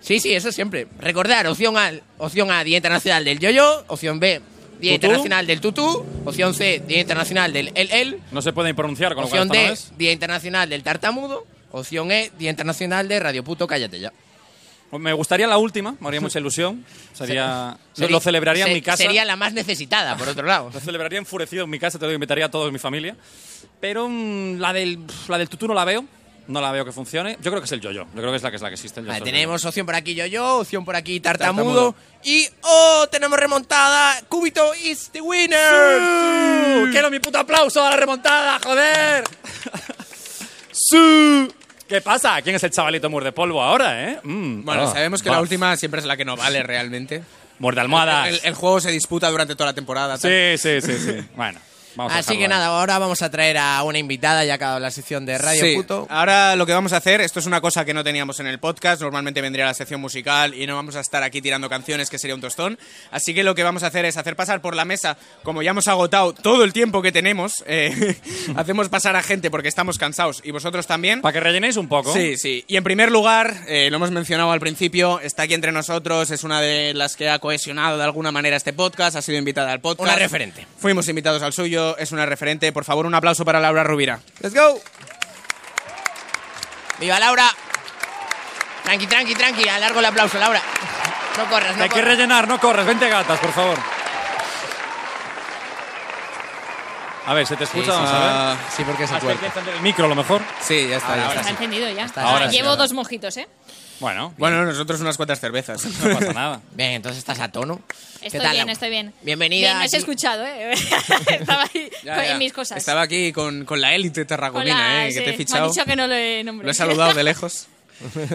S2: Sí, sí, eso siempre. Recordar, opción A, opción A Día Internacional del Yo-Yo, opción B, Día
S1: Tutú.
S2: Internacional del Tutú, opción C, Día Internacional del El El,
S1: No se pueden pronunciar, con lo cual
S2: opción
S1: esto no
S2: D,
S1: es.
S2: Día Internacional del Tartamudo, opción E, Día Internacional de Radio Puto Cállate Ya.
S1: Me gustaría la última, me haría mucha ilusión. Sería,
S2: Seri-
S1: lo celebraría
S2: se-
S1: en mi casa.
S2: Sería la más necesitada, por otro lado.
S1: Lo celebraría enfurecido en mi casa, te lo invitaría a toda mi familia. Pero mm, la, del, la del tutú no la veo. No la veo que funcione. Yo creo que es el yo-yo. Yo creo que es la que es la que existe. el
S2: Vale,
S1: yo-yo.
S2: tenemos opción por aquí yo-yo, opción por aquí
S3: Tartamudo.
S2: tartamudo, y ¡oh! Tenemos remontada. Cúbito is the winner.
S1: ¡Quiero mi puto aplauso a la remontada, joder! ¡Su! ¿Qué pasa? ¿Quién es el chavalito murde polvo ahora, eh? Mm,
S3: Bueno,
S1: ah,
S3: sabemos que
S1: va. Ah.
S3: la última siempre es la que no vale realmente.
S1: Muerde almohadas.
S3: El, el juego se disputa durante toda la temporada. tal.
S1: Sí, sí, sí, sí. bueno, vamos a
S2: Así que
S1: dejarlo ahí.
S2: nada, ahora vamos a traer a una invitada ya acabado la sección de Radio
S3: Sí.
S2: Puto.
S3: Ahora lo que vamos a hacer, esto es una cosa que no teníamos en el podcast, normalmente vendría la sección musical y no vamos a estar aquí tirando canciones que sería un tostón, así que lo que vamos a hacer es hacer pasar por la mesa, como ya hemos agotado todo el tiempo que tenemos, eh, hacemos pasar a gente porque estamos cansados y vosotros también.
S1: Para que rellenéis un poco.
S3: Sí, sí. Y en primer lugar, eh, lo hemos mencionado al principio, está aquí entre nosotros, es una de las que ha cohesionado de alguna manera este podcast, ha sido invitada al podcast.
S2: Una referente.
S3: Fuimos invitados al suyo, es una referente. Por favor, un aplauso para Laura Rubira.
S2: ¡Let's go! ¡Viva Laura! Tranqui, tranqui, tranqui, alargo el aplauso, Laura. No corras, no
S1: Hay que
S2: corras.
S1: rellenar, no corres. Vente gatas, por favor. A ver, ¿se te escucha? Vamos a ver.
S2: Sí, porque es
S1: Hasta hay que encender el micro, a lo mejor.
S3: Sí, ya está. ya está.
S9: Está encendido ya.
S2: Está, ahora
S9: Ah,
S2: sí,
S9: Llevo
S2: ahora.
S9: dos mojitos, ¿eh?
S1: Bueno,
S3: Bueno, nosotros unas cuantas cervezas.
S1: no pasa nada.
S2: Bien, entonces estás a tono. ¿Qué
S9: Estoy
S2: tal,
S9: bien,
S2: Laura?
S9: estoy bien.
S2: Bienvenida.
S9: Bien, no os he
S2: aquí.
S9: escuchado, ¿eh? Estaba ahí
S3: Ya,
S9: con-
S3: ya.
S9: en mis cosas.
S3: Estaba aquí con, con la élite
S9: Con
S3: tarragolina,
S9: la-
S3: eh, que
S9: sí,
S3: te he
S9: Me
S3: fichado.
S9: han dicho que no lo he nombrado.
S3: Lo he saludado de lejos.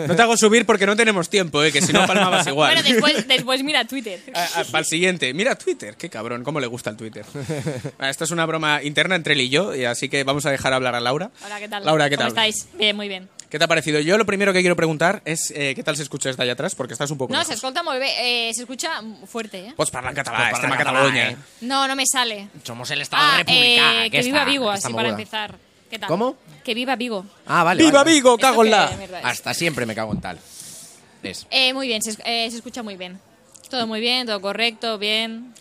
S3: No te hago subir porque no tenemos tiempo, eh, que si no palmabas igual.
S9: Bueno, después, después mira Twitter.
S3: Para el siguiente, mira Twitter, qué cabrón, cómo le gusta el Twitter. Ah, Esto es una broma interna entre él y yo, y así que vamos a dejar hablar a Laura.
S9: Hola, ¿qué tal?
S3: Laura, ¿qué
S9: ¿Cómo
S3: tal?
S9: estáis? Bien, muy bien.
S3: ¿Qué te ha parecido? Yo lo primero que quiero preguntar es eh, qué tal se escucha desde allá atrás, porque estás un poco.
S9: No,
S3: lejos.
S9: se escolta muy bien. Eh, se escucha fuerte, ¿eh?
S3: Pots parlar en català,
S2: Pots
S3: estem a
S2: parlar en català,
S3: Pues Cataluña.
S2: eh.
S9: No, no me sale.
S2: Somos el Estado
S9: Ah,
S2: Republicano.
S9: eh, que viva Vigo, así para empezar. ¿Qué tal?
S2: ¿Cómo?
S9: Que viva Vigo.
S2: Ah, vale.
S3: ¡Viva
S2: vale.
S3: Vigo,
S9: Esto
S3: cago en
S9: que
S3: la!
S9: mierda eh. es.
S2: Hasta siempre me cago en tal. Es.
S9: Eh, muy bien, se, es- eh, se escucha muy bien. Todo muy bien, todo correcto, bien.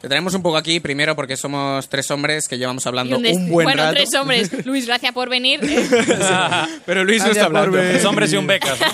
S3: Te traemos un poco aquí, primero porque somos tres hombres que llevamos
S9: Y
S3: hablando
S9: un
S3: un,
S9: dest-
S3: buen
S9: bueno,
S3: rato.
S9: tres hombres. Luis, gracias por venir.
S3: Pero Luis no
S2: Gracias
S3: está
S2: por
S3: hablando.
S2: ver.
S1: Tres hombres y un becas. ¿no?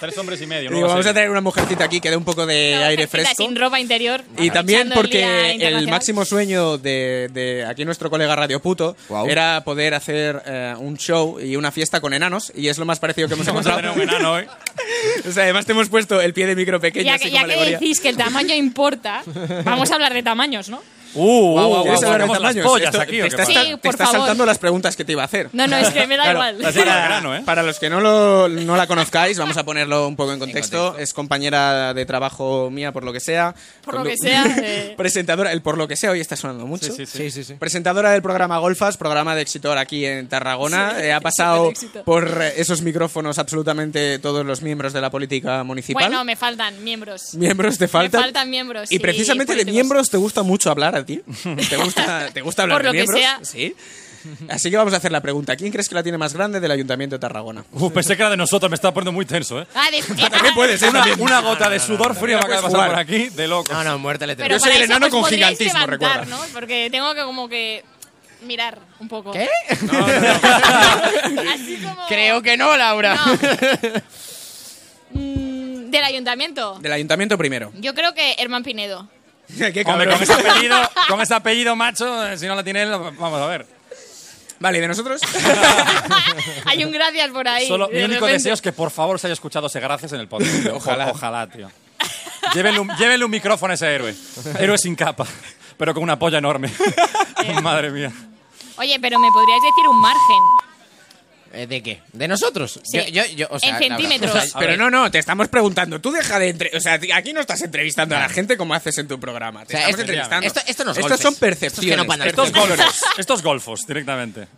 S1: Tres hombres y medio.
S3: Y
S1: ¿no?
S3: digo, vamos
S1: Así.
S3: a traer una mujercita aquí que dé un poco de
S9: Una
S3: aire
S9: mujercita
S3: fresco.
S9: Sin ropa interior.
S3: Y
S9: aprovechando el
S3: también
S9: Día
S3: porque el,
S9: Internacional.
S3: máximo sueño de, de aquí nuestro colega Radio Puto
S2: Guau.
S3: era poder hacer eh, un show y una fiesta con enanos y es lo más parecido que hemos
S1: Vamos a
S3: encontrado.
S1: tener un enano ¿eh? hoy.
S3: O sea, además te hemos puesto el pie de micro pequeño
S9: Ya,
S3: así
S9: que,
S3: como
S9: ya que
S3: alegoría.
S9: decís que el tamaño importa, vamos a hablar de tamaños, ¿no?
S1: Uh,
S3: Guau, guau, guau,
S1: ¿quieres
S3: guau,
S1: saber
S3: guau,
S1: más las
S3: tamaños.
S1: pollas
S3: Esto-
S1: aquí o
S3: te
S1: qué
S3: estás,
S1: pasa?
S9: pasa?
S3: te
S9: Sí, por
S3: estás
S9: favor.
S3: saltando las preguntas que te iba a hacer.
S9: No, no, es que me da
S1: Claro,
S9: igual.
S1: así era el grano, ¿eh?
S3: Para los que no, lo, no la conozcáis, vamos a ponerlo un poco en contexto.
S2: contexto.
S3: Es compañera de trabajo mía, por lo que sea.
S9: Por lo
S3: Condu-
S9: que sea, eh.
S3: Presentadora, el por lo que sea, hoy está sonando mucho.
S1: Sí, sí, sí.
S2: sí, sí.
S3: Presentadora del programa Golfas, programa de Exitor aquí en Tarragona. Eh, ha pasado
S9: Éxito.
S3: por eh, esos micrófonos absolutamente todos los miembros de la política municipal.
S9: Bueno, me faltan miembros.
S3: Miembros te faltan.
S9: Me faltan miembros,
S3: Y
S9: sí,
S3: precisamente de
S9: políticos.
S3: miembros te gusta mucho hablar a ti. ¿Te gusta, te gusta hablar
S9: Por lo
S3: de
S9: que
S3: miembros?
S9: sea.
S3: Sí. Así que vamos a hacer la pregunta. ¿Quién crees que la tiene más grande del Ayuntamiento de Tarragona?
S1: Uf, pensé que era de nosotros, me está poniendo muy tenso, ¿eh?
S9: Ah, de-
S3: También puede ser.
S1: Una,
S3: también.
S1: una gota de sudor frío me acaba de
S3: Puedes
S1: pasar
S3: jugar.
S1: por aquí, de loco.
S2: No, no, muerte le
S9: Pero
S3: Yo
S2: tenemos.
S3: soy
S9: para
S3: el
S9: eso
S3: enano
S9: os
S3: con
S9: podríais
S3: gigantismo,
S9: levantar,
S3: recuerda.
S9: ¿no? Porque tengo que como que mirar un poco.
S2: ¿Qué?
S9: Así como...
S2: Creo que no, Laura.
S9: No. Mm, Del ayuntamiento.
S3: Del Ayuntamiento primero.
S9: Yo creo que Herman Pinedo.
S3: Qué
S1: Hombre,
S3: cabrón.
S1: con ese apellido, con ese apellido macho, eh, si no la tiene él, vamos a ver.
S3: Vale, ¿y de nosotros?
S9: Hay un gracias por ahí.
S1: Solo,
S9: de
S1: mi único
S9: repente.
S1: deseo es que por favor se haya escuchado ese gracias en el podcast. tío.
S3: Ojalá.
S1: Ojalá, tío. Llévenle un, llévenle un micrófono a ese héroe. Héroe sin capa, pero con una polla enorme. Madre mía.
S9: Oye, pero me podríais decir un margen.
S2: Eh, ¿De qué? ¿De nosotros?
S9: Sí.
S2: Yo, yo, yo, o sea,
S9: En
S2: Laura,
S9: centímetros.
S2: o sea,
S3: Pero no, no, te estamos preguntando. Tú deja de... entre- O sea, aquí no estás entrevistando a la gente como haces en tu programa. Te
S2: O sea,
S3: estamos
S2: esto-
S3: entrevistando.
S2: esto- esto no es
S3: Estos
S2: golpes.
S3: son
S2: Esto es que
S3: percepciones.
S2: no paran.
S1: Estos golfos, estos golfos directamente.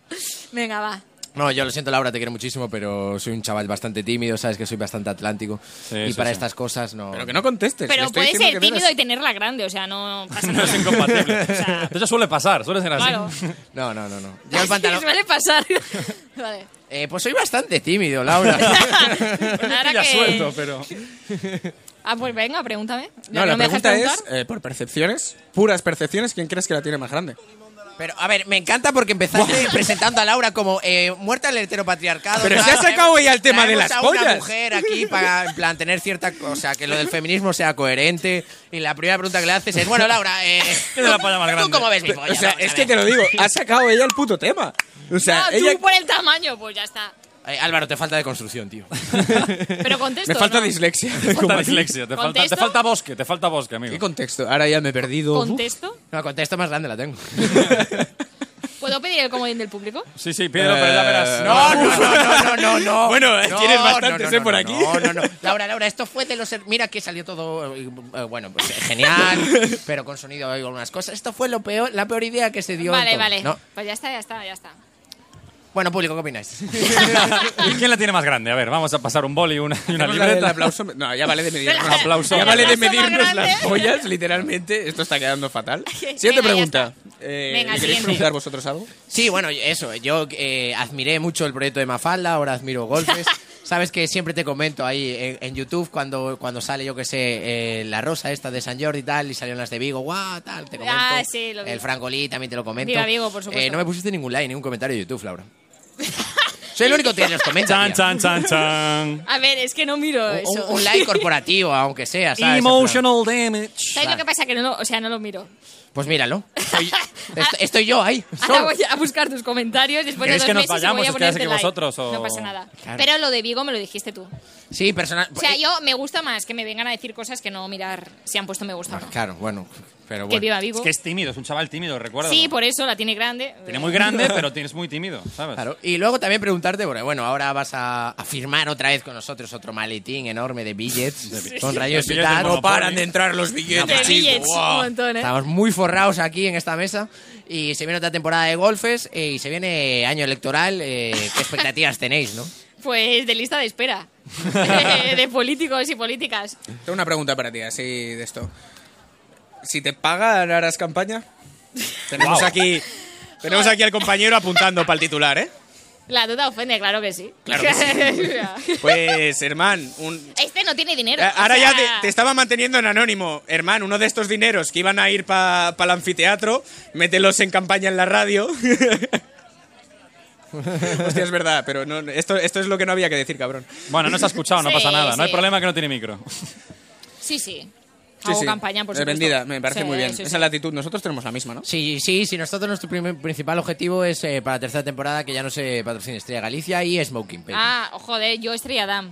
S9: Venga, va.
S2: No, yo lo siento, Laura, te quiero muchísimo, pero soy un chaval bastante tímido, sabes que soy bastante atlántico. y
S1: sí,
S2: para
S1: sí.
S2: estas cosas no.
S3: Pero que no contestes. le
S9: Pero
S3: estoy
S9: puede
S3: diciendo
S9: ser
S3: que
S9: tímido
S3: mires.
S9: y tenerla grande, o sea, no pasa
S1: No
S9: nada.
S1: es incompatible.
S9: O sea,
S1: Eso suele pasar, suele ser así.
S9: claro.
S2: No, no, no. no. Yo el
S9: Así
S2: pantalón.
S9: suele pasar. vale.
S2: Eh, pues soy bastante tímido, Laura.
S9: Ahora
S1: Ya
S9: que-
S1: suelto, pero.
S9: Ah, pues venga, pregúntame.
S3: No, la
S9: me dejas
S3: pregunta es,
S9: preguntar?
S3: eh, por percepciones, puras percepciones, ¿quién crees que la tiene más grande?
S2: Pero, a ver, me encanta porque empezaste presentando a Laura como eh, muerta en el heteropatriarcado.
S3: Pero
S2: tal,
S3: se ha sacado
S2: traemos-
S3: ella el tema de
S2: traemos
S3: las
S2: a
S3: pollas.
S2: una mujer aquí para, en plan, tener cierta... O sea, que lo del feminismo sea coherente. Y la primera pregunta que le haces es, bueno, Laura, eh,
S1: ¿Qué es la polla más
S2: ¿tú
S1: grande?
S2: cómo ves mi polla?
S3: O sea,
S2: pues Vamos a
S3: es que
S2: ver.
S3: te lo digo, ha sacado ella el puto tema. O sea,
S9: no,
S3: ella...
S9: Ah, tú por el tamaño, pues ya está.
S2: Eh, Álvaro, te falta de construcción, tío.
S9: Pero contesto.
S3: Me falta
S9: ¿no?
S3: dislexia.
S1: Te falta
S3: Como-
S1: dislexia, te falta,
S9: ¿Contesto?
S1: te falta bosque, te falta bosque, amigo.
S3: ¿Qué contexto? Ahora ya me he perdido.
S9: ¿Contesto?
S2: No, contesto más grande la tengo.
S9: ¿Puedo pedir el comodín del público?
S1: Sí, sí, pídelo, pero ya
S3: Eh,
S1: verás.
S2: No, no, no, no, no, no.
S3: Bueno, eh,
S2: No,
S3: tienes bastantes,
S2: no, no,
S3: eh, por
S2: no,
S3: aquí.
S2: No, no, no. Laura, Laura, esto fue de los. her- Mira que salió todo. eh, eh, Bueno, pues eh, genial, pero con sonido hay algunas cosas. Esto fue lo peor, la peor idea que se dio. en
S9: vale,
S2: todo.
S9: vale.
S2: No.
S9: Pues ya está, ya está, ya está.
S2: Bueno, público, ¿qué opináis?
S1: ¿Y quién la tiene más grande? A ver, vamos a pasar un boli y una, y una
S3: Vamos a darle el
S1: libreta.
S3: aplauso. No, ya vale de medirnos.
S9: El
S1: aplauso.
S3: Ya vale de
S9: El aplauso más
S3: medirnos
S9: grande.
S3: las pollas, literalmente. Esto está quedando fatal. Siguiente
S9: Venga, ya
S3: pregunta.
S9: está.
S3: Eh,
S9: Venga,
S3: ¿le ¿Queréis
S9: siguiente.
S3: preguntar vosotros algo?
S2: Sí, bueno, eso. Yo eh, admiré mucho el proyecto de Mafalda, ahora admiro golpes. Sabes que siempre te comento ahí en, en YouTube cuando, cuando sale, yo que sé, eh, la rosa esta de San Jordi y tal, y salieron las de Vigo, guau, tal, te comento.
S9: Ah, sí, lo vi.
S2: El Francolí también te lo comento.
S9: Viva Vigo, por supuesto.
S2: Eh, no me pusiste ningún like, ningún comentario de YouTube, Laura. Soy el único que los comenta.
S1: Chan,
S2: tía.
S1: chan, chan, chan.
S9: A ver, es que no miro
S2: Un-
S9: eso.
S2: Un, un like corporativo, aunque sea, ¿sabes? En plan,
S1: Emotional damage.
S9: ¿Sabes lo que pasa? Que no lo, o sea, no lo miro.
S2: Pues míralo. Soy- est- estoy yo ahí.
S9: Ahora
S2: solo.
S9: voy a buscar tus comentarios después de
S1: ¿Queréis
S9: dos
S1: que nos
S9: meses y
S1: vayamos?
S9: voy a
S1: Es que
S9: ponerte
S1: hace que
S9: like.
S1: vosotros o-
S9: No pasa nada.
S2: Claro.
S9: Pero lo de Vigo me lo dijiste tú.
S2: Sí, personal.
S9: O sea, yo me gusta más que me vengan a decir cosas que no mirar si han puesto me gusta o no.
S2: Claro, bueno, pero
S9: Que
S2: bueno.
S9: viva
S1: Es
S9: Vigo.
S1: que es tímido, es un chaval tímido, recuerda.
S9: Sí, pues, eh, por eso la tiene grande.
S1: Tiene muy grande, pero tienes muy tímido, ¿sabes?
S2: Claro. Y luego también preguntarte, porque bueno, ahora vas a, a firmar otra vez con nosotros otro maletín enorme de billets pues, con rayos
S1: De
S2: y
S1: billetes
S2: tal.
S1: de Monopoly.
S3: Paran de entrar los billetes,
S9: De
S3: chicos.
S9: billets,
S3: Guau.
S9: un montón, ¿eh?
S2: Estamos muy forrados aquí en esta mesa y se viene otra temporada de golfes eh, y se viene año electoral. eh, ¿Qué expectativas tenéis, no?
S9: Pues de lista de espera. de, de políticos y políticas.
S3: Tengo una pregunta para ti, así de esto. Si te pagan, harás campaña. Tenemos aquí. Tenemos aquí al compañero apuntando para el titular, ¿eh?
S9: La duda ofende, claro que sí.
S3: Claro que
S9: sí.
S3: Pues, hermano, un,
S9: este no tiene dinero.
S3: Eh,
S9: o
S3: Ahora
S9: sea,
S3: ya te, te estaba manteniendo en anónimo, hermano. Uno de estos dineros que iban a ir para el anfiteatro, mételos en campaña en la radio. Hostia, es verdad, pero no, esto, esto es lo que no había que decir, cabrón.
S1: Bueno, no se ha escuchado, no
S9: Sí,
S1: pasa nada. No hay
S9: sí.
S1: problema que no tiene micro.
S9: Sí, sí.
S3: Sí,
S9: Hago
S3: sí.
S9: campaña, por
S3: Eh,
S9: supuesto.
S3: Vendida, me parece
S9: Sí,
S3: muy bien.
S9: sí,
S3: Esa
S9: sí.
S3: es la actitud. Nosotros tenemos la misma, ¿no?
S2: Sí, sí, sí, nosotros nuestro primer- principal objetivo es eh, para la tercera temporada que ya no se patrocina Estrella Galicia y Smoking Paper.
S9: Ah, joder, yo Estrella Damm.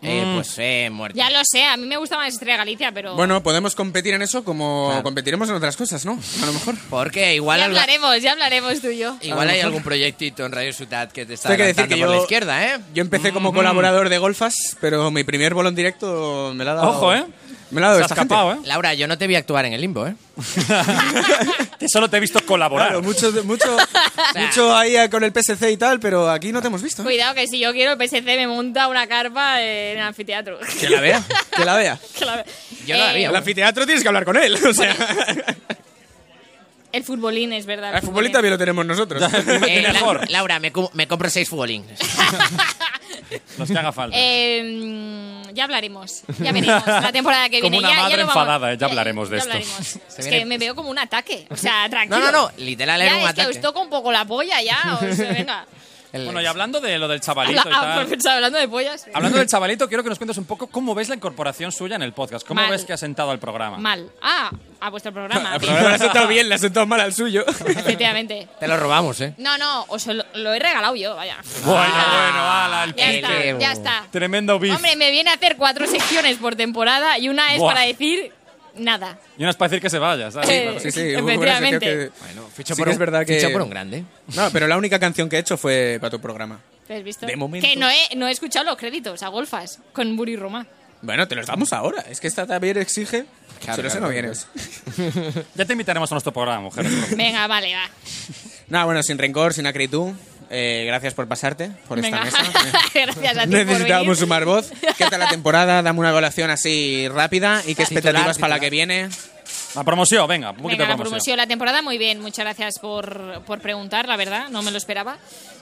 S2: Eh, pues eh, muerto.
S9: Ya lo sé, a mí me gusta más Estrella Galicia, pero...
S3: Bueno, podemos competir en eso como
S2: Claro.
S3: competiremos en otras cosas, ¿no? A lo mejor.
S2: Porque igual,
S9: ya
S2: algo-
S9: hablaremos, ya hablaremos tú y yo.
S2: igual hay algún proyectito en Radio Ciudad que te está
S3: Tengo que decir
S2: adelantando
S3: que
S2: por la
S3: yo-
S2: izquierda, ¿eh?
S3: Yo empecé como colaborador de Golfas, pero mi primer bolo en directo me la ha dado.
S1: Ojo, ¿eh?
S3: Me la ha dado
S1: Se ha
S3: esta gente.
S1: escapado, ¿eh?
S2: Laura, yo no te vi actuar en el limbo, ¿eh?
S1: Que solo te he visto colaborar.
S3: Claro, mucho, mucho, mucho ahí eh, con el PSC y tal, pero aquí no te hemos visto. ¿eh?
S9: Cuidado que si yo quiero el PSC me monta una carpa en el anfiteatro.
S3: Que la vea, que la vea.
S9: Que la-
S2: Yo no la vi,
S9: Eh,
S3: El anfiteatro tienes que hablar con él. O sea,
S9: El futbolín es verdad.
S3: el futbolín también lo tenemos nosotros.
S2: Eh, la-
S1: mejor.
S2: Laura, me, cu- me compro seis futbolines.
S1: Los que haga falta.
S9: Eh, ya hablaremos, ya veremos. La temporada que
S1: Como
S9: viene
S1: una
S9: ya, ya
S1: madre
S9: lo vamos-
S1: enfadada, eh, ya hablaremos de
S9: ya
S1: esto.
S9: hablaremos.
S2: Se
S9: Es
S2: viene-
S9: que me veo como un ataque, o sea, tranquilo.
S2: no, no, literal era
S9: Ya,
S2: un
S9: es que
S2: ataque.
S9: os toco un poco la polla ya, o sea, venga.
S2: El-
S1: Bueno, y hablando de lo del chavalito
S9: Habla-
S1: y
S9: ah,
S1: tal.
S9: pensaba, hablando de pollas. sí.
S1: Hablando del chavalito, quiero que nos cuentes un poco cómo ves la incorporación suya en el podcast. ¿Cómo
S9: Mal.
S1: ves que ha sentado al programa?
S9: Mal. Ah, a vuestro programa.
S3: Al programa le ha sentado bien, le ha sentado mal al suyo.
S9: Efectivamente.
S2: Te lo robamos, ¿eh?
S9: No, no, os lo, lo he regalado yo, vaya.
S1: Bueno, bueno, ala, el
S9: Ya
S2: Qué
S9: está,
S2: leo.
S9: ya está.
S1: Tremendo beef.
S9: Hombre, me viene a hacer cuatro secciones por temporada y una es
S1: Buah.
S9: para decir nada.
S1: Y no es para decir que se vaya, ¿sabes?
S9: Eh,
S1: Claro.
S3: Sí, sí, hubo una
S9: Efectivamente.
S3: sección que-
S2: Bueno, ficho
S3: Sí
S2: por
S3: que
S2: un,
S3: es verdad que-
S2: ficho por un grande.
S3: No, pero la única canción que he hecho fue para tu programa.
S9: ¿Te has visto?
S3: De momento.
S9: Que no he, no he escuchado los créditos a Golfas con Buri Roma.
S3: Bueno, te los damos ahora. Es que esta también exige.
S2: Claro,
S3: si no, se
S2: claro,
S3: no
S2: claro.
S3: vienes.
S1: Ya te invitaremos a nuestro programa, mujer.
S9: Venga, vale, va.
S3: Nada, bueno, sin rencor, sin acritud. eh, gracias por pasarte por
S9: Venga.
S3: esta mesa. eh.
S9: Gracias a ti. por venir.
S3: Necesitábamos sumar voz. ¿Qué tal la temporada? Dame una evaluación así rápida y qué expectativas para la que viene.
S1: La promoción, venga, un poquito
S9: Venga, la
S1: de promoción.
S9: promoción, la temporada, muy bien. Muchas gracias por, por preguntar, la verdad, no me lo esperaba.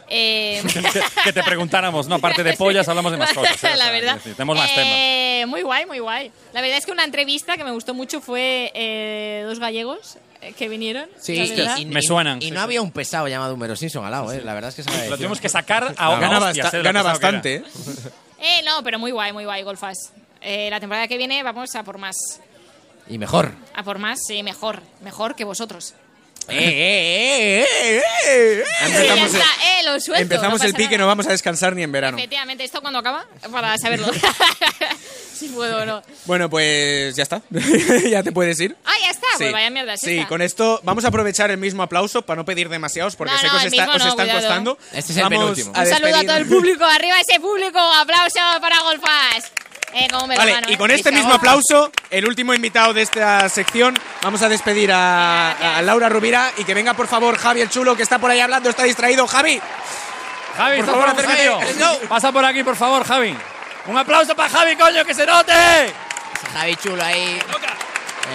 S9: Eh,
S1: que, que te preguntáramos, no, aparte de pollas, hablamos de más cosas. ¿eh? O
S9: la
S1: sea,
S9: verdad.
S1: es decir, Tenemos más temas.
S9: Eh, Muy guay, muy guay. La verdad es que una entrevista que me gustó mucho fue eh, dos gallegos eh, que vinieron.
S2: Sí,
S9: la
S2: y-
S9: verdad.
S2: y-
S1: Me
S2: y-
S1: suenan,
S2: Y
S1: sí,
S2: no
S1: sí.
S2: había un pesado llamado Homero Simpson al lado, ¿eh? La verdad es que se me
S1: Lo tuvimos que sacar a
S3: gana
S1: hostias,
S3: basta-
S1: eh, de lo
S3: gana
S1: pesado que era.
S3: bastante. ¿eh?
S9: Eh, no, pero muy guay, muy guay, Golfas. Eh, la temporada que viene vamos a por más.
S2: Y mejor.
S9: A por más, sí, mejor. Mejor que vosotros.
S2: ¡Eh, eh, eh, eh, eh, eh!
S9: Sí, ya
S3: Empezamos,
S9: está, eh, lo suelto.
S3: empezamos
S9: no
S3: el
S9: pasa
S3: pique, no
S9: nada.
S3: vamos a descansar ni en verano.
S9: Efectivamente, ¿esto cuando acaba? Para saberlo. si puedo o no.
S3: Bueno, pues ya está. ya te puedes ir.
S9: Ah, ya está. Pues vaya mierda, es
S3: Sí,
S9: esta.
S3: con esto vamos a aprovechar el mismo aplauso para no pedir demasiados porque
S9: No,
S3: sé
S9: no,
S3: que os,
S9: el
S3: está-
S9: mismo
S3: os
S9: no,
S3: están
S9: cuidado.
S3: costando.
S2: Este es el
S3: Vamos
S2: penúltimo.
S3: a
S9: Un saludo a
S3: despedir-
S9: todo el público. Arriba ese público. Aplauso para Golfas. Eh, cómo me lo
S3: Vale,
S9: gano,
S3: y
S9: eh.
S3: con este
S9: Dice,
S3: mismo
S9: "Oh".
S3: aplauso, el último invitado de esta sección, vamos a despedir a,
S9: Gracias.
S3: a Laura Rubira y que venga por favor Javi el chulo que está por ahí hablando, está distraído. Javi,
S1: Javi,
S3: eh. Por
S1: estás
S3: favor,
S1: por aquí,
S3: acércate.
S1: tío. Pasa por aquí, por favor, Javi. Un aplauso para Javi, coño, que se note.
S2: Javi Chulo ahí.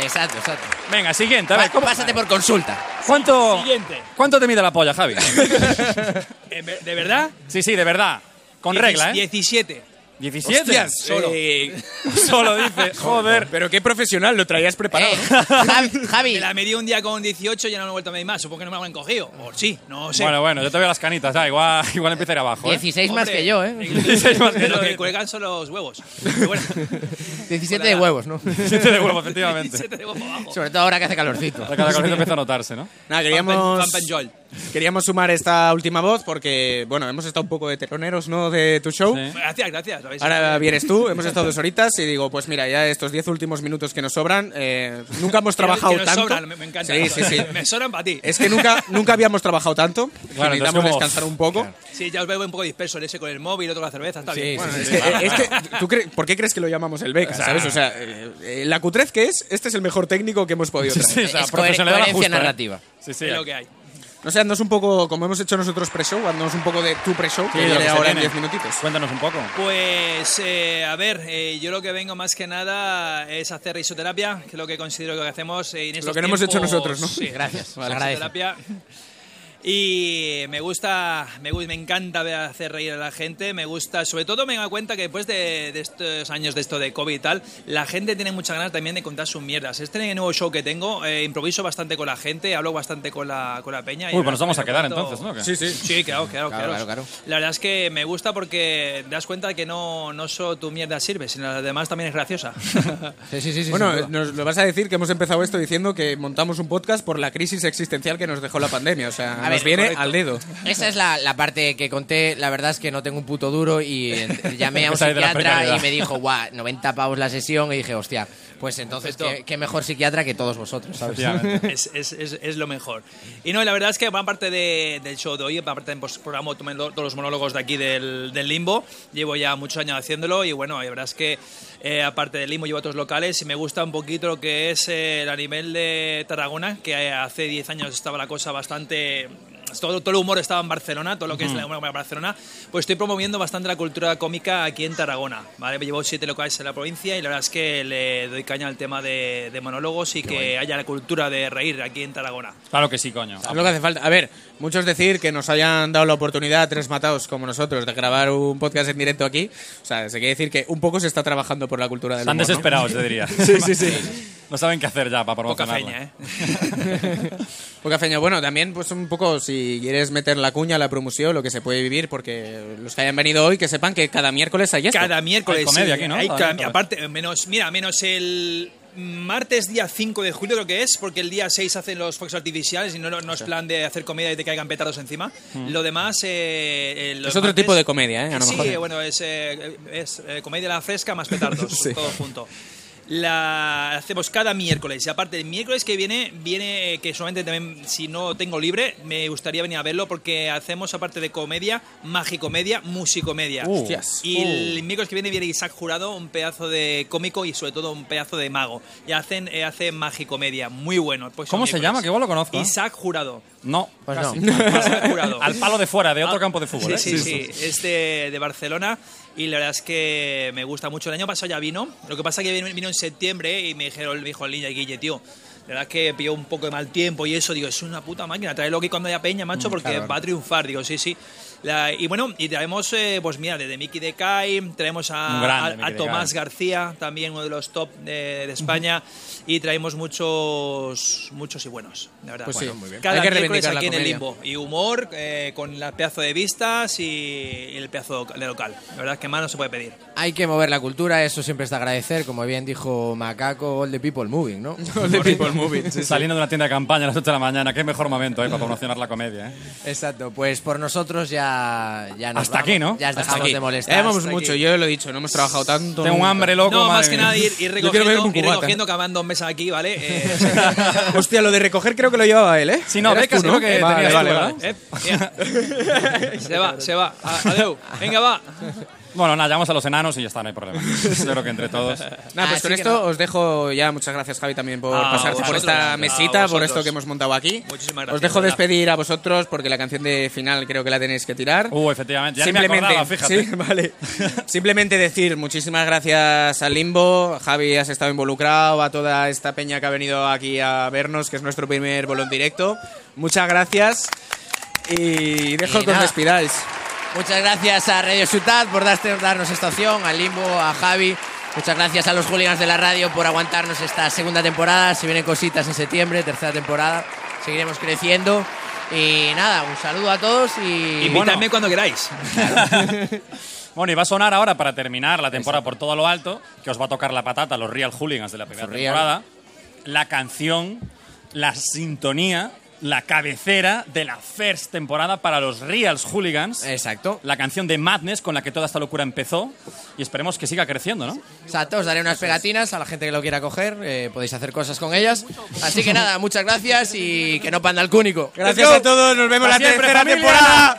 S2: Exacto, exacto.
S1: Venga, siguiente. A ver,
S2: Pa-
S1: ¿cómo-
S2: Pásate por consulta.
S1: ¿cuánto,
S10: Siguiente.
S1: ¿Cuánto te mide la polla, Javi?
S10: Eh, ve- ¿De verdad?
S1: Sí, sí, de verdad. Con
S10: Diecis-
S1: regla, ¿eh?
S10: 17.
S1: 17.
S3: hostias,
S10: solo.
S3: eh,
S1: Solo dice, joder.
S3: pero qué profesional, lo traías preparado.
S2: Eh, Javi, Javi,
S10: Me la medí un día con 18 y ya no me he vuelto a medir más. Supongo que no me habrán cogido. O sí, no sé.
S1: Bueno, bueno, yo te veo las canitas, ah, igual, igual empieza a ir abajo. ¿eh?
S2: 16 más
S10: Hombre,
S2: que yo,
S10: eh,
S2: ¿eh?
S10: Lo que,
S1: yo.
S10: lo que cuelgan son los huevos. Pero bueno,
S2: 17 de huevos, ¿no?
S1: Siete de huevo, efectivamente.
S10: 17 de huevo abajo.
S2: Sobre todo ahora que hace calorcito.
S1: La cada corriente empieza a notarse, ¿no?
S10: Pampen-
S3: Nada, queríamos,
S10: Pampenjol.
S3: queríamos sumar esta última voz porque, bueno, hemos estado un poco de teloneros, ¿no?, de tu show.
S1: Sí.
S10: Gracias, gracias. ¿sabéis?
S3: Ahora vienes tú, hemos estado dos horitas y digo, pues mira, ya estos diez últimos minutos que nos sobran, eh, nunca hemos
S10: Que no-
S3: trabajado
S10: que nos
S3: tanto.
S10: sobran, me, me encanta.
S3: Sí, sí, sí.
S10: Me sobran para ti.
S3: Es que nunca, nunca habíamos trabajado tanto.
S1: Claro, entonces
S3: necesitamos
S1: como-
S3: descansar un poco.
S10: Sí, ya os veo un poco disperso el ese con el móvil, otro con la cerveza. Está bien.
S5: eh,
S10: Bueno,
S3: Es que, Eh, es que, ¿tú cre- ¿por qué crees que lo llamamos el Beca? ¿Sabes? O sea, eh, eh, la cutrez que es, este es el mejor técnico que hemos podido
S1: Sí, sí,
S3: traer.
S1: o sea,
S2: Es coher-
S1: profesionalidad
S2: coherencia
S1: justa, ¿eh?
S2: narrativa.
S1: Sí, sí.
S10: es lo que hay.
S3: No sé, haznos un poco, como hemos hecho nosotros pre-show, haznos un poco de tu pre-show,
S1: Sí,
S3: que
S1: lo
S3: viene
S1: que se
S3: ahora en
S1: viene.
S3: 10 minutitos.
S1: Cuéntanos un poco.
S10: Pues, eh, a ver, eh, yo lo que vengo más que nada es hacer risoterapia, que es lo que considero que hacemos eh, en estos
S3: que no hemos
S10: tiempos-
S3: hecho nosotros, ¿no?
S10: Sí,
S2: Gracias,
S10: risoterapia. Y me gusta, me, gu- me encanta ver- hacer reír a la gente, me gusta, sobre todo me he dado cuenta que después de, de estos años de esto de COVID y tal, la gente tiene muchas ganas también de contar sus mierdas. Este nuevo show que tengo, eh, improviso bastante con la gente, hablo bastante con la, con la peña. y
S1: Uy,
S10: la
S1: pues nos vamos a
S10: verdad
S1: quedar
S10: que cuento-
S1: entonces, ¿no? ¿Qué?
S3: Sí, sí.
S10: Sí, claro, claro,
S2: Claro,
S10: claro.
S2: claro, claro.
S10: La verdad es que me gusta porque te das cuenta que no, no solo tu mierda sirve, sino la demás también es graciosa.
S2: Sí, sí, sí. sí, sin
S3: Bueno,
S2: duda.
S3: nos lo vas a decir que hemos empezado esto diciendo que montamos un podcast por la crisis existencial que nos dejó la pandemia. O sea, nos
S2: ver,
S3: viene
S2: correcto.
S3: al dedo.
S1: eh,
S2: Esa es la, la parte que conté. La verdad es que no tengo un puto duro y eh, llamé a un
S1: Esa es de la
S2: psiquiatra y
S1: precariedad.
S2: me dijo, guau, 90 pavos la sesión. Y dije, hostia, pues entonces, ¿qué, qué mejor psiquiatra que todos vosotros, ¿sabes?
S1: Efectivamente.
S10: es, es- es- es lo mejor. Y no, y la verdad es que gran parte de- Eh, del show de hoy, gran parte del pos- programa, tomé lo- todos los monólogos de aquí del, del Limbo. Llevo ya muchos años haciéndolo y bueno, la verdad es que eh, aparte del Limbo llevo otros locales y me gusta un poquito lo que es eh, el a nivel de Tarragona, que eh, hace 10 años estaba la cosa bastante... Todo, todo el humor estaba en Barcelona, todo lo que es la humor en Barcelona, pues estoy promoviendo bastante la cultura cómica aquí en Tarragona, ¿vale? Me llevo siete locales en la provincia y la verdad es que le doy caña al tema de, de monólogos y que haya la cultura de reír aquí en Tarragona.
S1: Claro que sí, coño.
S3: Es lo que hace falta. A ver, muchos decir que nos hayan dado la oportunidad, tres matados como nosotros, de grabar un podcast en directo aquí. O sea, se quiere decir que un poco se está trabajando por la cultura del
S1: Están
S3: humor, ¿no?
S1: desesperados, te diría. sí, sí, sí. No saben qué hacer ya para
S10: Poca
S1: promocionarlo.
S10: feña, ¿eh?
S3: Poca feña. Bueno, también pues un poco si quieres meter la cuña, la promoción, lo que se puede vivir, porque los que hayan venido hoy que sepan que cada miércoles hay esto.
S10: Cada miércoles.
S1: Hay comedia
S10: sí,
S1: aquí, ¿no?
S10: hay
S1: Cada
S10: ca-
S1: miércoles.
S10: aparte, menos, mira, menos el martes día 5 de julio creo que es, porque el día 6 hacen los fuegos artificiales y no, no es plan de hacer comedia y te caigan petardos encima. Lo demás... eh, eh, los
S3: Mm. Es otro
S10: martes-
S3: tipo de comedia, ¿eh? A lo
S10: sí,
S3: mejor.
S10: eh, bueno, es, eh, es, eh, comedia a la fresca más petardos,
S3: Sí.
S10: todo junto. La hacemos cada miércoles. Y aparte, el miércoles que viene, viene eh, que solamente también, si no tengo libre, me gustaría venir a verlo porque hacemos, aparte de comedia, magicomedia, musicomedia.
S1: Uh.
S3: Hostias.
S10: Y el miércoles que viene viene Isaac Jurado, un pedazo de cómico y sobre todo un pedazo de mago. Y hacen, eh, hace magicomedia, muy bueno. Pues
S1: ¿Cómo
S10: son
S1: se
S10: miércoles.
S1: llama? Que vos lo conozco, ¿eh?
S10: Isaac Jurado.
S1: No.
S2: Pues
S1: casi.
S2: no.
S10: Isaac Jurado.
S1: Al palo de fuera, de otro
S10: Ah,
S1: campo de fútbol. ¿eh?
S10: Sí, sí, sí. Es de, de Barcelona y la verdad es que me gusta mucho. El año pasado ya vino. Lo que pasa es que vino, vino en septiembre y me dijeron, el dijo el niño Guille, tío. La verdad es que pilló un poco de mal tiempo y eso. Digo, es una puta máquina. Tráelo aquí cuando haya peña,
S1: Mm,
S10: macho, porque va a triunfar. Digo, sí, sí. La- y bueno, y traemos, eh, pues mira, desde Miki de Kai, traemos
S1: Un
S10: a,
S1: grande,
S10: a-
S1: Miki
S10: a
S1: de
S10: Tomás
S1: Kai.
S10: García, también uno de los top de, de España, y traemos muchos muchos y buenos, de verdad.
S3: Pues sí, muy bien.
S10: Cada
S3: Hay que
S10: miércoles
S3: reivindicar la
S10: aquí en el Limbo
S3: comedia.
S10: y humor eh, con la pedazo de vistas y el pedazo de local. La verdad es que más no se puede pedir.
S2: Hay que mover la cultura, eso siempre está agradecer. Como bien dijo Macaco, all the people moving, ¿no?
S3: de People Movie. sí, sí.
S1: Saliendo de una tienda de campaña a las 8 de la mañana, qué mejor momento ¿eh? para promocionar la comedia. ¿eh?
S2: Exacto, pues por nosotros ya, ya nos
S1: Hasta
S2: vamos,
S1: aquí, ¿no?
S2: Ya
S3: Hasta
S2: dejamos
S3: aquí.
S2: de molestar.
S3: Ya hemos
S2: Hasta
S3: mucho,
S2: aquí.
S3: yo lo he dicho, no hemos trabajado tanto.
S1: Tengo un
S3: nunca.
S1: hambre loco.
S10: no, más
S1: madre
S10: que
S1: mía.
S10: nada ir, ir
S3: Yo quiero ver
S10: recogiendo,
S3: un
S10: ir
S3: cubata.
S10: recogiendo que van dos mesas aquí, ¿vale? Eh, sí.
S3: Hostia, lo de recoger creo que lo llevaba él, ¿eh?
S1: Sí, no,
S3: Eras
S1: becas
S3: tú, ¿no?
S1: creo que
S3: Vale,
S1: tenías tú, ¿verdad?
S3: vale, vale.
S10: Eh, mira. se va, se va. A- Adeu. Venga, va.
S1: Bueno, nada, llamamos a los enanos y ya está, no hay problema. Yo creo que entre todos.
S3: Nada, pues
S2: Así
S3: con
S2: que
S3: esto os dejo ya. Muchas gracias, Javi, también por
S10: Ah,
S3: pasarte por
S1: pues
S10: vosotros,
S3: esta
S10: a
S3: mesita, por
S10: vosotros.
S3: esto que hemos montado aquí.
S10: Muchísimas gracias,
S3: Os dejo
S10: de verdad.
S3: despedir a vosotros porque la canción de final creo que la tenéis que tirar.
S1: Uh, efectivamente. Ya ni me acordaba, fíjate.
S3: sí, vale. Simplemente decir muchísimas gracias al Limbo, Javi, has estado involucrado, a toda esta peña que ha venido aquí a vernos, que es nuestro primer bolón directo. Muchas gracias y dejo
S2: Y
S3: que os
S2: nada.
S3: despidáis.
S2: Muchas gracias a Radio Ciudad por darse- darnos esta opción, al Limbo, a Javi. Muchas gracias a los hooligans de la radio por aguantarnos esta segunda temporada. Se vienen cositas en septiembre, tercera temporada. Seguiremos creciendo. Y nada, un saludo a todos y.
S10: Invitadme cuando queráis.
S1: Bueno, y va a sonar ahora para terminar la temporada por todo lo alto, que os va a tocar la patata, los Real Hooligans de la primera
S2: Los Real.
S1: temporada, la canción, la sintonía, la cabecera de la first temporada para los Real Hooligans.
S2: Eh. Exacto.
S1: La canción de Madness con la que toda esta locura empezó y esperemos que siga creciendo, ¿no?
S2: Exacto, os daré unas pegatinas a la gente que lo quiera coger. eh, podéis hacer cosas con ellas. Así que nada, muchas gracias y que no panda el cúnico.
S3: Gracias a todos, nos vemos
S1: Hasta
S3: la
S1: siempre,
S3: tercera
S1: familia.
S3: temporada.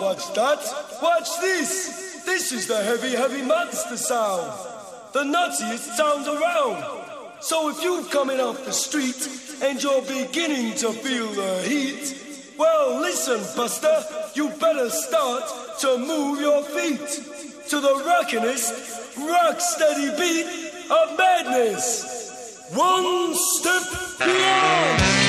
S11: watch that. Watch this. This is the heavy, heavy monster sound. The nuttiest sound around. So if you've come in off the street and you're beginning to feel the heat, well, listen, Buster, you better start to move your feet to the rockinest, rock steady beat of madness. One step beyond.